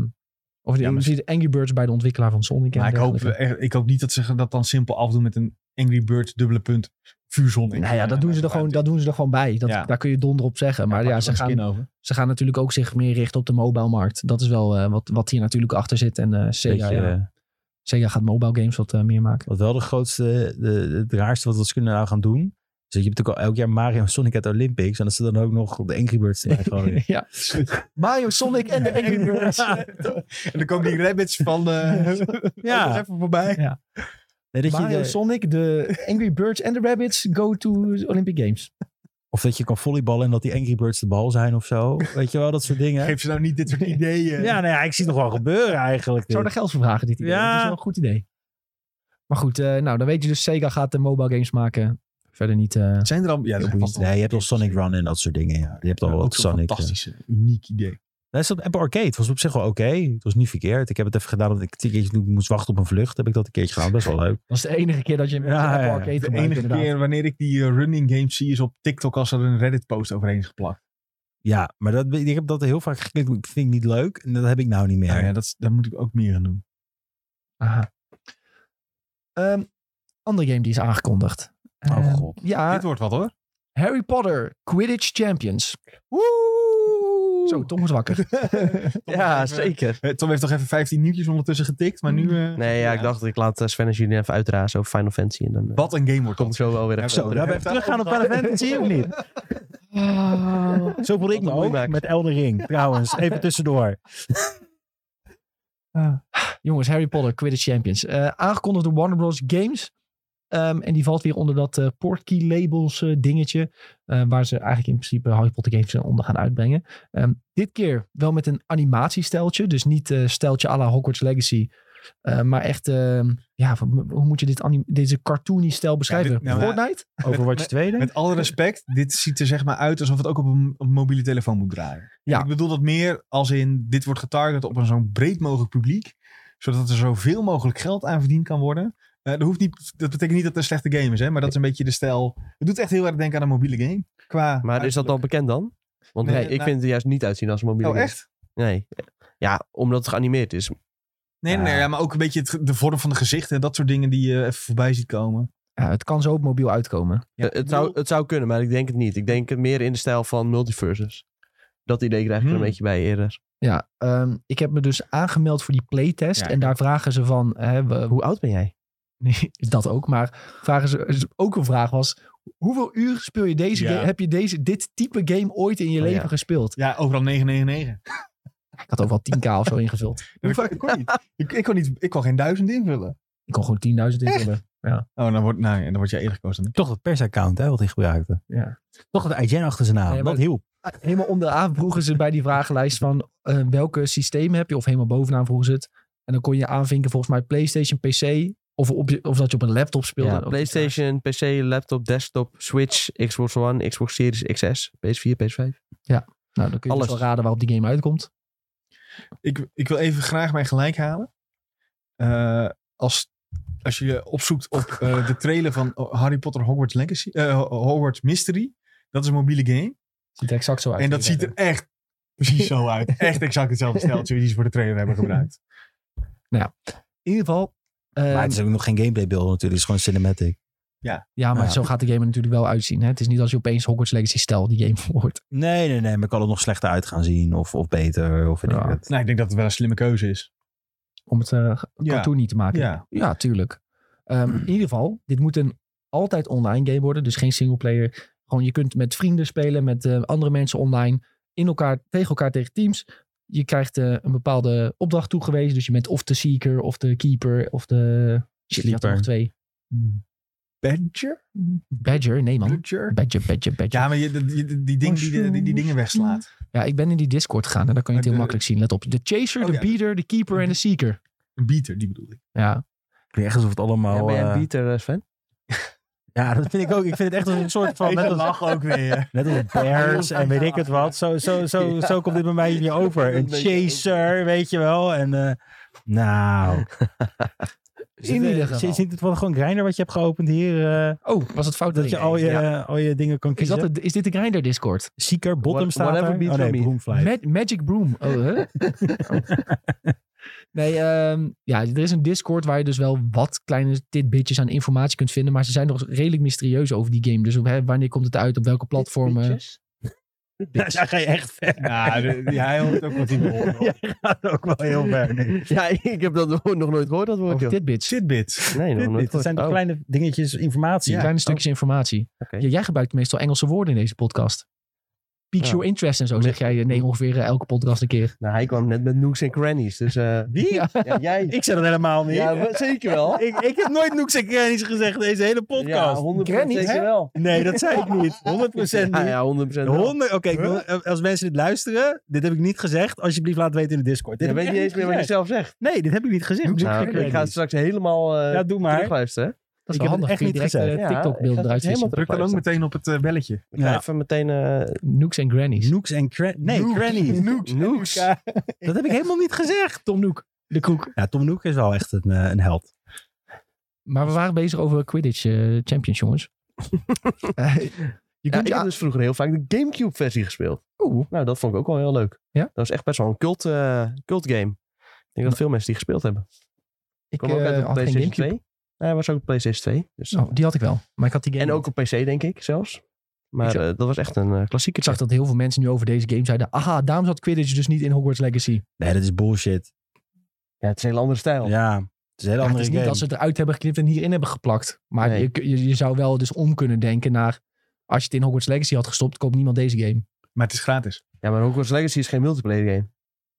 S1: of de,
S2: Ja, maar-
S1: de Angry Birds bij de ontwikkelaar van Sonic. en
S2: Maar ik hoop,
S1: dergelijke.
S2: echt- ik hoop niet dat ze dat dan simpel afdoen met een Angry Bird dubbele punt vuurzon.
S1: Nou ja, dat doen, ze er gewoon, dat doen ze er gewoon bij. Dat,
S2: Ja.
S1: Daar kun je donder op zeggen. Maar ja, ze, gaan,
S2: over.
S1: ze gaan natuurlijk ook zich meer richten op de mobile markt. Dat is wel eh, wat, wat hier natuurlijk achter zit. En eh Sega,
S3: Beetje,
S1: ja.
S3: eh,
S1: Sega gaat mobile games wat eh, meer maken.
S3: Wat wel de grootste, de, het raarste wat ze kunnen nou gaan doen. Dus je hebt natuurlijk al elk jaar Mario en Sonic uit de Olympics. En dat ze dan ook nog de Angry Birds erbij gooien.
S1: ja. Mario, Sonic en de Angry Birds.
S2: en dan komen die rabbits van... eh
S3: Ja.
S2: ja. even voorbij.
S3: Nee, dat je
S1: Mario,
S3: de-
S1: Sonic, de Angry Birds en de Rabbits go to Olympic Games.
S3: of dat je kan volleyballen en dat die Angry Birds de bal zijn of zo. Weet je wel, dat soort dingen.
S2: Geef ze nou niet dit soort ideeën.
S3: Ja, nou ja, ik zie het nog wel gebeuren eigenlijk.
S1: Ik zou er geld voor vragen, dit idee.
S3: Ja.
S1: Dat is wel een goed idee. Maar goed, eh, nou dan weet je dus, Sega gaat de mobile games maken. Verder niet... eh,
S2: Zijn er al... Ja, dat was
S3: Nee, je hebt al Sonic Run en dat soort dingen. Ja. Je hebt al ook
S2: zo'n
S3: Sonic. eh.
S2: fantastische, uniek idee.
S3: Nee, dat Apple Arcade was op zich wel oké. Het was niet verkeerd. Ik heb het even gedaan omdat ik een keertje moest wachten op een vlucht. Heb ik dat een keertje gedaan. Best wel leuk.
S1: dat is de enige keer dat je hem
S3: Ja,
S1: ja, Apple
S3: ja, ja.
S1: Arcade
S2: De
S1: gebruikt,
S2: enige
S1: inderdaad.
S2: keer wanneer ik die eh, running games zie is op TikTok als er een Reddit post overheen is geplakt.
S3: Ja, maar dat, ik heb dat heel vaak geklikt. Ik vind ik niet leuk. En dat heb ik nou niet meer.
S2: Nou ja, dat, is- daar moet ik ook meer aan doen.
S1: Aha. Ehm, andere game die is aangekondigd.
S3: Oh,
S1: Ehm,
S3: God.
S1: Ja,
S2: Dit wordt wat hoor.
S1: Harry Potter Quidditch Champions.
S2: Woe!
S1: Zo, Tom wordt wakker.
S4: Ja, zeker.
S2: Eh, Tom heeft toch even 15 nieuwtjes ondertussen getikt, maar nu... eh,
S4: Nee, ja, ik dacht, ik laat eh, Sven en Julien even uitrazen over Final Fantasy. En dan eh,
S2: Wat een game wordt
S4: komt
S2: dat.
S4: zo wel weer even
S2: Zo,
S4: terug.
S2: daar
S3: we
S2: ben ik
S3: teruggaan op Final Fantasy of niet? Zo voelde ik
S4: Wat
S3: me
S4: een
S3: ook
S4: moeimaak.
S3: met Elden Ring, trouwens. Even tussendoor.
S1: Ah. Jongens, Harry Potter Quidditch Champions. Eh, aangekondigd door Warner Bros. Games. Ehm, en die valt weer onder dat eh, Portkey Labels eh, dingetje. eh, waar ze eigenlijk in principe Harry Potter games eh, onder gaan uitbrengen. Ehm, dit keer wel met een animatiesteltje. Dus niet eh steltje à la Hogwarts Legacy. Eh, maar echt, ehm, ja, van- hoe moet je dit anim- deze cartoony stijl beschrijven?
S2: dit- nou, maar-
S1: Fortnite?
S3: Over wat je tweede?
S2: Met alle respect, dit ziet er zeg maar uit alsof het ook op een, op een mobiele telefoon moet draaien.
S1: Ja.
S2: En Ik bedoel dat meer als in, dit wordt getarget op een zo breed mogelijk publiek, zodat er zoveel mogelijk geld aan verdiend kan worden. Eh, dat, hoeft niet, dat betekent niet dat het een slechte game is, hè, maar dat is een beetje de stijl. Het doet echt heel erg denken aan een mobiele game. Qua
S4: Maar is dat dan bekend dan? Want
S2: Nee,
S4: nee, ik
S2: nou-
S4: vind het er juist niet uitzien als een mobiele
S2: Oh,
S4: game.
S2: echt?
S4: Nee. Ja, omdat het geanimeerd is.
S2: Nee, nee, nee, ja, maar ook een beetje het ge- de vorm van de gezichten. en Dat soort dingen die je even voorbij ziet komen.
S1: Ja, het kan zo op mobiel uitkomen.
S2: Ja,
S4: Eh, het,
S2: ik
S4: zou,
S2: bedoel-
S4: het zou kunnen, maar ik denk het niet. Ik denk het meer in de stijl van multiverses. Dat idee krijg ik er
S2: Hmm.
S4: een beetje bij eerder.
S1: Ja, ehm, ik heb me dus aangemeld voor die playtest.
S2: Ja,
S1: en daar vragen ze van, hè, we-
S4: Hoe oud ben jij?
S1: Nee, dat ook. Maar vragen ze, dus ook een vraag was: hoeveel uur speel je deze
S2: Ja.
S1: game? Heb je deze, dit type game ooit in je
S4: Oh,
S1: leven
S4: ja.
S1: gespeeld?
S2: Ja, overal 999.
S1: Ik had overal 10k of zo ingevuld.
S2: Hoe vaak? Ik kon niet. Ik, ik kon niet. Ik kon geen duizend invullen.
S1: Ik kon gewoon 10.000 invullen.
S2: Oh, dan wordt, nou, dan word jij eerder gekozen dan ik.
S3: Toch dat persaccount, hè, wat hij gebruikte.
S1: Ja.
S3: Toch dat IGN achter zijn naam.
S1: Nee, maar-
S3: dat hielp.
S1: Helemaal onderaan vroegen ze bij die vragenlijst van eh, welke systemen heb je? Of helemaal bovenaan vroegen ze het. En dan kon je aanvinken volgens mij PlayStation, PC. Of, op je- of dat je dus op een laptop speelde.
S4: Ja,
S1: Ook iets raars.
S4: PlayStation, PC, laptop, desktop, Switch, Xbox One, Xbox Series XS, PS4, PS5.
S1: Nou, dan kun je
S4: Alles.
S1: dus wel raden waarop die game uitkomt.
S2: ik. Ik wil even graag mijn gelijk halen. Eh, als, als je opzoekt op eh, de trailer van Harry Potter Hogwarts Legacy, eh, Hogwarts Mystery. Dat is een mobiele game.
S1: Ziet er exact zo uit.
S2: En dat ziet er echt precies zo uit. Echt exact hetzelfde steltje die ze voor de trailer hebben gebruikt.
S1: In ieder geval. ehm,
S3: maar het is ook nog geen gameplay beeld natuurlijk. Het is gewoon cinematic.
S1: ja, maar
S3: Ja.
S1: zo gaat de game er natuurlijk wel uitzien. Hè? Het is niet als je opeens Hogwarts Legacy stijl die game hoort.
S3: Nee, nee, nee. Maar kan het nog slechter uit gaan zien. Of, of beter. Of weet ik
S1: Ja.
S3: het.
S2: Nou, ik denk dat het wel een slimme keuze is.
S1: Om het eh
S2: Ja.
S1: cartoon niet te maken.
S2: Ja.
S1: Ja, tuurlijk. Ehm, in ieder geval, dit moet een altijd online game worden. Dus geen singleplayer. Gewoon, je kunt met vrienden spelen, met eh, andere mensen online. In elkaar, tegen elkaar, tegen teams. Je krijgt eh, een bepaalde opdracht toegewezen. Dus je bent of de seeker, of de keeper, of de... Shit, je had er nog
S3: Sleeper.
S1: twee.
S2: Badger?
S1: Badger? Nee, man.
S2: Badger?
S1: Badger, badger, badger.
S2: Ja, maar je, die, die, die, ding, die, die, die dingen wegslaat.
S1: Ja, ik ben in die Discord gegaan en daar kan je het heel
S2: De-
S1: makkelijk zien. Let op. De chaser,
S2: Oh
S1: de
S2: ja.
S1: beater, de keeper en de seeker.
S2: Een beater, die bedoel ik.
S1: Ja.
S3: Klinkt echt alsof het allemaal...
S4: ja, ben jij een
S3: eh,
S4: beater, eh, Sven?
S3: ja, dat vind ik ook. Ik vind het echt als een soort van... Net als,
S2: ook weer.
S3: net als bears en weet ik het wat. Zo, zo, zo, zo komt dit bij mij hier over. Een chaser, weet je wel. En... eh, nou, is eh,
S1: In
S3: oh.
S1: ieder
S3: het,
S1: geval.
S3: is het wel gewoon Grindr wat je hebt geopend hier? eh,
S1: Oh, was het fout?
S3: dat je
S1: Nee,
S3: al je,
S1: ja.
S3: al je dingen kan
S1: is,
S3: kiezen?
S1: dat de, is dit de Grindr Discord?
S3: Seeker, bottom
S4: What-
S3: staat
S4: whatever
S3: daar.
S4: beats
S3: Oh nee,
S4: me.
S3: Broomfly.
S1: Ma- Magic Broom. Oh, hè? Oh. Nee, ehm, ja, er is een Discord waar je dus wel wat kleine tidbitjes aan informatie kunt vinden. Maar ze zijn nog redelijk mysterieus over die game. Dus hè, wanneer komt het uit? Op welke platformen?
S3: Ja, daar ga je echt ver.
S2: Ja, de- ja, hij hoort ook wat hij wil. horen.
S3: Jij gaat ook wel heel ver nu.
S4: Ja, ik heb dat nog nooit gehoord, dat woord,
S1: Over
S4: joh.
S1: tidbits.
S2: Shitbit.
S4: Nee, nog
S3: Dit,
S4: nooit
S3: dit, het
S4: gehoord.
S3: zijn toch
S4: Oh,
S3: kleine dingetjes, informatie.
S1: Kleine stukjes informatie.
S4: oké.
S1: Ja, jij gebruikt meestal Engelse woorden in deze podcast. Piques
S4: Ja.
S1: your interest en zo zeg jij. Nee, ongeveer eh, elke podcast een keer.
S4: Nou, hij kwam net met Nooks en Crannies, dus... eh,
S3: Wie?
S1: Ja.
S4: ja, jij...
S3: Ik zeg dat helemaal niet.
S4: Ja, we- zeker wel.
S3: ik, ik heb nooit Nooks en Crannies gezegd deze hele
S4: Ja,
S3: podcast.
S4: 100%
S1: Crannies, hè?
S4: zeker wel.
S3: nee, dat zei ik niet. 100% niet.
S4: Ja, ja, 100% wel.
S3: 100, Oké, ik wil- eh, als mensen dit luisteren, dit heb ik niet gezegd. Alsjeblieft laat weten in de Discord. Dit
S4: Je
S3: heb ik
S4: weet niet
S3: echt
S4: eens meer wat je
S3: gezegd.
S4: zelf zegt.
S3: Nee, dit heb ik niet gezegd. Nooks en
S4: Nou, ik
S3: Crannies.
S4: ga het straks helemaal eh
S3: ja, doe maar.
S4: terugluisteren.
S1: Dat is
S3: Ik
S1: wel handig.
S3: heb het echt
S1: Kun je
S3: niet
S1: direct eh,
S3: gezegd.
S4: Ja, ik ga
S1: TikTok-beelden
S4: het
S1: eruit
S4: helemaal
S1: vissen.
S2: Druk dan ook meteen op het eh, belletje.
S4: Ik ga
S3: Ja.
S4: even meteen... eh,
S1: Nooks en Grannies.
S3: Nooks en Crannies. Nee,
S2: Nooks.
S3: Crannies.
S2: Nooks.
S4: Nooks.
S3: Dat heb ik helemaal niet gezegd.
S1: Tom Noek, de kroek.
S3: Ja, Tom Nook is wel echt een, eh, een held.
S1: Maar we waren bezig over Quidditch eh, Champions, jongens. Eh, je
S4: Ja,
S1: kunt
S4: ik
S1: je
S4: heb
S1: aan-
S4: dus vroeger heel vaak de Gamecube-versie gespeeld.
S1: Oeh.
S4: Nou, dat vond ik ook wel heel leuk.
S1: Ja? Nou,
S4: Dat was echt best wel een cult, eh, cult game. Ik denk dat veel mensen die gespeeld hebben.
S1: Ik
S4: kwam ook
S1: eh,
S4: uit op
S1: had geen
S4: PlayStation
S1: Gamecube.
S4: 2. Nee, hij was ook op PlayStation 2. Dus,
S1: Oh, die had ik wel. Maar ik had die game.
S4: en ook op PC, denk ik, zelfs.
S1: Ik
S4: Maar
S1: zag-
S4: eh, dat was echt een eh, klassieker.
S1: Ik zag dat heel veel mensen nu over deze game zeiden. Aha, daarom zat Quidditch dus niet in Hogwarts Legacy.
S3: Nee, dat is bullshit.
S4: Ja, het is een hele andere stijl.
S3: Ja, het is een hele
S1: Ja, het
S3: andere
S1: is niet
S3: game.
S1: dat ze het eruit hebben geknipt en hierin hebben geplakt. Maar
S4: Nee.
S1: je, kun- je, je zou wel dus om kunnen denken naar... Als je het in Hogwarts Legacy had gestopt, koopt niemand deze game.
S2: Maar het is gratis.
S4: Ja, maar Hogwarts Legacy is geen multiplayer game.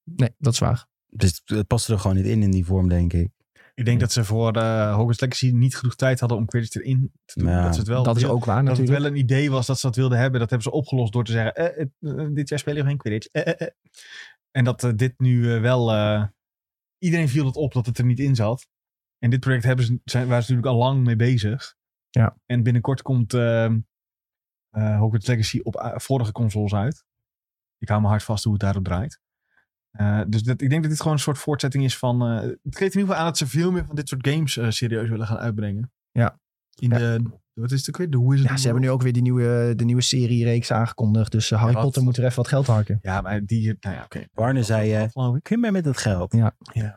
S1: Nee, dat is waar.
S3: Dus het past er gewoon niet in in die vorm, denk ik.
S2: Ik denk dat ze voor eh Hogwarts Legacy niet genoeg tijd hadden om Quidditch erin te doen.
S3: Ja.
S2: dat ze het wel
S1: dat is
S2: wil-
S1: ook waar
S2: dat het
S1: natuurlijk.
S2: wel een idee was dat ze dat wilden hebben. Dat hebben ze opgelost door te zeggen, eh, eh, eh, dit jaar spelen we geen Quidditch. Eh, eh, eh. En dat eh, dit nu eh, wel... eh, iedereen viel het op dat het er niet in zat. En dit project hebben ze, zijn, waren ze natuurlijk al lang mee bezig.
S1: Ja.
S2: En binnenkort komt eh, eh, Hogwarts Legacy op eh, vorige consoles uit. Ik hou me hard vast hoe het daarop draait. Eh, dus dat, ik denk dat dit gewoon een soort voortzetting is van... eh, het geeft in ieder geval aan dat ze veel meer van dit soort games eh, serieus willen gaan uitbrengen.
S1: Ja.
S2: In
S1: Ja.
S2: de... Wat is het ook weer? De Wizarding
S1: Ja, ze hebben nu ook weer die nieuwe, de nieuwe serie-reeks aangekondigd. Dus eh, Harry
S2: Ja, dat-
S1: Potter moet er even wat geld harken.
S2: Ja, maar die... Nou ja, oké.
S3: Warner zei, eh,
S2: Geloof ik.
S3: kun je mij met dat geld?
S1: We gaan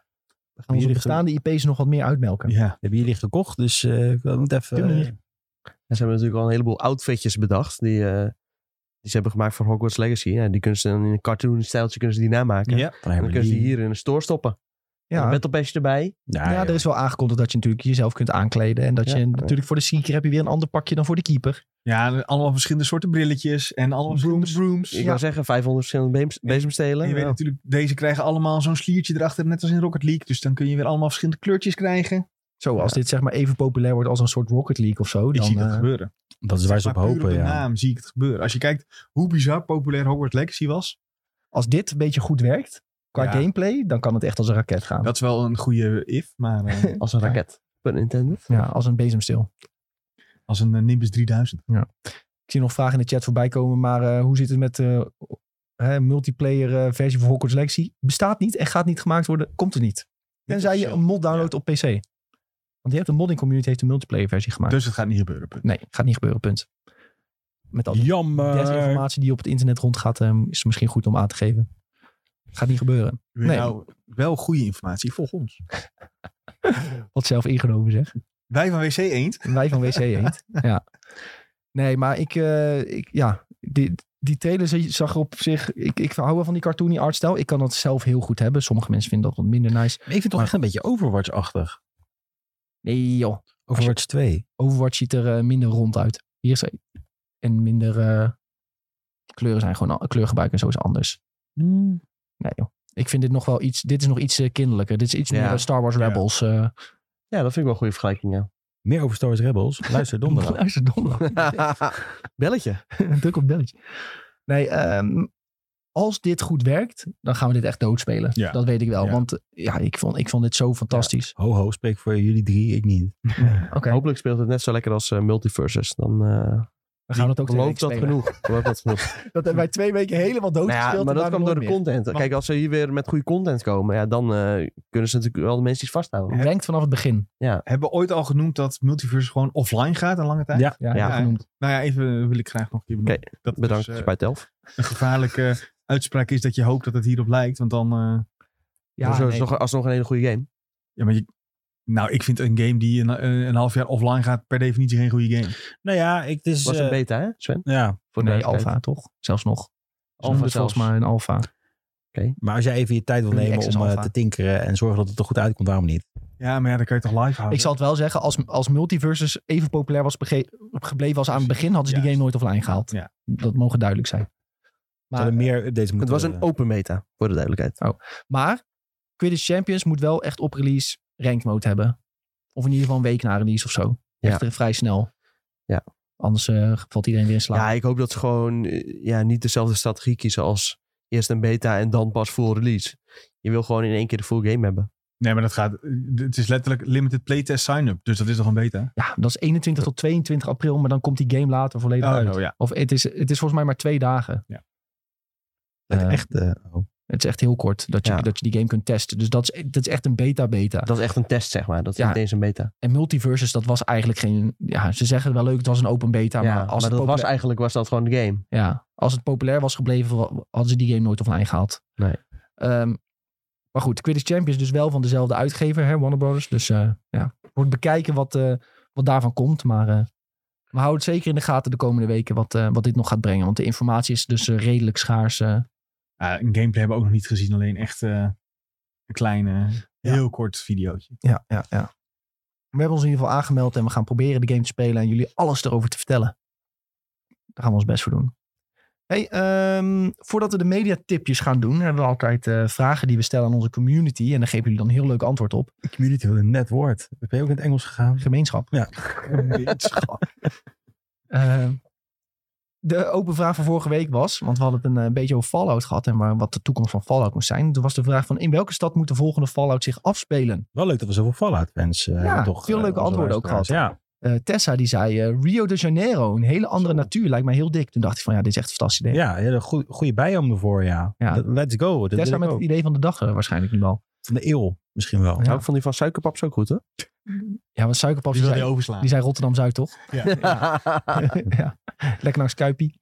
S1: onze
S3: jullie
S1: bestaande IP's nog wat meer uitmelken.
S2: Ja.
S3: Hebben jullie gekocht, dus eh ik moet even...
S1: Kunnen
S3: eh,
S1: hier.
S4: En ze hebben natuurlijk al een heleboel outfitjes bedacht. Die, eh, die ze hebben gemaakt voor Hogwarts Legacy. Ja, die kunnen ze dan in een cartoon-stijltje kunnen ze die namaken.
S2: Ja.
S3: dan hebben
S4: Dan kunnen ze
S3: die-
S4: die hier in een store stoppen. Een
S1: Ja,
S4: battle badge erbij.
S3: Nou,
S1: ja,
S3: joh.
S1: er is wel aangekondigd dat je natuurlijk jezelf kunt aankleden. En dat
S4: Ja.
S1: je natuurlijk voor de seeker heb je weer een ander pakje dan voor de keeper.
S2: Ja, allemaal verschillende soorten brilletjes en allemaal brooms. brooms.
S4: Ik wil zeggen, 500 verschillende beems- bezemstelen.
S2: En je weet
S4: Ja.
S2: natuurlijk, deze krijgen allemaal zo'n sliertje erachter, net als in Rocket League. Dus dan kun je weer allemaal verschillende kleurtjes krijgen.
S1: Zo, als
S4: Ja.
S1: dit zeg maar even populair wordt als een soort Rocket League of zo.
S2: Ik
S1: Dan,
S2: zie dat
S1: eh,
S2: gebeuren.
S3: dat is waar ze
S2: Maar
S3: op
S2: puur
S3: hopen,
S2: de
S3: ja.
S2: naam zie ik het gebeuren. Als je kijkt hoe bizar populair Hogwarts Legacy was.
S1: als dit een beetje goed werkt qua
S2: Ja.
S1: gameplay, dan kan het echt als een raket gaan.
S2: Dat is wel een goede if, maar eh,
S4: Als een raket. Bij Nintendo.
S1: Ja, als een bezemstil.
S2: als een eh, Nimbus 3000.
S1: Ik zie nog vragen in de chat voorbij komen, maar eh, hoe zit het met de multiplayer eh, versie van Hogwarts Legacy? Bestaat niet en gaat niet gemaakt worden, komt er niet. Tenzij je een mod downloadt op PC. Want je hebt een modding community heeft een multiplayer versie gemaakt.
S2: Dus het gaat niet gebeuren. punt.
S1: Nee, gaat niet gebeuren, punt. Met al die
S3: Jammer.
S1: desinformatie die op het internet rondgaat, eh, is het misschien goed om aan te geven. Gaat niet gebeuren.
S2: Weer
S1: Nee.
S2: Nou, wel goede informatie, volg ons.
S1: Wat zelf ingenomen zeg.
S2: Wij van WC Eend.
S1: Wij van WC Eend. ja. Nee, maar ik, eh, ik ja, die, die trailer zie- zag er op zich, ik, ik hou wel van die cartoony artstijl. Ik kan dat zelf heel goed hebben. Sommige mensen vinden dat wat minder nice.
S3: Ik vind het toch echt een beetje Overwatch-achtig.
S1: Nee joh,
S3: Overwatch 2.
S1: Overwatch ziet er eh, minder rond uit. Hier is en minder eh, kleuren zijn gewoon al- kleurgebruik en zo is anders. Nee joh. Ik vind dit nog wel iets, dit is nog iets eh, kinderlijker. Dit is iets
S4: Ja.
S1: meer eh, Star Wars
S2: Ja.
S1: Rebels. eh.
S4: Ja, dat vind ik wel een goede vergelijking, ja.
S3: Meer over Star Wars Rebels. Luister donderdag.
S1: Luister donderdag.
S4: Belletje.
S1: Druk op belletje. Nee, ehm, als dit goed werkt, dan gaan we dit echt doodspelen.
S2: Ja.
S1: Dat weet ik wel.
S2: Ja.
S1: Want eh, ja, ik vond, ik vond dit zo fantastisch.
S3: Ho ho, spreek voor jullie drie, ik niet.
S1: Oké,
S4: Hopelijk speelt het net zo lekker als eh, Multiversus. Dan eh
S1: we gaan het ook twee
S4: belooft
S1: weken
S4: dat
S1: spelen.
S4: genoeg. Belooft dat genoeg.
S1: Dat hebben wij twee weken helemaal dood
S4: Nou ja,
S1: gespeeld.
S4: maar
S1: en
S4: dat
S1: daarna
S4: kwam door de
S1: nooit meer.
S4: content. Kijk, als ze hier weer met goede content komen, ja, dan eh, kunnen ze natuurlijk wel de mensen iets vasthouden.
S1: Ranked vanaf het begin.
S2: Hebben we ooit al genoemd dat Multiverse gewoon offline gaat een lange tijd?
S3: Ja.
S1: Ja,
S4: Ja.
S1: genoemd.
S2: Nou ja, even wil ik graag nog een keer benoemen. dat het
S4: Bedankt,
S2: dus,
S4: dus,
S2: eh,
S4: bij Telf.
S2: een gevaarlijke uitspraak is dat je hoopt dat het hierop lijkt. Want dan... eh,
S1: Ja,
S4: Hoezo,
S1: nee.
S4: is het nog, alsnog een hele goede game.
S2: ja, maar je, nou, ik vind een game die een, eh, een half jaar offline gaat per definitie geen goede game.
S3: Nou ja, ik, het is...
S4: Was een
S3: eh,
S4: beta, hè, Sven?
S3: ja,
S4: Voor de
S1: nee,
S4: duidelijkheid.
S1: alfa toch? Zelfs nog.
S4: Alpha
S1: Alfa
S4: zelfs.
S1: volgens mij een alfa.
S3: maar als jij even je tijd wil
S1: Early
S3: nemen
S1: access
S3: om eh,
S1: alpha.
S3: te tinkeren en zorgen dat het er goed uitkomt, waarom niet?
S2: Ja, maar ja, dan kan je toch live houden.
S1: Ik zal het wel zeggen, als, als Multiversus even populair was bege- gebleven als aan het begin, hadden ze die
S2: Juist.
S1: game nooit offline gehaald.
S2: Ja.
S1: Dat mogen duidelijk zijn.
S3: Maar, Zouden
S2: eh,
S3: meer updates moeten
S4: Het was een
S3: worden?
S4: open meta, voor de duidelijkheid.
S1: Maar Quidditch Champions moet wel echt op release ranked mode hebben. Of in ieder geval een week na release of zo.
S4: Ja.
S1: Echt eh, vrij snel.
S4: Ja.
S1: Anders eh, valt iedereen weer in slaap.
S4: Ja, ik hoop dat ze gewoon eh, ja, niet dezelfde strategie kiezen als eerst een beta en dan pas full release. Je wil gewoon in één keer de full game hebben.
S2: Nee, maar dat gaat... eh, Het is letterlijk limited playtest sign-up. Dus dat is toch een beta?
S1: Ja, dat is 21 tot 22 april, maar dan komt die game later volledig
S2: Oh,
S1: uit.
S2: zo, ja.
S1: Of het is, het is volgens mij maar twee dagen.
S3: Het
S1: eh,
S3: echt, eh, oh.
S1: Het is echt heel kort dat je,
S4: Ja.
S1: dat je die game kunt testen. Dus dat is, dat is echt een beta-beta.
S4: Dat is echt een test, zeg maar. Dat is
S1: Ja.
S4: niet eens een beta.
S1: En Multiversus, dat was eigenlijk geen... Ja, ze zeggen wel leuk, het was een open beta.
S4: Ja,
S1: maar
S4: maar
S1: als
S4: dat
S1: het
S4: was
S1: populair,
S4: eigenlijk was dat gewoon de game.
S1: ja, als het populair was gebleven, wa- hadden ze die game nooit offline gehaald.
S4: Nee.
S1: Ehm, maar goed, Quidditch Champions dus wel van dezelfde uitgever, hè, Warner Brothers. Dus eh, ja, wordt bekijken wat, eh, wat daarvan komt. Maar eh, we houden het zeker in de gaten de komende weken wat, eh, wat dit nog gaat brengen. Want de informatie is dus eh, redelijk schaars. eh.
S2: Ja, een gameplay hebben we ook nog niet gezien. Alleen echt eh, een kleine, heel kort videootje.
S1: Ja, ja, ja. We hebben ons in ieder geval aangemeld en we gaan proberen de game te spelen en jullie alles erover te vertellen. Daar gaan we ons best voor doen. Hey, ehm, voordat we de mediatipjes gaan doen, hebben we altijd eh, vragen die we stellen aan onze community. En daar geven jullie dan een heel leuk antwoord op.
S3: Community wilde een net woord. Ben je ook in het Engels gegaan?
S1: Gemeenschap. Ehm, de open vraag van vorige week was, want we hadden het een, eh, beetje over Fallout gehad en waar- wat de toekomst van Fallout moest zijn. Toen was de vraag van in welke stad moet de volgende Fallout zich afspelen?
S3: Wel leuk dat we zoveel Fallout-fans eh,
S1: Ja,
S3: hebben toch,
S1: veel
S3: eh,
S1: leuke
S3: onze
S1: antwoorden ook
S3: luisteraars. Ja,
S1: Eh, Tessa die zei eh, Rio de Janeiro, een hele andere natuur, lijkt mij heel dik. Toen dacht ik van ja, dit is echt een fantastisch idee.
S3: ja, ja goede, goede biome ervoor, ja.
S1: Ja.
S3: Dat- Let's go. Dat wil
S1: Tessa
S3: ik
S1: met
S3: ook.
S1: het idee van de dag eh, waarschijnlijk nu al.
S3: Van de eeuw misschien wel.
S1: Ja.
S4: Ook van die van suikerpap zo goed, hè?
S1: Ja, want Suikerpap
S2: Die
S1: die
S2: wil je
S1: zei,
S2: overslaan.
S1: die zei Rotterdam-Zuid toch?
S4: Ja.
S3: Ah.
S1: ja. Lekker langs Kuipie.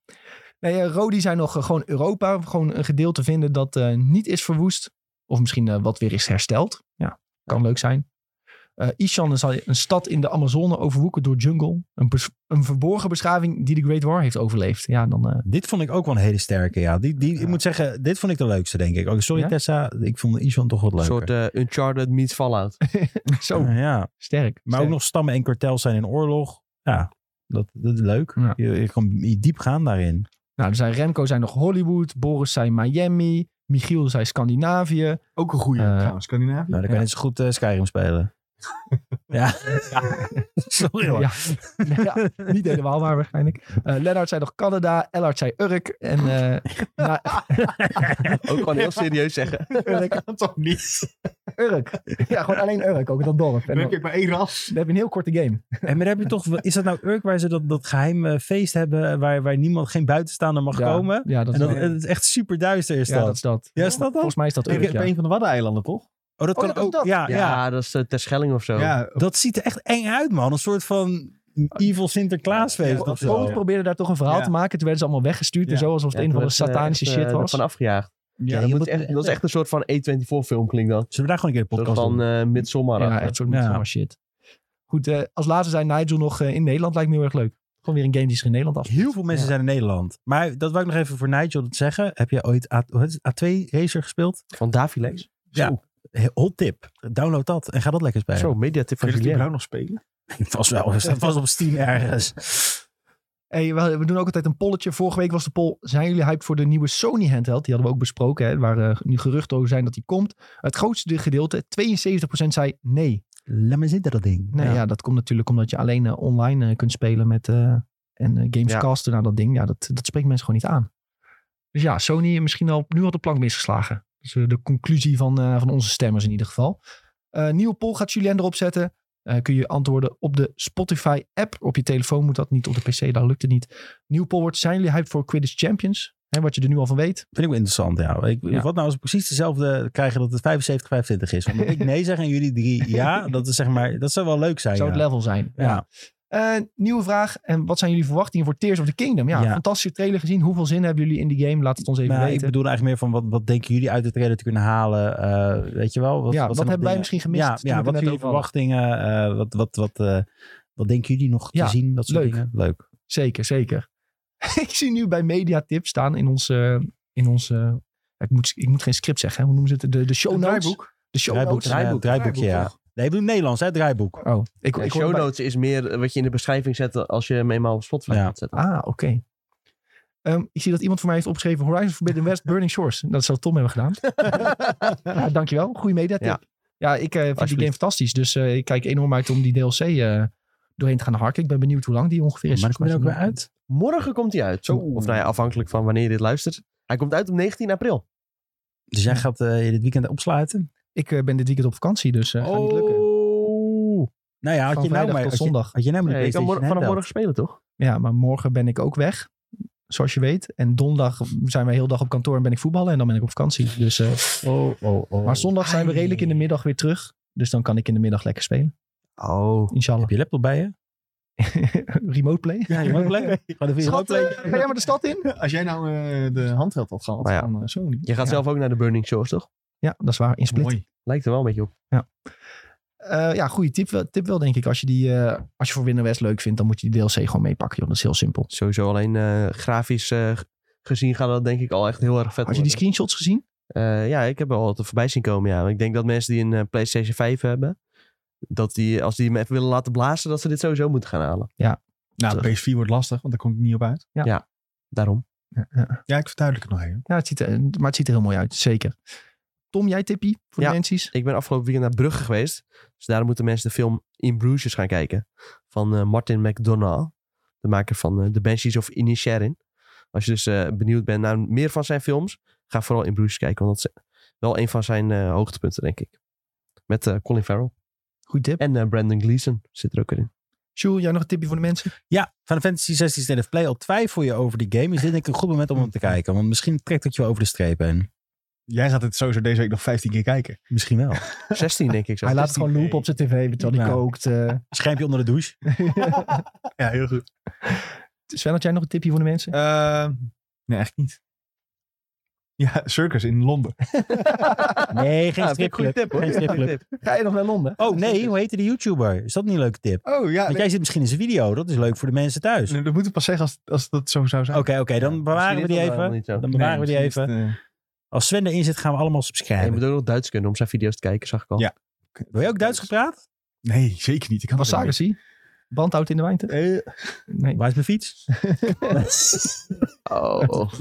S1: Nee, eh, Rodi zei nog eh, gewoon Europa. Gewoon een gedeelte vinden dat eh, niet is verwoest. Of misschien eh, wat weer is hersteld. Ja, kan leuk zijn. Eh Ishan zal een stad in de Amazone overwoeken door jungle. Een, bes- een verborgen beschaving die de Great War heeft overleefd. Ja, dan... eh,
S3: Dit vond ik ook wel een hele sterke, ja. Die, die, Ik moet zeggen, dit vond ik de leukste, denk ik. Oh, sorry
S1: Ja?
S3: Tessa, ik vond Ishan toch wat
S4: Een
S3: leuker.
S4: soort eh, Uncharted meets Fallout.
S1: zo,
S3: Ja, ja. Maar
S1: sterk.
S3: ook nog stammen en kartels zijn in oorlog. Ja, dat, dat is leuk.
S1: Ja.
S3: Je, je kan diep gaan daarin.
S1: Nou, er zijn Remco zijn nog Hollywood. Boris zei Miami. Michiel zei Scandinavië.
S2: Ook een goede
S1: Eh,
S2: trouwens, Scandinavië.
S3: Nou, dan kan
S1: Ja.
S3: je net zo goed eh, Skyrim spelen. ja. Sorry hoor.
S1: Ja, ja, niet helemaal waar waarschijnlijk. Eh Lennart zei nog Canada. Ellard zei Urk. En eh, na-
S4: Ook gewoon heel serieus zeggen.
S2: dat kan toch niet?
S1: Urk. Ja, gewoon alleen Urk. Ook dat dorp. En
S2: Dan
S1: dan,
S2: heb je maar één ras.
S1: dan heb je een heel korte game.
S3: En maar heb je toch, is dat nou Urk waar ze dat, dat geheime feest hebben eh, waar, waar niemand, geen buitenstaander mag
S1: ja,
S3: komen?
S1: Ja, dat
S3: En
S1: is
S3: dat,
S1: wel-
S3: en het is echt super duister is
S1: ja,
S3: dat.
S1: dat is dat.
S3: Ja, is dat dan?
S1: Volgens mij is dat
S2: Ik
S1: Urk,
S2: heb
S1: ja.
S2: een van de Waddeneilanden, toch?
S3: Oh, dat
S1: Oh,
S3: kan
S1: dat is
S3: ook.
S1: dat.
S3: Ja,
S4: Ja,
S3: ja.
S4: dat is eh, Terschelling of zo.
S2: Ja,
S3: dat ziet er echt eng uit, man. Een soort van evil Sinterklaasfeest
S1: Po-
S3: of
S1: Polen
S3: zo.
S1: probeerde daar toch een verhaal
S2: Ja.
S1: te maken. Toen werden ze allemaal weggestuurd en
S2: Ja.
S1: zo. Alsof
S4: Ja,
S1: het een van de
S4: toen werd, eh,
S1: satanische
S4: echt, eh,
S1: shit was.
S4: ervan afgejaagd.
S1: ja,
S4: Ja,
S1: je
S4: dat,
S1: moet e-
S4: moet echt, dat is echt een soort van E24 film klinkt dat.
S3: Zullen we daar gewoon een keer
S4: Een
S3: een
S4: soort
S3: podcast
S4: van
S3: doen?
S4: eh midsommar.
S1: ja, een soort
S3: Ja.
S1: ja. shit. Goed, eh, als laatste zijn Nigel nog eh, in Nederland. Lijkt me heel erg leuk. Gewoon weer een game die zich in Nederland af.
S3: Heel veel mensen zijn in Nederland. Maar dat wil ik nog even voor Nigel dat zeggen. Heb jij ooit A, wat is het, A2 Racer gespeeld?
S4: Van Davilex.
S3: He- Hot tip. Download dat en ga dat lekker spelen.
S4: Zo, mediatip van
S2: Kun je dat
S4: Julien.
S2: überhaupt nog spelen?
S3: Vast wel. Het staat vast op Steam ergens.
S1: Hey, we, we doen ook altijd een polletje. Vorige week was de poll. Zijn jullie hyped voor de nieuwe Sony handheld? Die hadden we ook besproken. Hè, waar eh, nu geruchten over zijn dat die komt. Het grootste gedeelte, 72% zei nee.
S3: Laat me zitten dat ding.
S1: Nee, ja. dat komt natuurlijk omdat je alleen eh, online eh, kunt spelen met eh, en eh, games
S4: Ja.
S1: casten naar dat ding. Ja, dat, dat spreekt mensen gewoon niet aan. Dus ja, Sony misschien al nu al de plank misgeslagen. Dat is eh, de conclusie van, eh, van onze stemmers in ieder geval. Eh, nieuwe poll gaat Julien erop zetten. Eh, kun je antwoorden op de Spotify-app. Op je telefoon moet dat niet, op de PC, daar lukt het niet. Nieuw poll wordt, zijn jullie hyped voor Quidditch Champions? Hè, wat je er nu al van weet.
S3: Vind ik wel interessant, ja. Ik,
S1: Ja.
S3: Wat nou als we precies dezelfde krijgen dat het 75, 25 is? Omdat ik nee zeg en jullie drie ja, dat, is zeg maar, dat zou wel leuk zijn.
S1: Zou
S3: ja.
S1: het level zijn?
S3: Ja.
S1: Eh, nieuwe vraag. En wat zijn jullie verwachtingen voor Tears of the Kingdom? Ja,
S3: Ja.
S1: fantastische trailer gezien. Hoeveel zin hebben jullie in die game? Laat het ons even
S3: Nou, ik
S1: weten.
S3: bedoel eigenlijk meer van wat, wat denken jullie uit de trailer te kunnen halen? eh, weet je wel? Wat,
S1: ja, wat,
S3: zijn nog
S1: hebben wij
S3: dingen-
S1: misschien gemist?
S3: Ja,
S1: toen we
S3: ja
S1: het
S3: wat
S1: net
S3: zijn jullie
S1: over hadden?
S3: verwachtingen? eh, wat, wat, wat, eh, wat denken jullie nog
S1: Ja,
S3: te zien? Dat soort
S1: leuk.
S3: dingen. Leuk.
S1: Zeker, zeker. ik zie nu bij Mediatip staan in onze... in onze ik, moet, ik moet geen script zeggen. hè. Hoe noemen ze het? De, de show
S2: Een
S1: notes.
S2: draaiboek?
S1: De show
S3: Draaiboek,
S1: notes.
S3: oh, draaiboek, draaiboekje, ja.
S2: toch?
S3: Nee, ik bedoel Nederlands, hè? Draaiboek.
S1: Oh, ik,
S4: Ja,
S1: ik hoorde
S4: show
S1: bij-
S4: notes is meer eh, wat je in de beschrijving zet als je hem eenmaal op Spotify
S3: Ja.
S4: gaat zetten.
S1: Ah, oké. Ehm, ik zie dat iemand voor mij heeft opgeschreven Horizon Forbidden West Burning Shores. Dat zou Tom hebben gedaan. ja, Nou, dankjewel. Goeie mediatip. Ja,
S4: Ja.
S1: ik eh, vind die
S4: Alsjeblieft.
S1: game fantastisch. Dus eh, ik kijk enorm uit om die DLC eh, doorheen te gaan harken. Ik ben benieuwd hoe lang die ongeveer is.
S3: maar dat komt er ook
S1: Volgens mij
S3: weer uit.
S4: Morgen komt hij uit.
S1: Zo.
S4: Of nou ja, afhankelijk van wanneer je dit luistert. Hij komt uit op 19 april.
S3: Dus jij gaat eh, je dit weekend opsluiten?
S1: Ik eh, ben dit weekend op vakantie, dus eh
S3: Oh.
S1: gaat niet lukken.
S3: Nou ja, had
S1: Van
S3: je nou
S1: vrijdag
S3: maar...
S1: tot
S3: had je-
S1: zondag.
S3: Had je nou maar de
S4: Nee, je kan
S3: PlayStation
S4: mor- vanaf
S3: handheld.
S4: morgen spelen, toch?
S1: Ja, maar morgen ben ik ook weg. Zoals je weet. En donderdag zijn wij heel dag op kantoor en ben ik voetballen. En dan ben ik op vakantie. Dus, eh,
S3: Oh, oh, oh.
S1: maar zondag zijn we redelijk in de middag weer terug. Dus dan kan ik in de middag lekker spelen.
S4: Oh.
S1: Inshallah.
S3: Heb je laptop bij je?
S1: Remote play.
S3: Ja, je mag play. Gewoon even
S1: Schat, eh, ga jij maar de stad in?
S2: Als jij nou eh, de handheld had gehad
S4: Maar ja.
S2: van eh, Sony.
S4: Je gaat
S1: Ja.
S4: zelf ook naar de Burning Shores, toch?
S1: Ja, dat is waar. In Split.
S2: Mooi.
S4: Lijkt er wel een beetje op.
S1: Eh, ja, goede tip, wel- tip wel, denk ik. Als je, die, eh, als je voor Winner West leuk vindt, dan moet je die DLC gewoon meepakken. Joh. Dat is heel simpel.
S4: Sowieso alleen eh, grafisch eh, g- gezien gaat dat denk ik al echt heel erg
S1: Had
S4: vet
S1: je die
S4: worden.
S1: screenshots gezien?
S4: Eh, ja, ik heb wel wat er voorbij zien komen, ja. Ik denk dat mensen die een eh, PlayStation 5 hebben, dat die, als die hem even willen laten blazen, dat ze dit sowieso moeten gaan halen.
S2: Nou, de PS4 wordt lastig, want daar kom ik niet op uit.
S4: Daarom.
S2: Ja, ik verduidelijk het nog even.
S1: Ja, het ziet er, maar het ziet er heel mooi uit. Zeker. Tom, jij tippie voor
S4: Ja.
S1: de mensies?
S4: Ik ben afgelopen weekend naar Brugge geweest, dus daarom moeten mensen de film In Bruges gaan kijken. Van eh, Martin McDonagh, de maker van eh, The Banshees of Inisherin. Als je dus eh, benieuwd bent naar meer van zijn films, ga vooral In Bruges kijken, want dat is wel een van zijn eh, hoogtepunten, denk ik. Met eh, Colin Farrell.
S1: Goed tip.
S4: En eh, Brandon Gleeson zit er ook weer in.
S1: Sjoel, jij nog een tipje voor de mensen?
S3: Ja, Final Fantasy 16 State of Play. Al twijfel je over die game. Is dit denk ik een goed moment om hem te kijken? Want misschien trekt het je wel over de streep heen.
S2: Jij gaat het sowieso deze week nog 15 keer kijken.
S3: Misschien wel.
S4: 16 denk ik zo.
S1: Hij laat het gewoon lopen op zijn tv, terwijl hij
S3: Ja.
S1: kookt. eh.
S3: Schermpje onder de douche.
S2: Ja, heel goed. Ehm,
S1: Sven, had jij nog een tipje voor de mensen?
S2: nee, echt niet. Ja, circus in Londen.
S3: Nee,
S4: Ja, Ah,
S3: geen
S4: vind ik een goede
S3: stripclub.
S4: tip hoor.
S3: Geen
S4: Goede
S3: stripclub.
S4: tip.
S1: Ga je nog naar Londen?
S3: Oh nee, hoe heette die YouTuber? Is dat niet een leuke tip?
S2: Oh ja,
S3: Want jij zit misschien in zijn video. Dat is leuk voor de mensen thuis.
S2: nee, dat moeten we pas zeggen als, als dat zo zou
S3: Oké,
S2: zijn.
S3: oké. dan bewaren we die
S4: Misschien is dat wel
S3: even.
S4: niet zo.
S3: Dan bewaren we die
S2: misschien
S3: even.
S2: is het, eh,
S3: Als Sven erin zit, gaan we allemaal
S4: Ja, je
S3: subscriben.
S4: moet ook nog Duits kunnen om zijn video's te kijken, zag ik al.
S2: Ja.
S3: Wil je ook Duits dus- gepraat?
S2: eh, Nee, zeker niet. Ik kan
S1: Was
S2: dat niet.
S1: Sagersi? Bandhout in de wijnte?
S2: Eh,
S1: Nee.
S3: Waar is mijn fiets?
S4: Oh.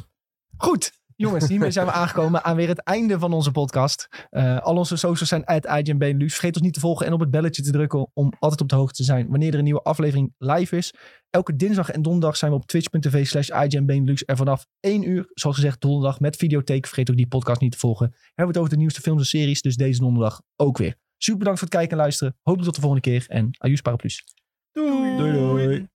S1: Goed. Jongens, hiermee zijn we aangekomen aan weer het einde van onze podcast. Eh, al onze socials zijn at IGN Benelux. Vergeet ons niet te volgen en op het belletje te drukken om altijd op de hoogte te zijn wanneer er een nieuwe aflevering live is. Elke dinsdag en donderdag zijn we op twitch.tv slash IGN Benelux. En vanaf 1 uur, zoals gezegd, donderdag met videotheek. Vergeet ook die podcast niet te volgen. Hebben we het over de nieuwste films en series, dus deze donderdag ook weer. Super bedankt voor het kijken en luisteren. Hopelijk tot de volgende keer en adieu Paraplus.
S3: Doei doei.